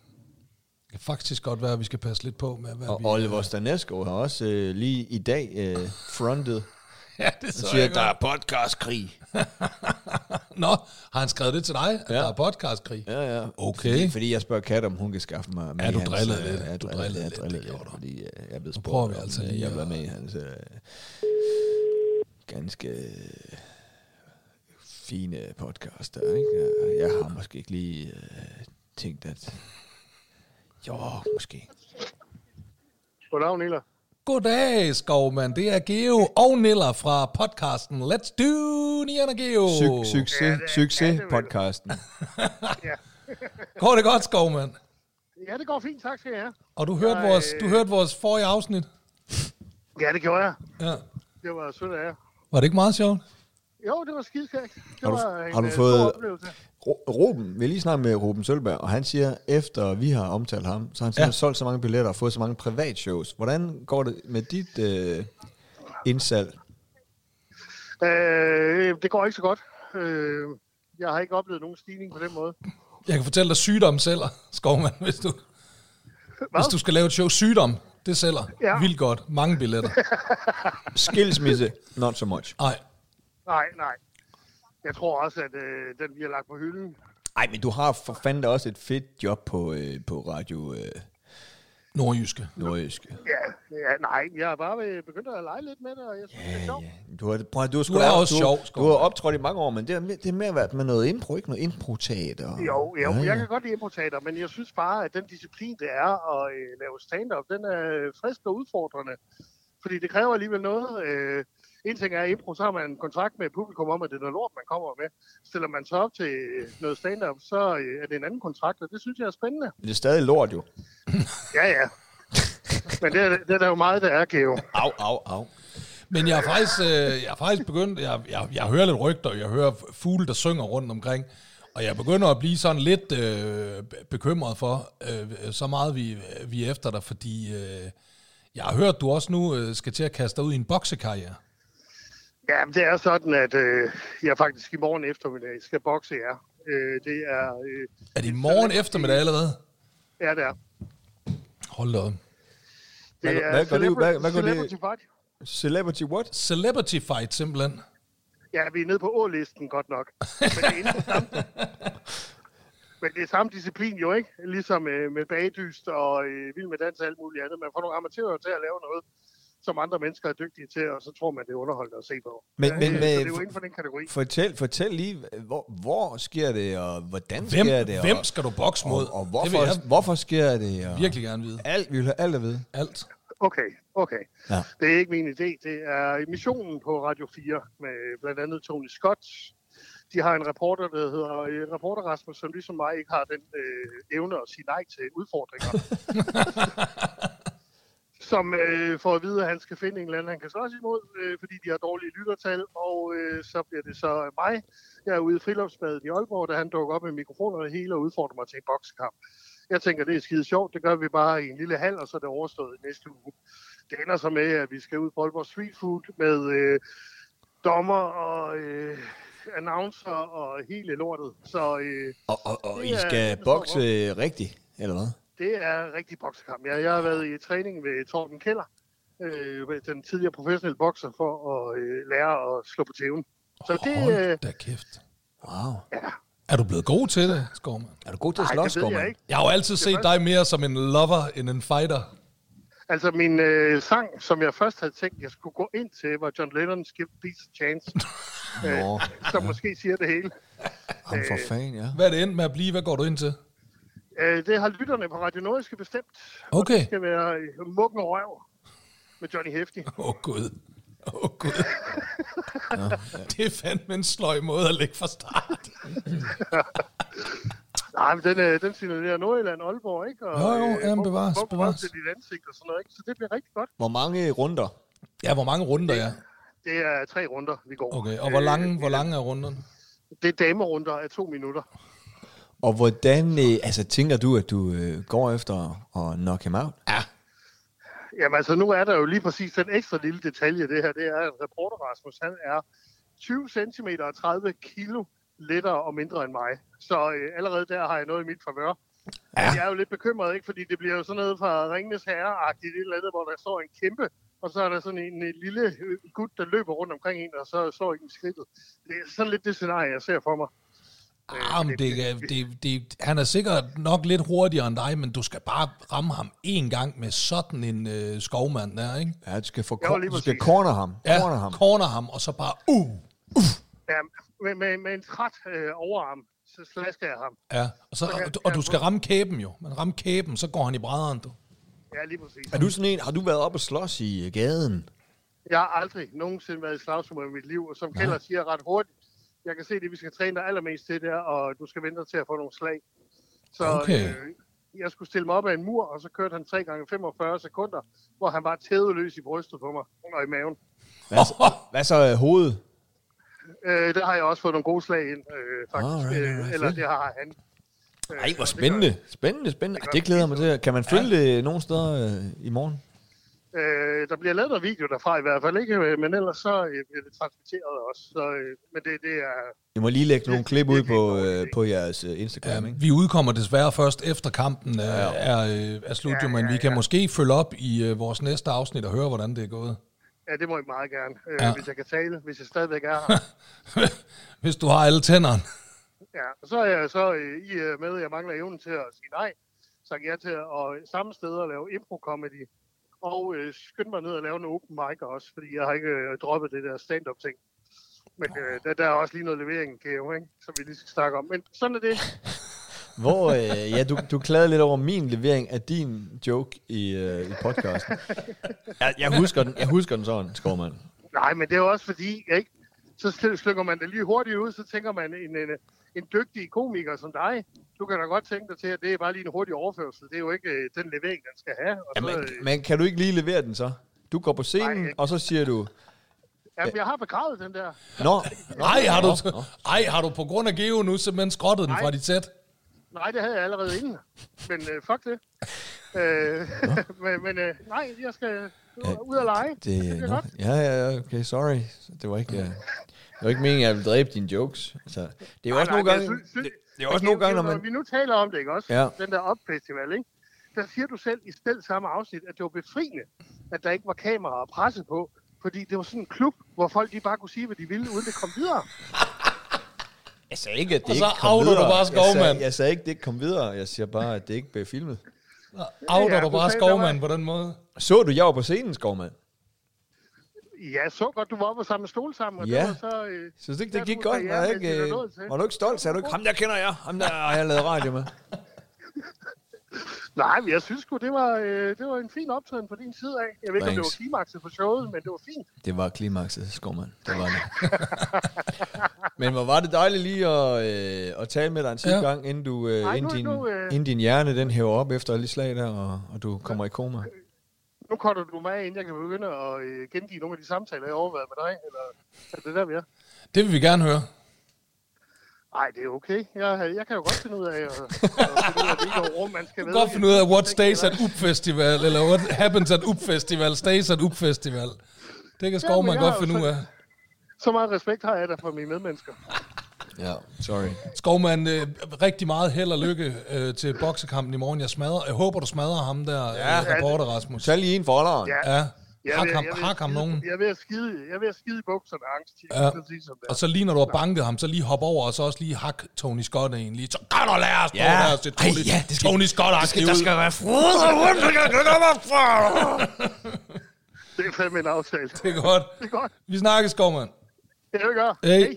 Speaker 2: Det kan faktisk godt være, at vi skal passe lidt på med, hvad
Speaker 1: Og
Speaker 2: vi... Ah.
Speaker 1: Oliver Stanesco har også øh, lige i dag øh, frontet.
Speaker 2: ja, det
Speaker 1: Han
Speaker 2: så
Speaker 1: siger,
Speaker 2: jeg
Speaker 1: at der
Speaker 2: godt.
Speaker 1: er podcastkrig.
Speaker 2: Nå, har han skrevet det til dig, at ja. der er podcastkrig?
Speaker 1: Ja, ja.
Speaker 2: Okay.
Speaker 1: Fordi, fordi jeg spørger Kat, om hun kan skaffe mig med
Speaker 2: Ja,
Speaker 1: i
Speaker 2: du
Speaker 1: hans,
Speaker 2: drillede
Speaker 1: øh,
Speaker 2: lidt.
Speaker 1: Ja,
Speaker 2: Du
Speaker 1: drillede,
Speaker 2: drillede
Speaker 1: jeg
Speaker 2: lidt, det
Speaker 1: drillede lidt,
Speaker 2: gjorde du.
Speaker 1: fordi øh, jeg er blevet
Speaker 2: prøver
Speaker 1: spurgt,
Speaker 2: vi
Speaker 1: om,
Speaker 2: altså
Speaker 1: øh,
Speaker 2: lige
Speaker 1: jeg
Speaker 2: at-
Speaker 1: var med i hans øh, ganske øh, fine podcast der, ikke? Og Jeg har måske ikke lige øh, tænkt, at... Jo, måske.
Speaker 6: Goddag, Nilla.
Speaker 2: Goddag, Skovmand. Det er Geo og Niller fra podcasten Let's Do Nian og Geo.
Speaker 1: Suc- succes,
Speaker 6: Ja, det er- ja,
Speaker 1: succes
Speaker 6: det er vel-
Speaker 1: podcasten.
Speaker 2: Går det godt, Skovmand?
Speaker 6: Ja, det går fint. Tak skal jeg have.
Speaker 2: Og du hørte, vores, du hørte vores forrige afsnit?
Speaker 6: Ja, det gjorde jeg.
Speaker 2: Ja.
Speaker 6: Det var sødt af jer.
Speaker 2: Var det ikke meget sjovt?
Speaker 6: Jo, det var skidskægt. Det
Speaker 1: Har du-
Speaker 6: var en
Speaker 1: har du
Speaker 6: øh,
Speaker 1: fået-
Speaker 6: god oplevelse.
Speaker 1: Ro- Ruben, vi er lige snart med Ruben Sølberg, og han siger, efter vi har omtalt ham, så har han simpelthen ja. solgt så mange billetter og fået så mange privatshows. Hvordan går det med dit øh, indsalg?
Speaker 6: Øh, det går ikke så godt. Øh, jeg har ikke oplevet nogen stigning på den måde.
Speaker 2: Jeg kan fortælle dig sygdom sælger, Skovmand, hvis du, hvis du skal lave et show. Sygdom, det sælger.
Speaker 6: Ja.
Speaker 2: Vildt godt. Mange billetter.
Speaker 1: Skilsmisse, not so much.
Speaker 2: Nej,
Speaker 6: Nej, nej. Jeg tror også, at øh, den vi har lagt på hylden.
Speaker 1: Ej, men du har for fanden da også et fedt job på, øh, på Radio øh,
Speaker 2: nordjyske.
Speaker 1: Nordjysk.
Speaker 6: Ja, ja nej. Jeg er bare øh, begyndt at lege lidt med det, og jeg synes, det er sjovt.
Speaker 1: Du har, prøv, at- du, har sgu
Speaker 2: Du er
Speaker 1: da-
Speaker 2: også
Speaker 1: du,
Speaker 2: sjov,
Speaker 1: Du
Speaker 2: Skov.
Speaker 1: har optrådt i mange år, men det har det er mere været med noget impro, ikke noget impro-teater.
Speaker 6: Jo, jo,
Speaker 1: ja,
Speaker 6: jeg
Speaker 1: ja.
Speaker 6: kan godt lide improtater, men jeg synes bare, at den disciplin, det er at øh, lave stand-up, den er frisk og udfordrende. Fordi det kræver alligevel noget. Øh, en ting er impro, så har man en kontrakt med publikum om, at det er noget lort, man kommer med. Stiller man så op til øh, noget stand-up, så øh, er det en anden kontrakt, og det synes jeg er spændende.
Speaker 1: Men det er stadig lort jo.
Speaker 6: Ja, ja. Men det, er- det er der jo meget, der er, Geo.
Speaker 1: Au, au, au.
Speaker 2: Men jeg har faktisk, øh, jeg har faktisk begyndt, jeg, jeg, jeg hører lidt rygter, jeg hører fugle, der synger rundt omkring, og jeg begynder at blive sådan lidt øh, bekymret for, øh, så meget vi, vi er efter dig, fordi øh, jeg har hørt, du også nu øh, skal til at kaste dig ud i en boksekarriere.
Speaker 6: Ja, men det er sådan, at øh, jeg faktisk i morgen eftermiddag skal bokse jer. Øh, det er... Øh,
Speaker 2: Er det i morgen eftermiddag allerede?
Speaker 6: ja, det er.
Speaker 2: Hold da op.
Speaker 6: Det
Speaker 1: Hvad- hvad går det ud- hvad- hvad går det-
Speaker 6: celebrity fight.
Speaker 1: Celebrity what?
Speaker 2: Celebrity fight simpelthen.
Speaker 6: Ja, vi er nede på å-listen godt nok. Men det er inden for samme, men det er samme disciplin jo, ikke? Ligesom øh, med bagdyst og øh, vild med dans og alt muligt andet. Man får nogle amatører til at lave noget, som andre mennesker er dygtige til, og så tror man, det er underholdende at se på.
Speaker 1: Men- men-
Speaker 6: så
Speaker 1: men-
Speaker 6: det er jo inden for den kategori.
Speaker 1: Fortæl, fortæl lige, hvor, hvor sker det, og hvordan
Speaker 2: Hvem,
Speaker 1: sker det?
Speaker 2: hvem
Speaker 1: og,
Speaker 2: skal du bokse mod?
Speaker 1: Og,
Speaker 2: Det
Speaker 1: og
Speaker 2: vil
Speaker 1: hvorfor,
Speaker 2: jeg
Speaker 1: hvorfor sker det? Og
Speaker 2: virkelig gerne vide.
Speaker 1: Alt, vi vil have alt at vide.
Speaker 2: Alt.
Speaker 6: Okay, okay.
Speaker 1: Ja.
Speaker 6: Det er ikke min idé. Det er missionen på Radio 4 med blandt andet Tony Scott. De har en reporter, der hedder øh, Reporter Rasmus, som ligesom mig ikke har den øh, evne at sige nej til udfordringer. som øh, får at vide, at han skal finde en eller anden, han kan slås imod, øh, fordi de har dårlige lyttertal, og øh, så bliver det så mig. Jeg er ude i friluftsbadet i Aalborg, da han dukker op med mikrofonerne og det hele og udfordrer mig til en boksekamp. Jeg tænker, det er skide sjovt, det gør vi bare i en lille hal, og så er det overstået i næste uge. Det ender så med, at vi skal ud på Aalborg Street Food med øh, dommer og øh, announcer og hele lortet. Så øh,
Speaker 1: Og, og, og
Speaker 6: Det
Speaker 1: I
Speaker 6: er-
Speaker 1: skal
Speaker 6: det er
Speaker 1: bokse rigtigt, eller hvad?
Speaker 6: det er rigtig boksekamp. Jeg, jeg har været i træning ved Torben Keller, øh, ved den tidligere professionelle bokser, for at øh, lære at slå på tæven. Så det, øh,
Speaker 2: Hold da kæft.
Speaker 1: Wow.
Speaker 2: Er du blevet god til det, Skovman?
Speaker 1: Er du god til at
Speaker 6: nej,
Speaker 1: slås,
Speaker 6: det ved jeg
Speaker 1: Gorman?
Speaker 6: ikke.
Speaker 2: Jeg har jo altid set dig mere som en lover end en fighter.
Speaker 6: Altså, min øh, sang, som jeg først havde tænkt, jeg skulle gå ind til, var John Lennon's Give Peace a Chance, Øh,
Speaker 1: Nå,
Speaker 6: som måske siger det hele.
Speaker 1: ham for fanden, ja.
Speaker 2: Hvad er det endt med at blive? Hvad går du ind til?
Speaker 6: Øh, det har lytterne på Radio Nordiske bestemt.
Speaker 2: Okay.
Speaker 6: Det skal være øh, Mukken og Røv med Johnny Hefti.
Speaker 2: Åh, oh, Gud. Åh, oh, Gud. Det er fandme en sløj måde at lægge fra start.
Speaker 6: Nej, men den, øh, den signalerer Nordjylland og Aalborg, ikke? Og, øh,
Speaker 2: Jo, jo, jamen,
Speaker 6: Mukken-
Speaker 2: bevares,
Speaker 6: Mukken
Speaker 2: bevares.
Speaker 6: Røv til dit ansigt og sådan noget, ikke? Så det bliver rigtig godt.
Speaker 1: Hvor mange runder?
Speaker 2: Ja, hvor mange runder, ja.
Speaker 6: Det er tre runder, vi går. Øh,
Speaker 2: Okay, og hvor lange, hvor lange er runderne?
Speaker 6: Det er damerunder af to minutter.
Speaker 1: Og hvordan, øh, altså tænker du, at du øh, går efter at knock him out? Ja.
Speaker 6: Jamen altså, nu er der jo lige præcis den ekstra lille detalje, det her, det er, at reporter Rasmus, han er 20 cm og 30 kilo lettere og mindre end mig. Så øh, allerede der har jeg noget i mit favør. Ja. Jeg er jo lidt bekymret, ikke? Fordi det bliver jo sådan noget fra Ringnes Herre-agtigt, et eller andet, hvor der står en kæmpe, og så er der sådan en, en lille øh, gut, der løber rundt omkring en, og så slår en i skridtet. Det er sådan lidt det scenarie, jeg ser for mig.
Speaker 2: Ah, men det, er- det, det, han er sikkert nok lidt hurtigere end dig, men du skal bare ramme ham en gang med sådan en øh, skovmand der, ikke?
Speaker 1: Ja, du skal, få
Speaker 6: Ja,
Speaker 1: cor-
Speaker 6: lige
Speaker 1: du skal
Speaker 6: præcis.
Speaker 1: corner ham.
Speaker 2: Ja,
Speaker 1: Corner ham.
Speaker 2: corner ham, og så bare, uh,
Speaker 6: Ja, med, med, med en træt øh, overarm, så slasker jeg ham.
Speaker 2: ja. Og, så, og, du- og du skal ramme kæben jo. Man rammer kæben, så går han i brædderen, du.
Speaker 6: Ja, lige præcis.
Speaker 1: Er du sådan en, har du været op og slås i øh, gaden?
Speaker 6: Jeg har aldrig nogensinde været i slagsmål i mit liv, og som Keller siger ret hurtigt, jeg kan se det, vi skal træne dig allermest til der, og du skal vente dig til at få nogle slag. Så
Speaker 2: Okay.
Speaker 6: øh, jeg skulle stille mig op af en mur, og så kørte han 3 gange 45 sekunder, hvor han var tædeløs i brystet på mig og i maven.
Speaker 1: Hvad så, hvad så øh, hovedet?
Speaker 6: Øh, der har jeg også fået nogle gode slag ind, øh, faktisk.
Speaker 1: Alright,
Speaker 6: Alright,
Speaker 1: alright,
Speaker 6: eller
Speaker 1: fedt.
Speaker 6: det har han.
Speaker 1: Ej,
Speaker 6: Øh,
Speaker 1: hvor
Speaker 6: og det gør-
Speaker 1: spændende. Spændende, spændende. Ej, det glæder jeg mig til. Kan man følge det nogen steder øh, i morgen?
Speaker 6: Øh, der bliver lavet noget video derfra i hvert fald, ikke? Øh, Men ellers så øh, bliver det transmitteret også. Så, øh, men det, det er...
Speaker 1: Jeg må lige lægge nogle klip ud
Speaker 6: virkelig
Speaker 1: på,
Speaker 6: en dårlig
Speaker 1: øh,
Speaker 6: idé.
Speaker 1: på jeres øh, Instagram, ikke?
Speaker 2: Vi udkommer desværre først efter kampen er, er, øh, er slut, jo, men vi kan måske følge op i øh, vores næste afsnit og høre, hvordan det er gået.
Speaker 6: Ja, det må jeg meget gerne. Øh,
Speaker 2: Ja.
Speaker 6: ja. Hvis jeg kan tale, hvis jeg stadigvæk er her.
Speaker 2: Hvis du har alle tænderne.
Speaker 6: Ja, så er jeg så øh, i øh, med, at jeg mangler evnen til at sige nej. Så jeg til at samme sted og lave impro-comedy. Og øh, skynde mig ned og lave en open mic også, fordi jeg har ikke øh, droppet det der stand-up-ting. Men øh, der, der er også lige noget levering, kan jeg jo, ikke? som vi lige skal snakke om. Men sådan er det.
Speaker 1: Hvor, øh, ja, du, du klagede lidt over min levering af din joke i, øh, i podcasten. Jeg, jeg, husker den, jeg husker den sådan, Skovmand.
Speaker 6: Nej, men det er jo også fordi, ikke? så sl- slynger man det lige hurtigt ud, så tænker man, en, en, en dygtig komiker som dig, du kan da godt tænke dig til, at det er bare lige en hurtig overførsel. Det er jo ikke øh, den levering, den skal have. Og
Speaker 1: Ja,
Speaker 6: så,
Speaker 1: men,
Speaker 6: øh,
Speaker 1: men kan du ikke lige levere den så? Du går på scenen,
Speaker 6: Nej,
Speaker 1: Nej,
Speaker 6: jeg-
Speaker 1: og så siger du...
Speaker 6: jamen, jeg har begravet den der.
Speaker 1: Nå, nå,
Speaker 2: Ej, har du,
Speaker 1: nå, nå."
Speaker 2: ej, har du på grund af Geo nu simpelthen skrottet den
Speaker 6: Nej.
Speaker 2: fra dit sæt?
Speaker 6: Nej, det havde jeg allerede inden. Men øh, fuck det. Øh, men men øh, nej, jeg skal ud og lege. Det, det
Speaker 1: Det,
Speaker 6: er
Speaker 1: nå,
Speaker 6: godt.
Speaker 1: ja, ja, ja, okay, sorry. Det var ikke, øh, det var ikke meningen, at jeg ville dræbe dine jokes. Altså, det er jo også
Speaker 6: Nej,
Speaker 1: nogle
Speaker 6: nej,
Speaker 1: gange...
Speaker 6: men jeg synes-
Speaker 1: Det, det er
Speaker 6: Men
Speaker 1: også nogle gange, når
Speaker 6: jo-
Speaker 1: man...
Speaker 6: Vi nu taler om det, ikke også?
Speaker 1: Ja.
Speaker 6: Den der op-festival, ikke? Der siger du selv i selv samme afsnit, at det var befriende, at der ikke var kameraer og presse på, fordi det var sådan en klub, hvor folk de bare kunne sige, hvad de ville, uden det kom videre.
Speaker 1: Jeg sagde ikke, at det
Speaker 2: Og
Speaker 1: ikke
Speaker 2: så
Speaker 1: kom
Speaker 2: outer du
Speaker 1: videre.
Speaker 2: bare
Speaker 1: jeg,
Speaker 2: Skovmand.
Speaker 1: sagde, jeg sagde ikke, at det ikke kom videre. Jeg siger bare, at det ikke blev filmet.
Speaker 2: Outer
Speaker 6: ja,
Speaker 2: du
Speaker 6: du
Speaker 2: bare
Speaker 6: sagde, der var-
Speaker 2: skovmand på den måde?
Speaker 1: Så du, jeg var på scenen, Skovmand?
Speaker 6: Ja, så godt, du var oppe og samle stol sammen, og
Speaker 1: Ja.
Speaker 6: det var så... Øh,
Speaker 1: Synes du ikke,
Speaker 6: der,
Speaker 1: det gik
Speaker 6: du
Speaker 1: godt?
Speaker 6: sagde
Speaker 1: Var,
Speaker 6: ja,
Speaker 1: jeg
Speaker 6: mens vi
Speaker 1: ikke, øh,
Speaker 6: var nået til.
Speaker 1: var du ikke stolt? Sagde du ikke, ham der kender jeg, ham der har jeg lavet radio med.
Speaker 6: Nej, men jeg synes sgu, det var, øh, det var en fin optræden på din side af. Jeg ved ikke, om det
Speaker 1: Thanks.
Speaker 6: var klimakset for showet, men det var fint.
Speaker 1: Det var klimakset, skovmand. Det var det. Men hvor var det dejligt lige at, øh, at tale med dig en sidste
Speaker 2: Ja.
Speaker 1: ja. gang, inden, du, øh,
Speaker 6: Ej,
Speaker 1: Ej, inden,
Speaker 6: nu-
Speaker 1: din,
Speaker 6: nu, øh.
Speaker 1: inden din hjerne den hæver op efter alle de slag der, og, og du kommer i koma.
Speaker 6: Nu korter du mig af, inden jeg kan begynde at øh, gengive nogle af de samtaler, jeg overvejede med dig. Eller er det der, vi er?
Speaker 2: Det vil vi gerne høre.
Speaker 6: Nej, det er okay. Jeg, jeg kan jo godt finde ud af, at, at finde ud af hvilket rum man skal
Speaker 2: Du kan godt finde ud af, what stays at UP Festival, eller what happens at UP Festival, stays at UP Festival. Det kan skovmand
Speaker 6: jeg
Speaker 2: godt
Speaker 6: har jo
Speaker 2: finde ud af.
Speaker 6: Så meget respekt har jeg da for mine medmennesker.
Speaker 1: Ja, sorry.
Speaker 2: Skovmand, øh, rigtig meget held og lykke øh, til boksekampen i morgen. Jeg, smadrer, jeg håber, du smadrer ham der, ja, øh, reporter Rasmus.
Speaker 1: Tag lige en forholderen. Ja.
Speaker 6: Ja.
Speaker 2: Ja,
Speaker 6: Jeg
Speaker 2: hak
Speaker 6: vil-
Speaker 2: ham,
Speaker 6: jeg vil
Speaker 2: hak ham
Speaker 6: skide-
Speaker 2: nogen.
Speaker 6: Jeg er ved at skide, jeg er ved at skide i bukserne af angst.
Speaker 2: Ja.
Speaker 6: Ja. Sige, som det er.
Speaker 2: Og så lige når du har banket ham, så lige hop over, og så også lige hak Tony Scott en lige. Så kan du lære at stå
Speaker 1: Ja.
Speaker 2: der og se Tony,
Speaker 1: Ej, ja, det skal-
Speaker 2: Tony Scott aktiv ud.
Speaker 1: være frode rundt, der skal
Speaker 6: det er fandme en aftale.
Speaker 2: Det er godt.
Speaker 6: Det er godt.
Speaker 2: Vi snakkes, skovmand.
Speaker 6: Ja, det gør.
Speaker 2: Hey.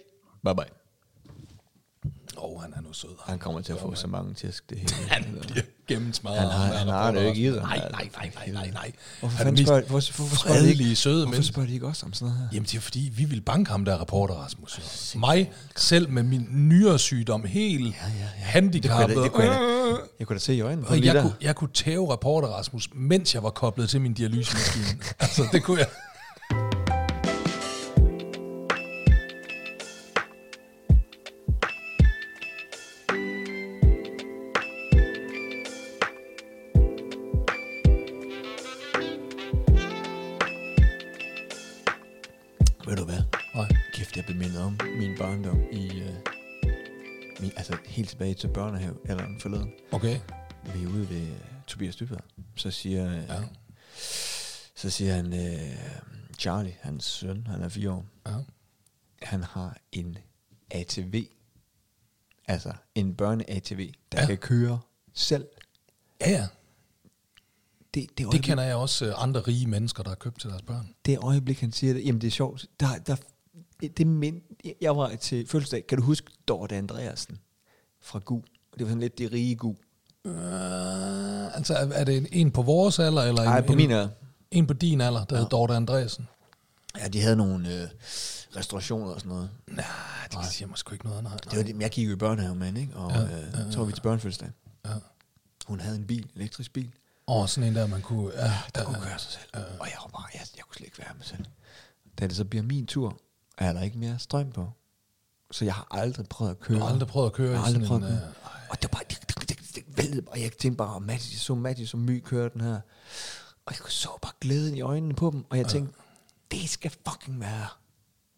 Speaker 1: Bye bye.
Speaker 2: Åh, oh, han er nu sød.
Speaker 1: Han kommer til at få så mange tæsk, det hele.
Speaker 2: Han bliver gennemsmadret.
Speaker 1: Han har-
Speaker 2: der
Speaker 1: han har
Speaker 2: reporter
Speaker 1: det jo ikke i
Speaker 2: også.
Speaker 1: sig.
Speaker 2: Nej, nej, nej, nej, nej, nej.
Speaker 1: Hvorfor
Speaker 2: Han er
Speaker 1: fanden
Speaker 2: mest
Speaker 1: spørger- hvorfor- hvorfor spørger de ikke-
Speaker 2: fredelige, søde
Speaker 1: Hvorfor
Speaker 2: mennesker.
Speaker 1: spørger de ikke også om sådan noget her?
Speaker 2: Jamen, det er fordi, vi vil banke ham, der er reporter, Rasmus. Mig, selv med min nyere sygdom, helt handicappet.
Speaker 1: Det kunne jeg, da, jeg kunne da se i øjnene på
Speaker 2: Og jeg
Speaker 1: der.
Speaker 2: kunne, jeg kunne tæve reporter, Rasmus, mens jeg var koblet til min dialysemaskine. altså, det kunne jeg. Nej.
Speaker 1: Kæft, jeg blev mindet om min barndom i... Øh, min, altså helt tilbage til børnehavealderen forleden.
Speaker 2: Okay.
Speaker 1: Vi er ude ved øh, Tobias Dybvad. Så siger, øh, ja. så siger han, øh, Charlie, hans søn, han er fire år,
Speaker 2: Ja.
Speaker 1: han har en ATV. Altså en børne-ATV, der
Speaker 2: Ja.
Speaker 1: ja. kan køre selv.
Speaker 2: Ja, ja.
Speaker 1: Det, det,
Speaker 2: Det
Speaker 1: øjeblik,
Speaker 2: kender jeg også øh, andre rige mennesker, der har købt til deres børn.
Speaker 1: det øjeblik, han siger det, jamen det er sjovt. Der, der, det mind, jeg var til fødselsdag, kan du huske Dorte Andreasen fra GU? Det var sådan lidt de rige GU.
Speaker 2: Øh, altså, er, er det en, en på vores alder? Eller
Speaker 1: Nej,
Speaker 2: en,
Speaker 1: på min
Speaker 2: en,
Speaker 1: alder.
Speaker 2: en på din alder, der ja. hedder Dorte Andresen.
Speaker 1: Ja, de havde nogle øh, restaurationer og sådan noget.
Speaker 2: Nej, det siger mig sgu ikke noget. Nej,
Speaker 1: Det var det, men jeg gik jo i børnehave med hende, ikke? og ja, øh, så var vi til børnefødselsdag.
Speaker 2: Ja.
Speaker 1: Hun havde en bil, en elektrisk bil,
Speaker 2: Og sådan en der, man kunne... Ja,
Speaker 1: der kunne køre sig selv. Og jeg var bare, jeg, jeg kunne slet ikke være med selv. Da det så bliver min tur, er der ikke mere strøm på. Så jeg har aldrig prøvet at køre.
Speaker 2: Du har aldrig prøvet at køre
Speaker 1: Jeg har
Speaker 2: i
Speaker 1: aldrig
Speaker 2: sådan
Speaker 1: prøvet at
Speaker 2: en, øh,
Speaker 1: køre. og det var bare, det, det, det, det væltede bare. Jeg tænkte bare, oh, Mattis, jeg så Mattis som my køre den her. Og jeg kunne så bare glæden i øjnene på dem, og jeg tænkte, det skal fucking være.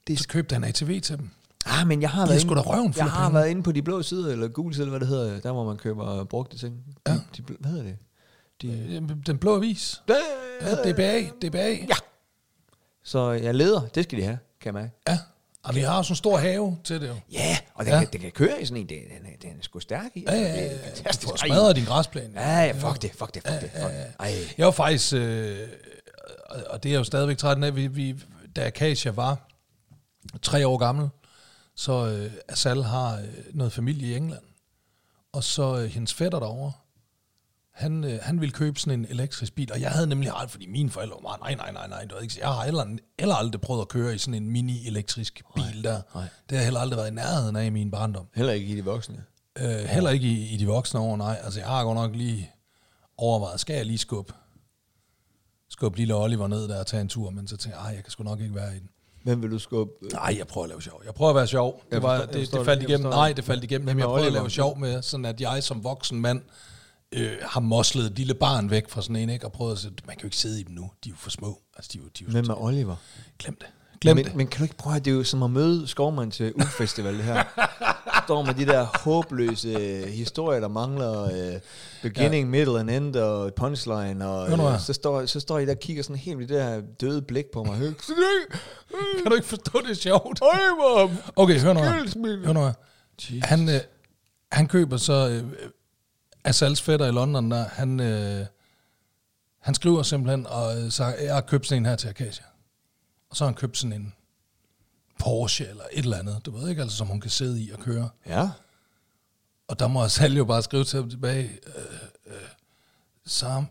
Speaker 1: Det
Speaker 2: Så købte han ATV til dem.
Speaker 1: Ah, men jeg har
Speaker 2: De
Speaker 1: været,
Speaker 2: er sgu da røven fuld
Speaker 1: jeg
Speaker 2: af
Speaker 1: har
Speaker 2: penge.
Speaker 1: været inde på de blå sider, eller gule sider, eller hvad det hedder, der hvor man køber brugte ting. De, ja. de, bl- hvad hedder det? De,
Speaker 2: Øh, Den blå avis. Ja,
Speaker 1: Øh,
Speaker 2: DBA, DBA. Ja.
Speaker 1: Så jeg leder, det skal de have, kan man.
Speaker 2: ja. Og vi har også en stor have til det jo.
Speaker 1: Ja, og den,
Speaker 2: Ja.
Speaker 1: ja. Kan, den kan køre i sådan en, den, den, er- den er sgu stærk i.
Speaker 2: Ja,
Speaker 1: Altså,
Speaker 2: ja,
Speaker 1: det er
Speaker 2: ja. Du
Speaker 1: fantastisk.
Speaker 2: får
Speaker 1: Ej.
Speaker 2: smadret din græsplæne.
Speaker 1: Ja, ja, fuck det, fuck det, fuck det, fuck det. Ej,
Speaker 2: Jeg var faktisk, øh, og- og det er jeg jo stadigvæk træt af, vi, vi, da Akasia var tre år gammel, så øh, Asal har øh, noget familie i England, og så øh, hendes fætter derovre, han, øh, han ville købe sådan en elektrisk bil, og jeg havde nemlig aldrig, fordi mine forældre var meget, nej, nej, nej, nej, det var ikke, så- jeg har heller, heller aldrig prøvet at køre i sådan en mini-elektrisk bil der.
Speaker 1: nej.
Speaker 2: Det har jeg heller aldrig været i nærheden af i min barndom.
Speaker 1: heller ikke i de voksne.
Speaker 2: Øh, heller ikke i, i de voksne år, nej. Altså, jeg har godt nok lige overvejet, skal jeg lige skubbe, skubbe lille Oliver ned der og tage en tur, men så tænkte jeg, "Ej, jeg kan sgu nok ikke være i den.
Speaker 1: Hvem vil du skubbe?
Speaker 2: Nej, jeg prøver at lave sjov. Jeg prøver at være sjov. Det,
Speaker 1: Jeg
Speaker 2: var,
Speaker 1: forstår- jeg
Speaker 2: det,
Speaker 1: forstår
Speaker 2: det
Speaker 1: det.
Speaker 2: faldt
Speaker 1: Jeg
Speaker 2: igennem.
Speaker 1: forstår
Speaker 2: Nej,
Speaker 1: det.
Speaker 2: det faldt igennem.
Speaker 1: Hvad
Speaker 2: Jamen,
Speaker 1: med
Speaker 2: jeg prøver at
Speaker 1: Oliver?
Speaker 2: lave sjov med, sådan at jeg som voksen mand øh, har moslet et lille barn væk fra sådan en, ikke? og prøvet at sige, man kan jo ikke sidde i dem nu. De er jo for små. Altså, de er jo, de er jo
Speaker 1: Hvem er Oliver?
Speaker 2: Glem det. Glem
Speaker 1: men,
Speaker 2: det.
Speaker 1: men kan du ikke prøve, at det er jo som at møde skovmand til U-festival, det her. Står med de der håbløse øh, historier, der mangler øh, beginning, ja. middle and end og punchline, og
Speaker 2: Hør nu her.
Speaker 1: øh, så, står, så står I der og kigger sådan helt med det der døde blik på mig. Hey,
Speaker 2: Kan du ikke forstå, det er sjovt?
Speaker 1: Oliver!
Speaker 2: Okay, hør nu her.
Speaker 1: Skilsmisse.
Speaker 2: Hør nu her. Han, øh, han køber så... Øh, Asals fætter i London, der, han, øh, han skriver simpelthen, og øh, så jeg har købt sådan en her til Akasia. Og så har han købt sådan en Porsche eller et eller andet, du ved ikke, altså som hun kan sidde i og køre.
Speaker 1: Ja,
Speaker 2: Og der må Asal jo bare skrive til ham tilbage, øh, øh, Sam,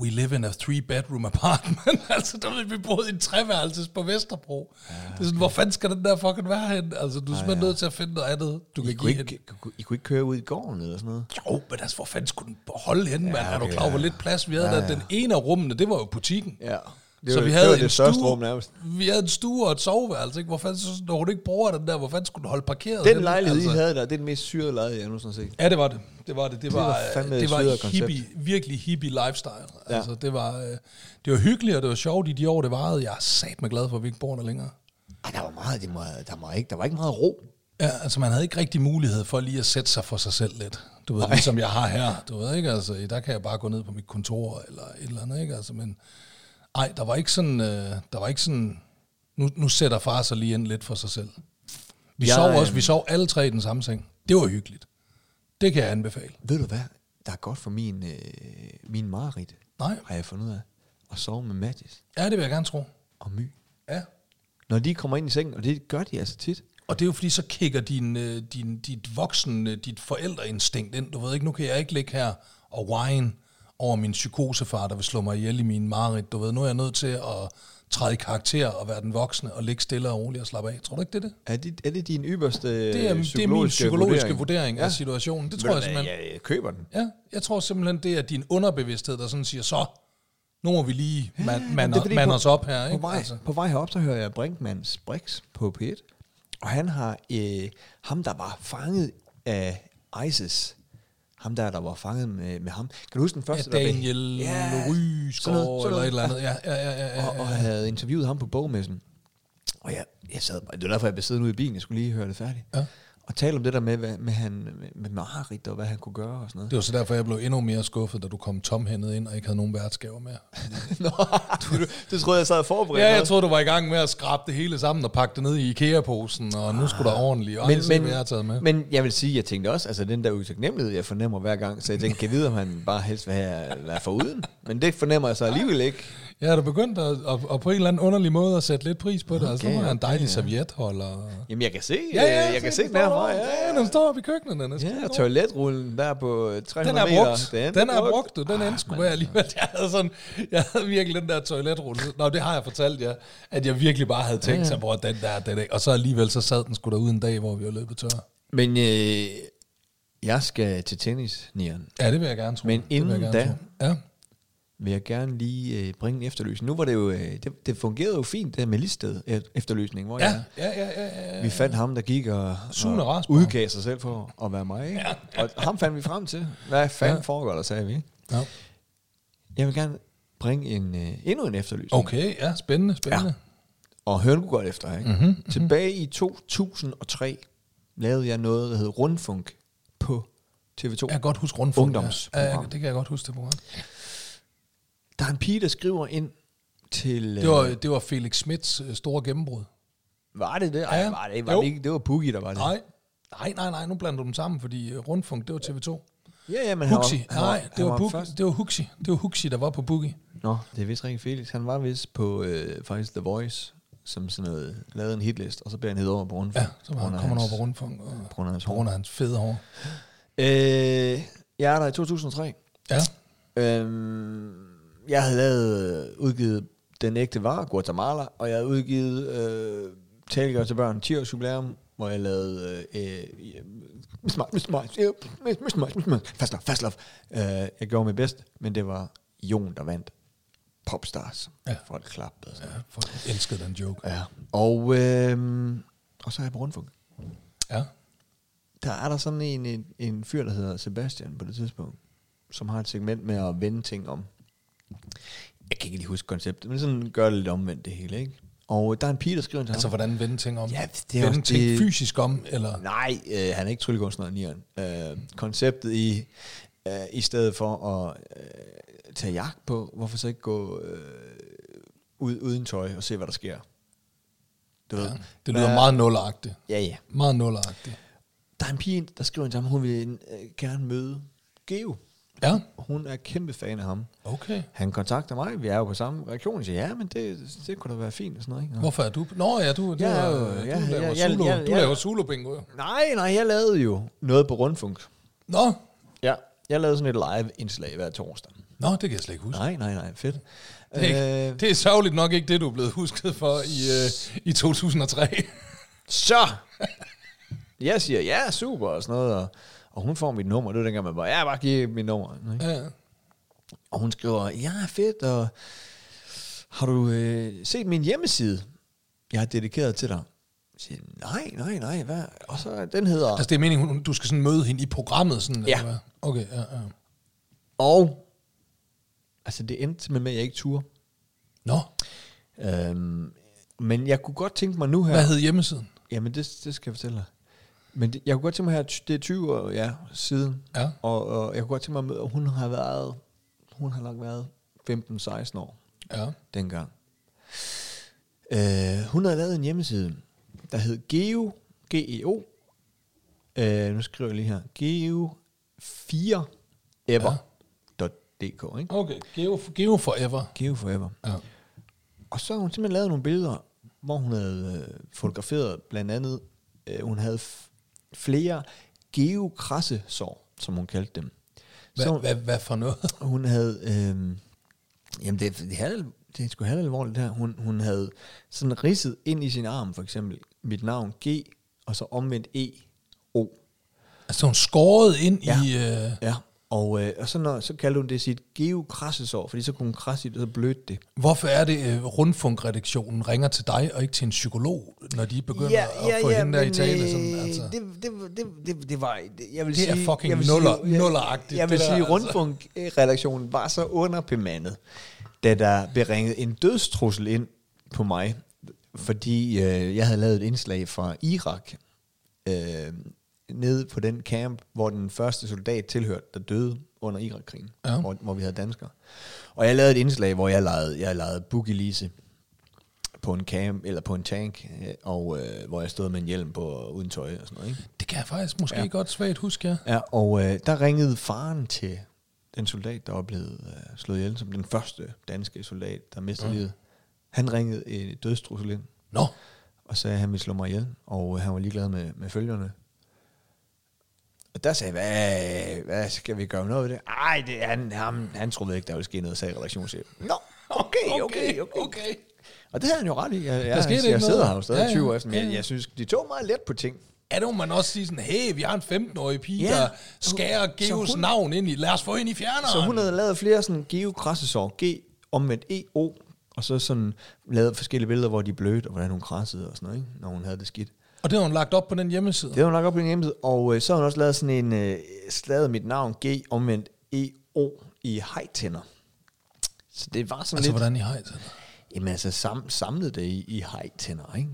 Speaker 2: we live in a three-bedroom apartment. altså, der ved vi boede i en treværelses på Vesterbro. Ja, okay. Det er sådan, hvor fanden skal den der fucking være hen? Altså, du er simpelthen ja. nødt til at finde noget andet, du
Speaker 1: I
Speaker 2: kan
Speaker 1: Ah, kunne,
Speaker 2: give
Speaker 1: ikke,
Speaker 2: hende.
Speaker 1: I kunne- I kunne ikke køre ud i gården eller sådan noget.
Speaker 2: Jo, men altså, hvor fanden skulle den holde henne, ja, mand? Er du
Speaker 1: okay,
Speaker 2: klar over, hvor
Speaker 1: ja.
Speaker 2: lidt plads vi havde ja, ja. der? Den ene af rummene, det var jo butikken.
Speaker 1: Ja. Det
Speaker 2: så
Speaker 1: var-
Speaker 2: vi
Speaker 1: det
Speaker 2: havde
Speaker 1: var
Speaker 2: en
Speaker 1: det største rum nærmest.
Speaker 2: Vi havde en stue og et soveværelse, ikke? Hvor fanden, så, når hun ikke bruger den der, hvor fanden skulle den holde parkeret?
Speaker 1: Den
Speaker 2: henne?
Speaker 1: lejlighed, altså. I havde der, det er den mest syrede lejlighed, jeg nogensinde har set.
Speaker 2: Ja, det var det. Det var det. Det var,
Speaker 1: var
Speaker 2: det
Speaker 1: fandme
Speaker 2: var,
Speaker 1: et
Speaker 2: det
Speaker 1: syret
Speaker 2: var
Speaker 1: koncept.
Speaker 2: hippie, virkelig hippie lifestyle. Ja.
Speaker 1: Ja.
Speaker 2: Altså, det var, øh, det var hyggeligt, og det var sjovt i de år, det varede. Jeg er satme glad for, at vi ikke bor der længere.
Speaker 1: Ej, der var meget, det må, der, var ikke, der var ikke meget ro.
Speaker 2: Ja, altså man havde ikke rigtig mulighed for lige at sætte sig for sig selv lidt. Du ved, ligesom jeg har her. Du ved ikke, altså, der kan jeg bare gå ned på mit kontor eller et eller andet, ikke? Altså, men ej, der var ikke sådan, øh, der var ikke sådan, nu, nu sætter far sig lige ind lidt for sig selv. Vi
Speaker 1: Jeg,
Speaker 2: sov også,
Speaker 1: øh,
Speaker 2: vi sov alle tre i den samme seng. Det var hyggeligt. Det kan jeg anbefale.
Speaker 1: Ved du hvad, der er godt for min, øh, min Marit,
Speaker 2: Nej.
Speaker 1: har jeg fundet ud af, at sove med Mattis
Speaker 2: Ja, det vil jeg gerne tro.
Speaker 1: og My.
Speaker 2: Ja.
Speaker 1: Når de kommer ind i sengen, og det gør de altså tit.
Speaker 2: Og det er jo fordi, så kigger din, øh, din, dit voksen, øh, dit forældreinstinkt ind. Du ved ikke, nu kan jeg ikke ligge her og whine over min psykosefar, der vil slå mig ihjel i min mareridt. Du ved, nu er jeg nødt til at træde i karakter og være den voksne og ligge stille og roligt og slappe af. Tror du ikke, det er det?
Speaker 1: Er det, er det din yderste
Speaker 2: Det er, det er min psykologiske vurdering, vurdering ja. af situationen. Det tror jeg simpelthen.
Speaker 1: Jeg, jeg køber den.
Speaker 2: Ja, jeg tror simpelthen, det er din underbevidsthed, der sådan siger, så, nu må vi lige man, man,
Speaker 1: Det er fordi,
Speaker 2: man
Speaker 1: på-
Speaker 2: os op her. Ikke?
Speaker 1: På vej, altså. på vej herop, så hører jeg Brinkmanns Brix på P1, og han har øh, ham, der var fanget af ISIS. Ham der, der var fanget med, med ham. Kan du huske den første,
Speaker 2: Ja,
Speaker 1: der blev-
Speaker 2: Daniel
Speaker 1: Ja, sådan
Speaker 2: Ryskov
Speaker 1: noget,
Speaker 2: eller
Speaker 1: sådan
Speaker 2: et
Speaker 1: noget.
Speaker 2: eller andet. Ja, ja, ja, ja, ja.
Speaker 1: og, og havde interviewet ham på bogmessen. Og jeg, jeg sad bare, det var derfor, jeg blev siddende ude i bilen, jeg skulle lige høre det færdigt.
Speaker 2: Ja.
Speaker 1: Og tale om det der med, hvad, med, han, med, med Marit og hvad han kunne gøre og sådan noget.
Speaker 2: Det var så derfor, jeg blev endnu mere skuffet, da du kom tomhændet ind og ikke havde nogen værtsgaver med.
Speaker 1: Nå, du, det troede jeg sad og forberedte.
Speaker 2: Ja, jeg troede, du var i gang med at skrabe det hele sammen og pakke det ned i IKEA-posen, og nu skulle der ordentligt. Og men, men, jeg har taget med. Men,
Speaker 1: Ah. men jeg vil sige, jeg tænkte også, altså den der utaknemmelighed, jeg fornemmer hver gang, så jeg tænkte, kan jeg vide, om han bare helst vil have, være foruden. Men det fornemmer jeg så alligevel ikke.
Speaker 2: jeg er da begyndt at, at, at, på en eller anden underlig måde at sætte lidt pris på det. Okay, altså, nu
Speaker 1: Okay,
Speaker 2: har jeg en dejlig
Speaker 1: okay, ja.
Speaker 2: servietholder.
Speaker 1: Jamen, jeg kan se, øh, jeg kan se den herfra.
Speaker 2: derovre.
Speaker 1: Ja,
Speaker 2: Ja, den står oppe i køkkenet. Den er,
Speaker 1: ja,
Speaker 2: skide
Speaker 1: og
Speaker 2: god.
Speaker 1: toiletrullen der på øh, 300
Speaker 2: den er
Speaker 1: meter.
Speaker 2: brugt. Den, den er brugt, og
Speaker 1: Ah,
Speaker 2: den endte sgu være alligevel. Jeg havde, sådan, jeg havde virkelig den der toiletrulle. Nå, det har jeg fortalt jer, at jeg virkelig bare havde tænkt sig, hvor den der, den der. Og så alligevel, så sad den sgu derude en dag, hvor vi var løbet tør.
Speaker 1: Men øh, jeg skal til tennis, Nian.
Speaker 2: Ja, det vil jeg gerne tro.
Speaker 1: Men
Speaker 2: Det vil jeg
Speaker 1: inden
Speaker 2: gerne
Speaker 1: da-
Speaker 2: tro. Ja.
Speaker 1: vil jeg gerne lige øh, bringe en efterløsning. Nu var det jo, øh, det, det fungerede jo fint, det her med listed eft- efterløsning, hvor
Speaker 2: Ja,
Speaker 1: jeg, øh,
Speaker 2: ja, ja, ja, ja.
Speaker 1: vi fandt ham, der gik og,
Speaker 2: Sune
Speaker 1: og
Speaker 2: Rasborg.
Speaker 1: udgav sig selv for at være mig. Ikke? Ja. Og ham fandt vi frem til. Hvad fanden ja. foregår der, sagde vi. ikke?
Speaker 2: ja.
Speaker 1: Jeg vil gerne bringe en, øh, endnu en efterlysning.
Speaker 2: Okay, ja, spændende, spændende.
Speaker 1: Og hør nu godt efter. Ikke?
Speaker 2: Mhm,
Speaker 1: Mm-hmm, mm-hmm. Tilbage i 2003 lavede jeg noget, der hed Rundfunk på TV2.
Speaker 2: Jeg kan godt huske rundfunk. Ja, ja,
Speaker 1: Ungdomsprogram.
Speaker 2: det kan jeg godt huske, det program.
Speaker 1: Der er en pige, der skriver ind til... øh,
Speaker 2: Det var, det var Felix Smits øh, store gennembrud.
Speaker 1: var det det? Ej,
Speaker 2: Ja.
Speaker 1: var det, var
Speaker 2: Jo.
Speaker 1: det, ikke, det var Boogie, der var det.
Speaker 2: Nej, nej, nej, nej, nu blander du dem sammen, fordi øh, rundfunk, det var TV2.
Speaker 1: Ja, ja, men
Speaker 2: Huxi,
Speaker 1: han var,
Speaker 2: nej,
Speaker 1: han
Speaker 2: det var,
Speaker 1: han
Speaker 2: Bug,
Speaker 1: først-
Speaker 2: det var Huxi. Det var Huxi, der var på Boogie.
Speaker 1: Nå, det er vist rigtig Felix. Han var vist på øh, faktisk The Voice, som sådan noget, lavede en hitlist, og så blev han hedder over på rundt.
Speaker 2: Ja, så var han kommer han over på rundfunk. Og
Speaker 1: på grund af hans
Speaker 2: på
Speaker 1: hår.
Speaker 2: grund af hans fede hår.
Speaker 1: Øh, jeg er der i 2003.
Speaker 2: Ja,
Speaker 1: Øhm, jeg havde lavet, øh, udgivet Den ægte var, Guatemala, og jeg havde udgivet øh, Talgør til børn, 10 års jubilæum, hvor jeg lavede øh, øh, Miss Maj, Miss Maj, øh, Miss- Miss Maj, Miss Maj, Fast Love, Fast Love. Øh, jeg gjorde mit bedst, men det var Jon, der vandt. Popstars. Ja.
Speaker 2: Ja.
Speaker 1: Folk klappede. Ja.
Speaker 2: for jeg elskede den joke.
Speaker 1: ja. Og, øh, og så er jeg på rundfunk.
Speaker 2: Ja,
Speaker 1: Der er der sådan en, en, en fyr, der hedder Sebastian på det tidspunkt, som har et segment med at vende ting om. Jeg kan ikke lige huske konceptet, men sådan gør det lidt omvendt det hele, ikke? Og der er en pige, der skriver til
Speaker 2: altså
Speaker 1: ham.
Speaker 2: hvordan vende ting om.
Speaker 1: Ja, det er
Speaker 2: vende
Speaker 1: også
Speaker 2: ting
Speaker 1: det-
Speaker 2: fysisk om, eller...
Speaker 1: Nej, øh, han er ikke tryllekunstner, Nieren. Øh, konceptet i, øh, i stedet for at øh, tage jagt på, hvorfor så ikke gå øh, ud uden tøj og se, hvad der sker? Du ja, ved.
Speaker 2: Det lyder
Speaker 1: Hvad-
Speaker 2: meget nulagtigt.
Speaker 1: Ja, ja.
Speaker 2: Meget nulagtigt.
Speaker 1: Der er en pige, der skriver til ham, hun vil øh, gerne møde Geo.
Speaker 2: Ja,
Speaker 1: Hun er kæmpe fan af ham.
Speaker 2: okay.
Speaker 1: Han kontakter mig, vi er jo på samme reaktion. Jeg siger, ja, men det, det kunne da være fint og sådan noget. Ikke? Nå.
Speaker 2: Hvorfor er du... Nå ja, du, du,
Speaker 1: Ja,
Speaker 2: er-
Speaker 1: øh,
Speaker 2: du
Speaker 1: ja,
Speaker 2: laver
Speaker 1: ja, ja,
Speaker 2: solo.
Speaker 1: ja,
Speaker 2: du
Speaker 1: ja.
Speaker 2: laver solo bingo. jo.
Speaker 1: Nej, nej, jeg lavede jo noget på Rundfunk.
Speaker 2: Nå,
Speaker 1: Ja, jeg lavede sådan et live-indslag hver torsdag.
Speaker 2: nå, det kan jeg slet ikke huske.
Speaker 1: Nej, nej, nej, fedt.
Speaker 2: Det er, ikke,
Speaker 1: Øh,
Speaker 2: det er sørgeligt nok ikke det, du er blevet husket for i, øh, i 2003.
Speaker 1: så! Jeg siger, ja, super og sådan noget. Og, og hun får mit nummer. Det var dengang, man bare, ja, bare giv mit nummer. Ikke?
Speaker 2: ja.
Speaker 1: Og hun skriver, ja, fedt, og har du øh, set min hjemmeside? Jeg har dedikeret til dig. Jeg siger, nej, nej, nej, hvad? Og så, den hedder...
Speaker 2: Altså det er meningen, hun- du skal sådan møde hende i programmet? Sådan,
Speaker 1: Ja.
Speaker 2: eller hvad? Okay, ja, ja.
Speaker 1: Og altså det endte simpelthen med, at jeg ikke turde.
Speaker 2: Nå,
Speaker 1: Øhm, men jeg kunne godt tænke mig nu her...
Speaker 2: hvad hed hjemmesiden?
Speaker 1: Jamen det, det skal jeg fortælle dig. Men det, jeg kunne godt tænke mig her, ty- det er 20 år ja, siden,
Speaker 2: Ja.
Speaker 1: og, og jeg kunne godt tænke mig at møde, og hun har været, hun har nok været 15-16 år
Speaker 2: Ja.
Speaker 1: dengang. Øh, hun havde lavet en hjemmeside, der hed Geo, G-E-O, øh, nu skriver jeg lige her, geo4ever.dk, ikke?
Speaker 2: Okay, Geo, Geo Forever.
Speaker 1: Geo Forever.
Speaker 2: Ja.
Speaker 1: Og så har hun simpelthen lavet nogle billeder, hvor hun havde øh, fotograferet blandt andet, øh, hun havde f- flere geokrassesår, som hun kaldte dem.
Speaker 2: Hvad,
Speaker 1: så hun,
Speaker 2: hvad, hvad for noget?
Speaker 1: hun havde, øh, jamen det, det, er, halv- det er sgu halv alvorligt det her, hun, hun havde sådan ridset ind i sin arm, for eksempel, mit navn G, og så omvendt E, O.
Speaker 2: Altså hun skåret ind ja.
Speaker 1: Ja.
Speaker 2: i... Øh,
Speaker 1: Ja. Og, øh, og så, når, så kaldte hun det sit geokrassesår, fordi så kunne hun krasse i det, og så blødte det.
Speaker 2: hvorfor er det, øh, Rundfunk-redaktionen ringer til dig og ikke til en psykolog, når de begynder at få hende der i
Speaker 1: men,
Speaker 2: tale?
Speaker 1: øh,
Speaker 2: Sådan, altså.
Speaker 1: det, det, det, det, det var... Det, jeg vil
Speaker 2: Det er
Speaker 1: sige,
Speaker 2: fucking
Speaker 1: jeg vil
Speaker 2: nuller-
Speaker 1: sige, jeg-
Speaker 2: nulleragtigt,
Speaker 1: Jeg vil
Speaker 2: det der,
Speaker 1: sige,
Speaker 2: altså.
Speaker 1: Rundfunk-redaktionen var så underbemandet, da der blev ringet en dødstrussel ind på mig fordi øh, jeg havde lavet et indslag fra Irak, øh, nede på den camp, hvor den første soldat tilhørte, der døde under Irakkrigen,
Speaker 2: Ja.
Speaker 1: hvor, hvor vi havde danskere. Og jeg lavede et indslag, hvor jeg legede, jeg legede Boogie Lise på en camp, eller på en tank, øh, og øh, hvor jeg stod med en hjelm på og uden tøj og sådan noget. Ikke?
Speaker 2: Det kan jeg faktisk måske ja. godt svagt huske, ja.
Speaker 1: Ja, og øh, der ringede faren til den soldat, der oplevede øh, slået ihjel, som den første danske soldat, der
Speaker 2: Mm.
Speaker 1: mistede ja. livet. Han ringede en dødstrussel ind,
Speaker 2: Nå,
Speaker 1: og sagde, at han ville slå mig ihjel, og øh, han var ligeglad med, med følgerne. Og der sagde jeg, hvad, hvad skal vi gøre noget ved det? Ej, det, han, ham, han troede ikke, der ville ske noget, sagde redaktionschefen. Nå, okay, okay, okay.
Speaker 2: okay.
Speaker 1: Og det havde han jo ret i. Jeg, jeg,
Speaker 2: skete
Speaker 1: jeg,
Speaker 2: ikke
Speaker 1: jeg sidder
Speaker 2: noget.
Speaker 1: her jo stadig
Speaker 2: Ja, ja.
Speaker 1: 20 år efter, men
Speaker 2: Ja,
Speaker 1: jeg,
Speaker 2: ja.
Speaker 1: jeg synes, de tog meget let på ting.
Speaker 2: Ja, der må man også sige sådan, hey, vi har en 15-årig pige,
Speaker 1: Ja.
Speaker 2: ja. der skærer
Speaker 1: Så
Speaker 2: Geos
Speaker 1: hun-
Speaker 2: navn ind i, lad os få ind i fjerneren.
Speaker 1: Så hun havde lavet flere sådan geokrassesår, G omvendt EO, og så sådan lavet forskellige billeder, hvor de blødte, og hvordan hun krassede og sådan noget, ikke? når hun havde det skidt.
Speaker 2: Og det har hun lagt op på den hjemmeside.
Speaker 1: Det havde hun nok op på en hjemmeside, og øh, så har hun også lavet sådan en, øh, slaget mit navn G omvendt EO i hejtænder. Så det var sådan
Speaker 2: Altså,
Speaker 1: lidt,
Speaker 2: hvordan i hejt?
Speaker 1: jamen altså sam, samlet det i, i hejtænder, ikke?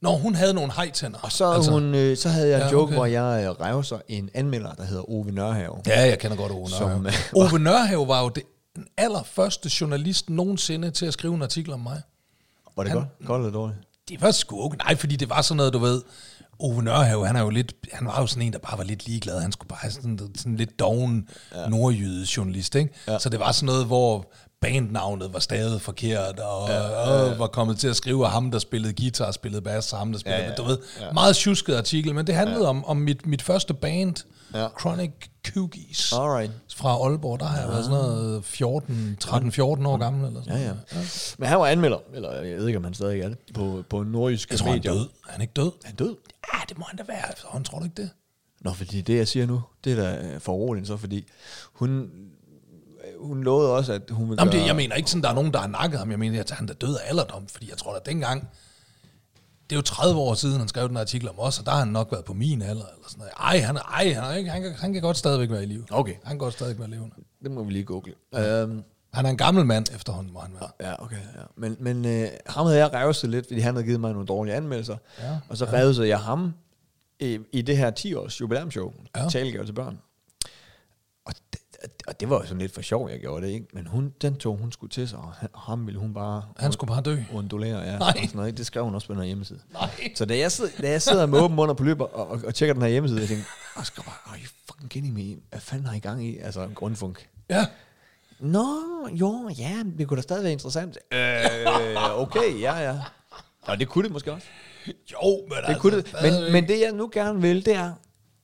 Speaker 2: Nå, hun havde nogle hejtænder.
Speaker 1: Og så,
Speaker 2: altså,
Speaker 1: altså, hun, øh, så havde jeg en
Speaker 2: Ja,
Speaker 1: joke,
Speaker 2: okay.
Speaker 1: hvor jeg øh, revser en anmelder, der hedder Ove Nørhave.
Speaker 2: Ja, jeg kender godt Ove
Speaker 1: Som,
Speaker 2: Nørhave. Ove Nørhave var jo det, den allerførste journalist nogensinde til at skrive en artikel om mig.
Speaker 1: Var det
Speaker 2: Han-
Speaker 1: godt? Godt eller dårligt?
Speaker 2: Det var sgu okay. Nej, fordi det var sådan noget, du ved. Ove Nørhave, han, er jo lidt, han var jo sådan en, der bare var lidt ligeglad. Han skulle bare have sådan, sådan lidt doven ja. nordjyde journalist, ikke? Ja. Så det var sådan noget, hvor bandnavnet var stadig forkert, og, ja, og var kommet til at skrive, at ham, der spillede guitar, spillede bass, og ham, der spillede... Ja, ja, du ved, ja. meget tjusket artikel, men det handlede ja. om, om mit, mit første band, ja. Chronic Coogies.
Speaker 1: Alright.
Speaker 2: Fra Aalborg, der har jeg været sådan noget 14, 13-14 år gammel, eller sådan
Speaker 1: Ja, ja. Men han var anmelder, eller jeg ved ikke, om han stadig er det, på, på nordjyske
Speaker 2: Jeg tror, han er
Speaker 1: medier.
Speaker 2: død. Er han ikke død?
Speaker 1: Han død?
Speaker 2: Ja, det må han da være. Han tror du ikke det?
Speaker 1: Nå, fordi det, jeg siger nu, det er da øh, for roligt så, fordi hun, øh, hun lovede også, at hun ville
Speaker 2: Nå, men det,
Speaker 1: gøre-
Speaker 2: jeg mener ikke sådan, der er nogen, der har nakket ham. Jeg mener, at han er død af alderdom, fordi jeg tror da dengang, det er jo 30 år siden, han skrev den artikel om os, og der har han nok været på min alder. Eller sådan noget. Ej, han, er- ej han, er ikke, han, kan, han kan godt stadigvæk være i live.
Speaker 1: Okay.
Speaker 2: Han kan godt stadigvæk være levende.
Speaker 1: Det må vi lige google. Ja. Øhm,
Speaker 2: Han er en gammel mand efterhånden, må han være.
Speaker 1: ja, okay. Ja. Men, men øh, ham havde jeg revset lidt, fordi han havde givet mig nogle dårlige anmeldelser.
Speaker 2: Ja,
Speaker 1: og så revsede jeg ham i, i det her 10-års jubilæumshow, ja.
Speaker 2: Ja.
Speaker 1: talegave til børn. Og det, og det var jo sådan lidt for sjov, jeg gjorde det, ikke? Men hun, den tog hun skulle til sig, og han- og ham ville hun bare...
Speaker 2: Han skulle bare dø.
Speaker 1: Undulere, ja. Nej.
Speaker 2: Nej.
Speaker 1: Og sådan noget, ikke? det skrev hun også på den her hjemmeside.
Speaker 2: Nej.
Speaker 1: Så da jeg sidder, da jeg sidder med åben mund og på løber og, og, og, tjekker den her hjemmeside, jeg tænker, jeg skal bare, are you fucking kidding me? Hvad fanden har I gang i? Altså, en grundfunk.
Speaker 2: Ja.
Speaker 1: Nå, jo, ja, det kunne da stadig være interessant. Øh, okay, ja, ja. Og det kunne det måske også.
Speaker 2: Jo, men det
Speaker 1: Det
Speaker 2: altså,
Speaker 1: kunne det. Men,
Speaker 2: stadigvæk.
Speaker 1: men det, jeg nu gerne vil, det er,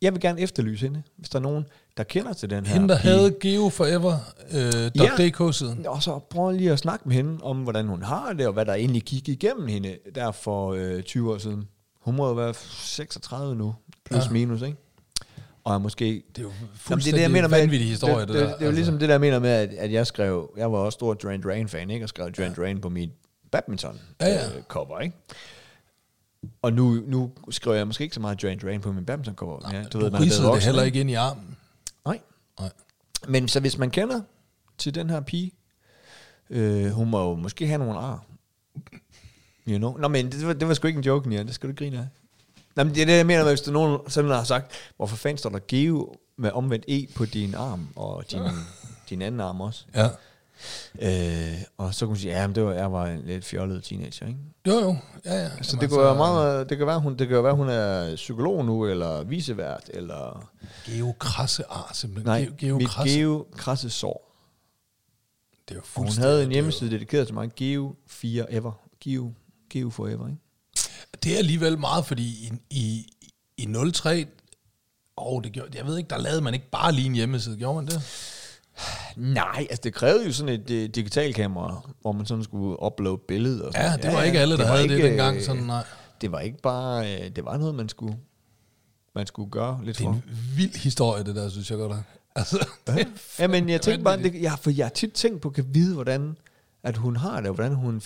Speaker 1: jeg vil gerne efterlyse hende, hvis der er nogen, der kender til den her.
Speaker 2: Hende, der
Speaker 1: pige.
Speaker 2: havde øh, geoforever.dk-siden.
Speaker 1: Og så prøv lige at snakke med hende om, hvordan hun har det, og hvad der egentlig gik igennem hende der for øh, 20 år siden. Hun må jo være 36 nu, plus ja. minus, ikke? Og er måske...
Speaker 2: Det er jo
Speaker 1: Jamen,
Speaker 2: fuldstændig Jamen, det er vanvittig historie, det,
Speaker 1: det, det, det,
Speaker 2: der. Altså.
Speaker 1: det er jo ligesom det, der jeg mener med, at, at jeg skrev... Jeg var også stor Duran Duran-fan, ikke? Og skrev Duran Duran på mit
Speaker 2: Ja, ja.
Speaker 1: badminton-cover, ja, ja. ikke? Og nu, nu skriver jeg måske ikke så meget Duran Duran på min badminton-cover. Ja,
Speaker 2: Du, ved,
Speaker 1: når
Speaker 2: du ridsede
Speaker 1: jeg blev
Speaker 2: det
Speaker 1: voksen,
Speaker 2: heller ikke ind i armen.
Speaker 1: Nej.
Speaker 2: Nej.
Speaker 1: Men så hvis man kender til den her pige, øh, hun må jo måske have nogle ar. You know? Nå, men det var, det var sgu ikke en joke, Nia. Det skal du ikke grine af. Nå, men det er det, jeg mener, hvis der er nogen, som har sagt, hvorfor fanden står der Geo med omvendt E på din arm, og din, din anden arm også.
Speaker 2: Ja.
Speaker 1: Øh, og så kunne hun sige, ja, men det var, jeg var en lidt fjollet teenager, ikke?
Speaker 2: Jo, jo. Ja, ja. altså,
Speaker 1: Så Altså, det kunne, være meget, det, kan være, hun, det kan være, hun er psykolog nu, eller visevært, eller...
Speaker 2: Geokrasse ar, simpelthen.
Speaker 1: Nej,
Speaker 2: Ge-
Speaker 1: mit
Speaker 2: geokrasse.
Speaker 1: geokrasse sår.
Speaker 2: det er jo
Speaker 1: Og hun
Speaker 2: fuldstændig.
Speaker 1: havde en hjemmeside dedikeret til mig, Geo 4 Ever. Geo, Geo Forever, ikke?
Speaker 2: Det er alligevel meget, fordi i, i, i 03... Åh, oh, det gjorde, jeg ved ikke, der lavede man ikke bare lige en hjemmeside, gjorde man det?
Speaker 1: Nej, altså det krævede jo sådan et uh, digitalt kamera, hvor man sådan skulle uploade billedet. Og sådan.
Speaker 2: Ja, det var ikke alle, der
Speaker 1: var
Speaker 2: havde det
Speaker 1: øh,
Speaker 2: dengang, sådan, nej.
Speaker 1: Det var ikke bare, øh, det var noget, man skulle, man skulle gøre lidt
Speaker 2: Det er
Speaker 1: for.
Speaker 2: en vild historie, det der, synes jeg godt. nok. Altså, det er
Speaker 1: Ja, men jeg tænkte bare,
Speaker 2: vanvittigt.
Speaker 1: det, jeg, for jeg har tit tænkt på, kan vide, hvordan at hun har det, og hvordan hun,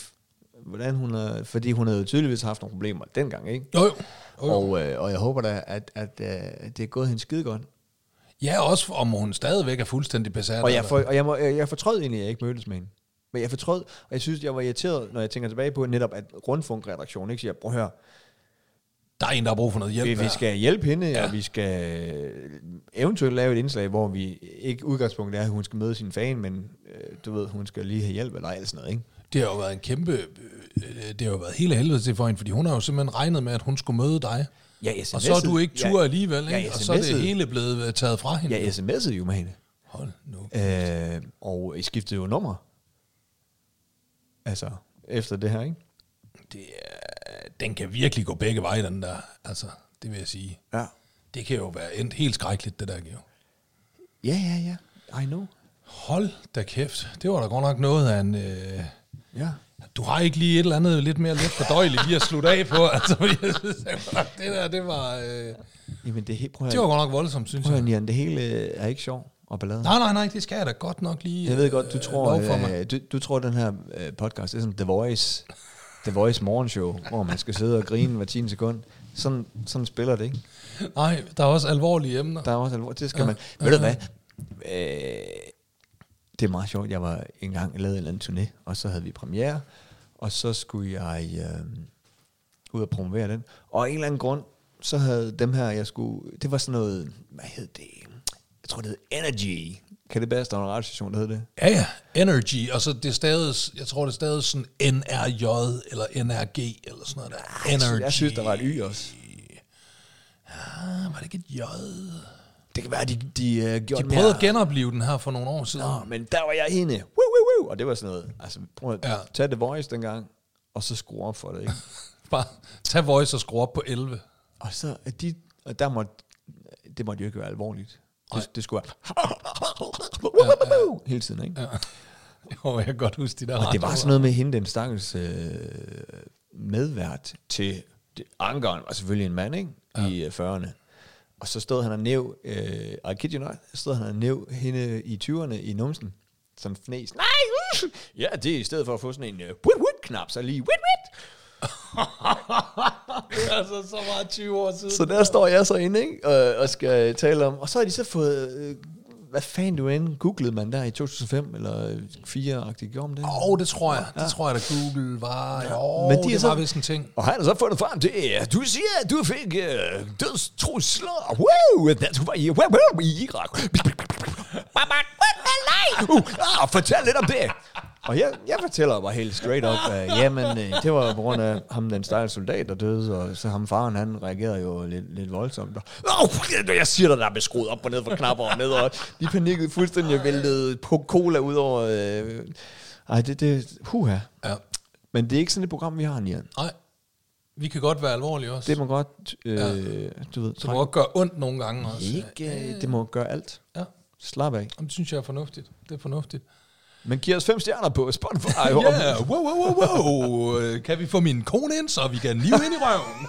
Speaker 1: hvordan hun er, fordi hun havde jo tydeligvis haft nogle problemer dengang, ikke?
Speaker 2: Jo, jo. jo, jo.
Speaker 1: Og, øh, og jeg håber da, at, at øh, det er gået hende skide godt.
Speaker 2: Ja, også om hun stadigvæk er fuldstændig besat.
Speaker 1: Og
Speaker 2: af
Speaker 1: jeg,
Speaker 2: det.
Speaker 1: for, og jeg, må, jeg, jeg fortrød egentlig, at jeg ikke mødtes med hende. Men jeg fortrød, og jeg synes, jeg var irriteret, når jeg tænker tilbage på netop, at Rundfunk-redaktionen ikke siger, prøv at høre,
Speaker 2: Der er en, der har brug for noget hjælp.
Speaker 1: vi, vi
Speaker 2: her.
Speaker 1: skal hjælpe hende, ja.
Speaker 2: Ja.
Speaker 1: og vi skal eventuelt lave et indslag, hvor vi ikke udgangspunktet er, at hun skal møde sin fan, men øh, du ved, hun skal lige have hjælp eller ej, eller sådan noget, ikke?
Speaker 2: Det har jo været en kæmpe... øh, Det har jo været hele helvede til for hende, fordi hun har jo simpelthen regnet med, at hun skulle møde dig.
Speaker 1: Ja,
Speaker 2: Og så er du ikke tur
Speaker 1: ja,
Speaker 2: alligevel, ikke?
Speaker 1: Ja,
Speaker 2: og så er
Speaker 1: sms'ede.
Speaker 2: det hele blevet øh, taget fra hende.
Speaker 1: Jeg sms'ede jo med hende,
Speaker 2: Hold nu.
Speaker 1: øh, og I skiftede jo nummer. Altså, efter det her, ikke?
Speaker 2: Det er, den kan virkelig gå begge veje, den der. Altså, det vil jeg sige.
Speaker 1: Ja.
Speaker 2: Det kan jo være endt helt skrækkeligt, det der kan jo.
Speaker 1: Ja, ja, ja. I know.
Speaker 2: Hold da kæft. Det var da godt nok noget af en... Øh,
Speaker 1: Ja.
Speaker 2: du har ikke lige et eller andet lidt mere lidt fordøjeligt lige at slutte af på. Altså, fordi jeg synes, det var- det der, det var... Øh,
Speaker 1: Jamen, det, he- prøv at
Speaker 2: det var godt nok voldsomt, synes
Speaker 1: Prøv at
Speaker 2: jeg.
Speaker 1: høre, Nian, det hele øh, er ikke sjov og ballade.
Speaker 2: Nej, nej, nej, det skal jeg da godt nok lige...
Speaker 1: Jeg ved godt, du
Speaker 2: øh,
Speaker 1: tror,
Speaker 2: lov for mig.
Speaker 1: øh, du, du tror den her øh, podcast det er som The Voice, The Voice morgenshow, hvor man skal sidde og grine hver 10 sekund. Sådan, sådan spiller det, ikke?
Speaker 2: Nej, der er også alvorlige emner.
Speaker 1: Der er også alvor. Det skal man... Ved du hvad? Øh, det er meget sjovt. Jeg var engang lavet en eller anden turné, og så havde vi premiere, og så skulle jeg øh, ud og promovere den. Og af en eller anden grund, så havde dem her, jeg skulle... Det var sådan noget... Hvad hed det? Jeg tror, det hed Energy. Kan det bedst, der var en radiostation, der hed det?
Speaker 2: Ja, ja. Energy, og så det stades, jeg tror, det stades sådan NRJ eller NRG eller sådan noget der. Energy.
Speaker 1: Jeg synes, der var et Y også.
Speaker 2: Ah, var det ikke et J?
Speaker 1: Det kan være, de, de øh, gjorde
Speaker 2: De prøvede at
Speaker 1: mere.
Speaker 2: genopleve den her for nogle år siden.
Speaker 1: Nå, men der var jeg hende. Woo, woo, woo. Og det var sådan noget. Altså, prøv at
Speaker 2: Ja.
Speaker 1: ja. tage The Voice dengang, og så skrue op for det, ikke?
Speaker 2: Bare tag voice og skru op på 11.
Speaker 1: Og så er de, og der måtte, det måtte jo ikke være alvorligt. Det, det skulle være hele tiden, ikke?
Speaker 2: Jo, jeg kan godt huske de der
Speaker 1: Og det var sådan noget med hende, den stakkels øh, medvært til, det, Ankeren var selvfølgelig en mand, ikke? I øh, 40'erne. Og så stod han og næv, øh, og I kid you not, stod han og næv hende i 20'erne i numsen. Sådan fnæs. Nej! uh! Ja, det er i stedet for at få sådan en øh, wit-wit-knap, så lige wit-wit.
Speaker 2: altså, så meget 20 år siden.
Speaker 1: Så der står jeg så inde, ikke? Og, og skal tale om... Og så har de så fået... Øh, hvad fanden du end googlede man der i 2005 eller 4-agtigt gjorde om det?
Speaker 2: Åh, oh, det tror jeg. Det tror jeg, da Google var. Jo,
Speaker 1: Men de er
Speaker 2: det
Speaker 1: så-
Speaker 2: var vist en ting.
Speaker 1: Og han har så fundet frem til, at du siger, at du fik øh, dødstrusler. Wow, at du var i, wow, wow, i Irak. Uh, ah, fortæl lidt om det. Og jeg, jeg fortæller bare helt straight up, at jamen, øh, det var jo på grund af ham, den stakkels soldat, der døde, og så ham faren, han reagerede jo lidt, lidt voldsomt. Og, oh, jeg siger dig, der blev skruet op og ned for knapper og ned, og de panikkede fuldstændig og væltede på cola ud over... Øh, ej, det, det, puha.
Speaker 2: Ja.
Speaker 1: Men det er ikke sådan et program, vi har, Nian.
Speaker 2: Nej, vi kan godt være alvorlige også.
Speaker 1: Det
Speaker 2: Det
Speaker 1: må godt, øh, du ved,
Speaker 2: så må godt gøre ondt nogle gange også.
Speaker 1: ikke, øh, det må gøre alt.
Speaker 2: Ja,
Speaker 1: Slap af.
Speaker 2: Jamen, det synes jeg er fornuftigt. Det er fornuftigt.
Speaker 1: Men giv os fem stjerner på Spotify.
Speaker 2: Ja, yeah, wow, wow, wow, wow. Øh, Kan vi få min kone ind, så vi kan live ind i røven?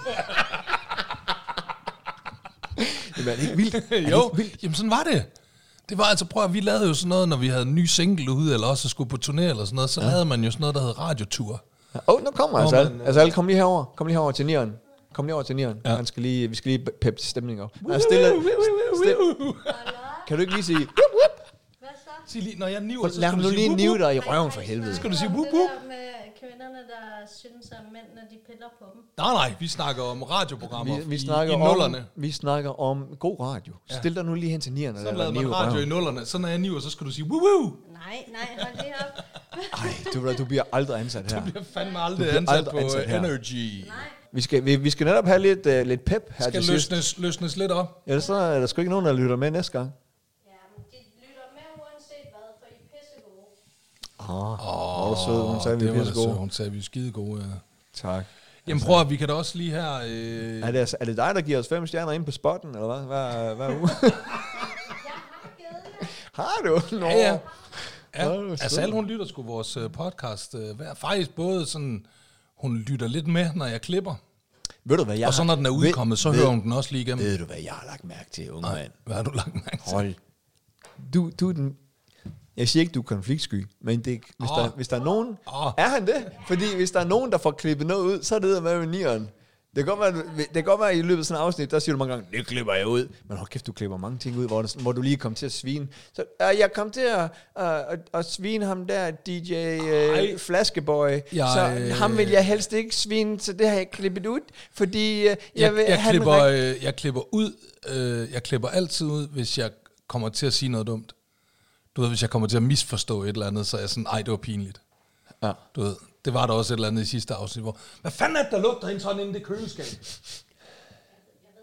Speaker 1: Jamen, er det ikke vildt? Er det
Speaker 2: jo,
Speaker 1: ikke vildt?
Speaker 2: jamen sådan var det. Det var altså, prøv at, vi lavede jo sådan noget, når vi havde en ny single ude, eller også skulle på turné eller sådan noget, så ja. lavede man jo sådan noget, der hed radiotur.
Speaker 1: Åh, oh, nu kommer altså
Speaker 2: Nå, men,
Speaker 1: alle. Altså alle, kom lige herover. Kom lige herover til Nieren. Kom lige over til Nieren. Ja. Han skal lige, vi skal lige peppe stemningen op. Altså, stille, stille. Kan du ikke lige sige, whoop, whoop?
Speaker 4: Hvad så?
Speaker 2: Sig lige, når jeg niver, så skal
Speaker 1: lad ham
Speaker 2: du
Speaker 1: nu
Speaker 2: sige,
Speaker 1: lige
Speaker 2: "Wup,
Speaker 1: nive
Speaker 2: wup."
Speaker 1: dig i røven for helvede.
Speaker 2: Skal du sige
Speaker 4: Det
Speaker 2: wup,
Speaker 4: der
Speaker 2: wup?
Speaker 4: med kvinderne, der synes om mænd, når de piller på dem.
Speaker 2: Nej, nej, vi snakker om radioprogrammer
Speaker 1: Vi, vi,
Speaker 2: i,
Speaker 1: snakker
Speaker 2: i nullerne.
Speaker 1: om, vi snakker om god radio. Ja. Stil dig nu lige hen til Nieren.
Speaker 2: Så lavede man radio i nullerne. Så når jeg niver, så skal du sige, woo woo.
Speaker 4: Nej, nej, hold det op.
Speaker 1: Ej, du, ved, du bliver aldrig ansat her.
Speaker 2: Jeg er fandme aldrig
Speaker 1: bliver
Speaker 2: ansat
Speaker 1: aldrig
Speaker 2: på
Speaker 1: ansat
Speaker 2: ansat
Speaker 1: her.
Speaker 2: Energy. Nej,
Speaker 1: Vi skal, vi, vi skal netop have lidt, uh, lidt pep her
Speaker 2: skal
Speaker 1: til sidst.
Speaker 2: løsnes, løsnes lidt op.
Speaker 1: Ellers så er der sgu ikke nogen, der lytter med næste gang.
Speaker 4: Ja, men de lytter med uanset hvad, for I er pissegode.
Speaker 1: Åh, oh, sød, hun sagde, vi
Speaker 2: det
Speaker 1: er
Speaker 2: var da
Speaker 1: pisse
Speaker 2: sødt.
Speaker 1: gode.
Speaker 2: Hun sagde, vi er skide gode. Ja.
Speaker 1: Tak.
Speaker 2: Jamen prøv at, vi kan da også lige her... Øh,
Speaker 1: Er det, altså- er det dig, der giver os fem stjerner ind på spotten, eller hvad? Hver, hver uge?
Speaker 4: Jeg har givet jer.
Speaker 1: Har du? Nå.
Speaker 2: Ja, ja.
Speaker 1: Hold
Speaker 2: ja.
Speaker 1: da
Speaker 2: Altså
Speaker 1: sødt.
Speaker 2: alle hun lytter sgu vores øh, podcast øh, hver. Faktisk både sådan, hun lytter lidt med, når jeg klipper.
Speaker 1: Ved du, hvad jeg
Speaker 2: Og så når den er
Speaker 1: har-
Speaker 2: udkommet, så
Speaker 1: ved,
Speaker 2: hører hun den også lige igennem.
Speaker 1: Ved du, hvad jeg har lagt mærke til, unge mand?
Speaker 2: Hvad har du lagt mærke til?
Speaker 1: Hold. Du, du er den... Jeg siger ikke, du er konfliktsky, men det, hvis, oh. der,
Speaker 2: Åh.
Speaker 1: hvis der er nogen...
Speaker 2: Åh.
Speaker 1: Er han det? Fordi hvis der er nogen, der får klippet noget ud, så er det med med nieren. Det kan godt være, at- det kan godt være at i løbet af sådan et afsnit, der siger du mange gange, det klipper jeg ud. Men hold kæft, du klipper mange ting ud, hvor, der, hvor du lige kom til at svine. Så øh, jeg kom til at, øh, at, at svine ham der, DJ øh,
Speaker 2: Ej.
Speaker 1: Flaskeboy. så
Speaker 2: øh,
Speaker 1: ham vil jeg helst ikke svine, så det har jeg klippet ud, fordi øh, jeg,
Speaker 2: Jeg,
Speaker 1: vil
Speaker 2: jeg, jeg,
Speaker 1: have den
Speaker 2: klipper,
Speaker 1: rigt-
Speaker 2: øh, jeg klipper ud, øh, jeg klipper altid ud, hvis jeg kommer til at sige noget dumt. Du ved, hvis jeg kommer til at misforstå et eller andet, så er jeg sådan, ej, det var pinligt.
Speaker 1: Ja.
Speaker 2: Du ved, det var der også et eller andet i sidste afsnit, hvor, hvad fanden er det, der lugter ind sådan inde i det køleskab?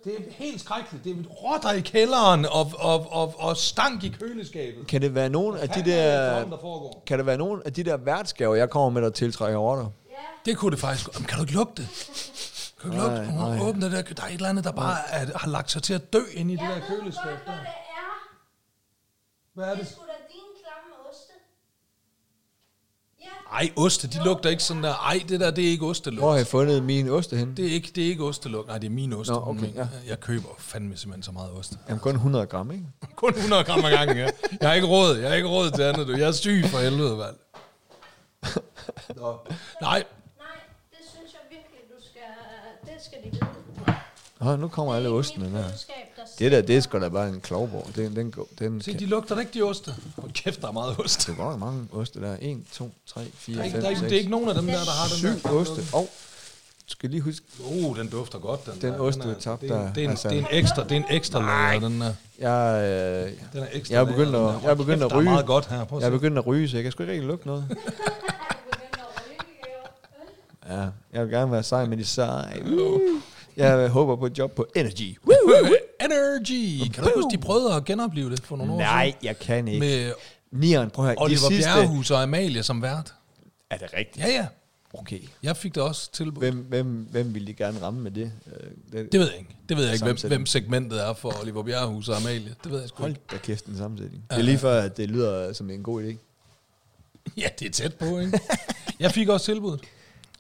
Speaker 2: Det er helt skrækkeligt. Det er rotter i kælderen og, og, og, og stank i køleskabet.
Speaker 1: Kan det være nogen af de
Speaker 2: Hvad er det,
Speaker 1: der...
Speaker 2: drømmen, der foregår?
Speaker 1: Kan det være nogen af de der værtsgaver, jeg kommer med, der tiltrækker rotter?
Speaker 2: Det kunne det faktisk. Jamen, kan du ikke lugte det? Kan du ikke lugte det? Hun har åbnet det der. Der er et eller andet, der bare er, har lagt sig til at dø inde i det
Speaker 4: Jeg
Speaker 2: der
Speaker 4: ved
Speaker 2: køleskab.
Speaker 4: godt,
Speaker 2: Der.
Speaker 4: hvad det er.
Speaker 2: Hvad er
Speaker 4: Det
Speaker 2: det?
Speaker 4: er sgu da dine klamme oste. Ja,
Speaker 2: Ej, oste, de lugter ikke sådan der. Ej, det der, det er ikke ostelugt.
Speaker 1: Hvor har jeg fundet min oste henne?
Speaker 2: Det er ikke, det er ikke ostelugt. Nej, det er min ost.
Speaker 1: Nå, okay,
Speaker 2: Men
Speaker 1: ja.
Speaker 2: Jeg køber fandme simpelthen så meget ost.
Speaker 1: Jamen, kun 100 gram, ikke?
Speaker 2: Kun 100 gram ad gangen, ja. Jeg har ikke råd. Jeg har ikke råd til andet, du. Jeg er syg for helvede, mand. Nå. Nej,
Speaker 4: nej, det synes jeg virkelig, du skal... Det skal de vide.
Speaker 1: Nå, nu kommer alle ostene der.
Speaker 4: køleskab, der
Speaker 1: Det der, det er sgu da bare en klovborg. Den, den, går- den
Speaker 2: se,
Speaker 1: kan,
Speaker 2: de lugter da ikke, de oste. Hold kæft, der er meget ost. Der
Speaker 1: det var mange oste der. 1, 2, 3, 4,
Speaker 2: er
Speaker 1: 5,
Speaker 2: ikke,
Speaker 1: 6,
Speaker 2: der er ikke, det er ikke nogen af dem der, der har den der.
Speaker 1: 7 oste. Og du skal lige huske,
Speaker 2: Oh, den dufter godt, den,
Speaker 1: Den
Speaker 2: der.
Speaker 1: ost,
Speaker 2: er-
Speaker 1: du har tabt
Speaker 2: det er en-
Speaker 1: der,
Speaker 2: Det er, en,
Speaker 1: altså.
Speaker 2: det er en ekstra, det er en ekstra lager, den der.
Speaker 1: jeg, øh,
Speaker 2: Den er ekstra
Speaker 1: jeg er begyndt
Speaker 2: lager,
Speaker 1: at,
Speaker 2: den der.
Speaker 1: jeg er begyndt
Speaker 2: Hold
Speaker 1: at
Speaker 2: kæft,
Speaker 1: ryge.
Speaker 2: Der er meget godt her. Prøv at
Speaker 1: Jeg er
Speaker 2: se.
Speaker 1: begyndt at ryge, så jeg kan sgu ikke rigtig lugte noget. Ja, jeg vil gerne være sej med de sej. Jeg håber på et job på Energy.
Speaker 2: Energy! Kan du ikke huske, de prøvede at genopleve det for nogle år
Speaker 1: Nej, jeg
Speaker 2: siden?
Speaker 1: kan ikke.
Speaker 2: Med
Speaker 1: Nieren, prøv at høre. de
Speaker 2: Oliver
Speaker 1: sidste-
Speaker 2: Bjerrehus og Amalie som vært.
Speaker 1: Er det rigtigt?
Speaker 2: Ja, ja.
Speaker 1: Okay.
Speaker 2: Jeg fik det også tilbud.
Speaker 1: Hvem, hvem, hvem ville de gerne ramme med det? Øh, det,
Speaker 2: Det ved jeg ikke. Det ved jeg ikke, hvem,
Speaker 1: Sammensætning.
Speaker 2: hvem segmentet er for Oliver Bjerrehus og Amalie. Det ved jeg sgu
Speaker 1: Hold
Speaker 2: ikke.
Speaker 1: da kæft en sammensætning. Det er lige før, at det lyder som en god idé.
Speaker 2: Ja, det er tæt på, ikke? Jeg fik også tilbuddet.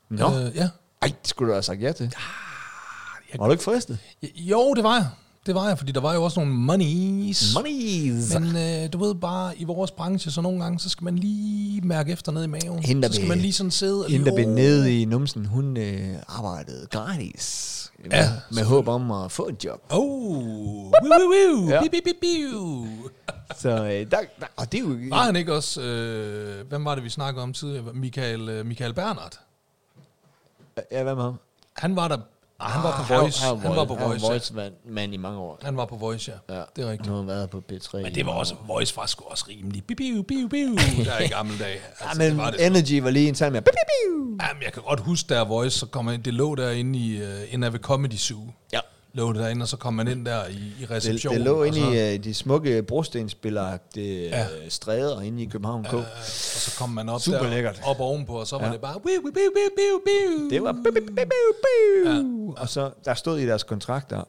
Speaker 1: Nå.
Speaker 2: Øh, ja.
Speaker 1: Ej, det skulle du have sagt ja til.
Speaker 2: Ah,
Speaker 1: Var du ikke fristet?
Speaker 2: Jo, det var jeg. Det var jeg, fordi der var jo også nogle monies.
Speaker 1: Monies!
Speaker 2: Men øh, du ved bare, i vores branche, så nogle gange, så skal man lige mærke efter ned i maven.
Speaker 1: Hende, der
Speaker 2: så skal
Speaker 1: vil-
Speaker 2: man lige sådan sidde og
Speaker 1: Hende, der
Speaker 2: lige,
Speaker 1: blev
Speaker 2: "Åh."
Speaker 1: nede i numsen, hun øh, arbejdede gratis.
Speaker 2: Ja,
Speaker 1: Ja, med håb om at få et job.
Speaker 2: Oh, woo, woo, woo.
Speaker 1: Ja.
Speaker 2: Biu, biu, biu, biu.
Speaker 1: Så øh, der, der, og det er jo...
Speaker 2: Var han ikke også, øh, hvem var det, vi snakkede om tidligere? Michael, øh, Michael Bernhardt.
Speaker 1: Ja, hvad med ham?
Speaker 2: Han var der, ah, han var på
Speaker 1: jo-
Speaker 2: Voice.
Speaker 1: jo
Speaker 2: Han var på
Speaker 1: han er
Speaker 2: Voice, ja.
Speaker 1: voice mand, mand i mange år.
Speaker 2: Han var på Voice, ja.
Speaker 1: Ja. Mm.
Speaker 2: Det er rigtigt.
Speaker 1: Nu har han været på B3.
Speaker 2: Men det var også, Voice var sgu også rimelig. Biu, biu, biu, biu. Der i gamle dage. Altså,
Speaker 1: Ja, men
Speaker 2: det var det.
Speaker 1: Energy var lige en tand med...
Speaker 2: Jamen, jeg kan godt huske, der Voice, så kom man, det lå derinde i, uh, inden ved Comedy Zoo.
Speaker 1: Ja.
Speaker 2: Lå det derinde, og så kom man ind der i, i
Speaker 1: Det,
Speaker 2: receptionen.
Speaker 1: det lå
Speaker 2: og
Speaker 1: inde
Speaker 2: så,
Speaker 1: i øh, de smukke brostensspilleragtige ja. stræder inde i København K.
Speaker 2: Og så kom man op
Speaker 1: Super
Speaker 2: der,
Speaker 1: lækkert.
Speaker 2: op ovenpå, og så var det bare... Biu, biu, biu, biu, biu.
Speaker 1: Det var... biu, biu, biu, biu, biu. Og så der stod i deres kontrakter,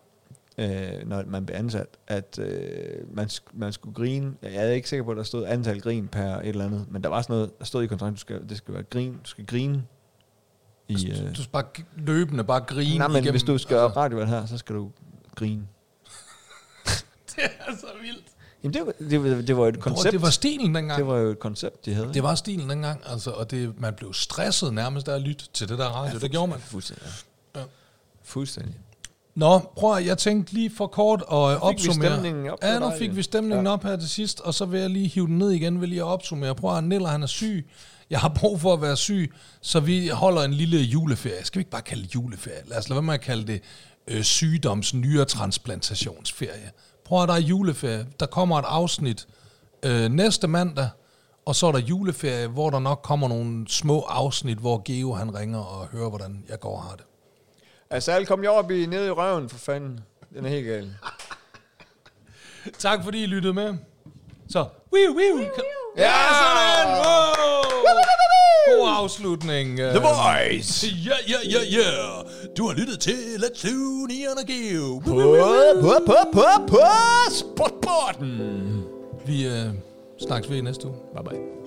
Speaker 1: øh, når man blev ansat, at øh, man, sk- man skulle grine. Jeg er ikke sikker på, at der stod antal grin per et eller andet, men der var sådan noget, der stod i kontrakten, du skal, det skal være grin, du skal grine. I, øh,
Speaker 2: Altså, Du skal bare g- løbende bare grine
Speaker 1: nej,
Speaker 2: igennem.
Speaker 1: men
Speaker 2: Altså,
Speaker 1: hvis du skal op radioen her, så skal du grine.
Speaker 2: Det er så vildt.
Speaker 1: Jamen, det var, det, var, det var jo et
Speaker 2: Bro,
Speaker 1: koncept.
Speaker 2: det var stilen dengang.
Speaker 1: det var jo et koncept, de havde.
Speaker 2: Det var stilen dengang, altså, og det, man blev stresset nærmest af at lytte til det der radio. det gjorde man.
Speaker 1: Fuldstændig.
Speaker 2: Ja.
Speaker 1: Fuldstændig.
Speaker 2: Nå, prøv at, jeg tænkte lige for kort at opsummere.
Speaker 1: vi stemningen op.
Speaker 2: Ja,
Speaker 1: Det var
Speaker 2: nu fik
Speaker 1: dejligt.
Speaker 2: vi stemningen op her til sidst, og så vil jeg lige hive den ned igen ved lige at opsummere. Prøv at Niller, han er syg. Jeg har brug for at være syg, så vi holder en lille juleferie. Skal vi ikke bare kalde det juleferie? Lad os lade være med at kalde det øh, sygdoms nyere transplantationsferie. Prøv at der er juleferie. Der kommer et afsnit øh, næste mandag, og så er der juleferie, hvor der nok kommer nogle små afsnit, hvor Geo han ringer og hører, hvordan jeg går og har det.
Speaker 1: Altså, alle kom jo op i, nede i røven, for fanden. Den er helt gal.
Speaker 2: Tak fordi I lyttede med. Så, wiu, wiu. Ja, sådan. Wow. God afslutning. The
Speaker 1: Boys!
Speaker 2: Ja, ja, ja, ja. Du har lyttet til Let's Do Neon og Geo.
Speaker 1: På, på, på, på, på, sportporten.
Speaker 2: Vi øh, snakkes ved i næste uge.
Speaker 1: Bye bye.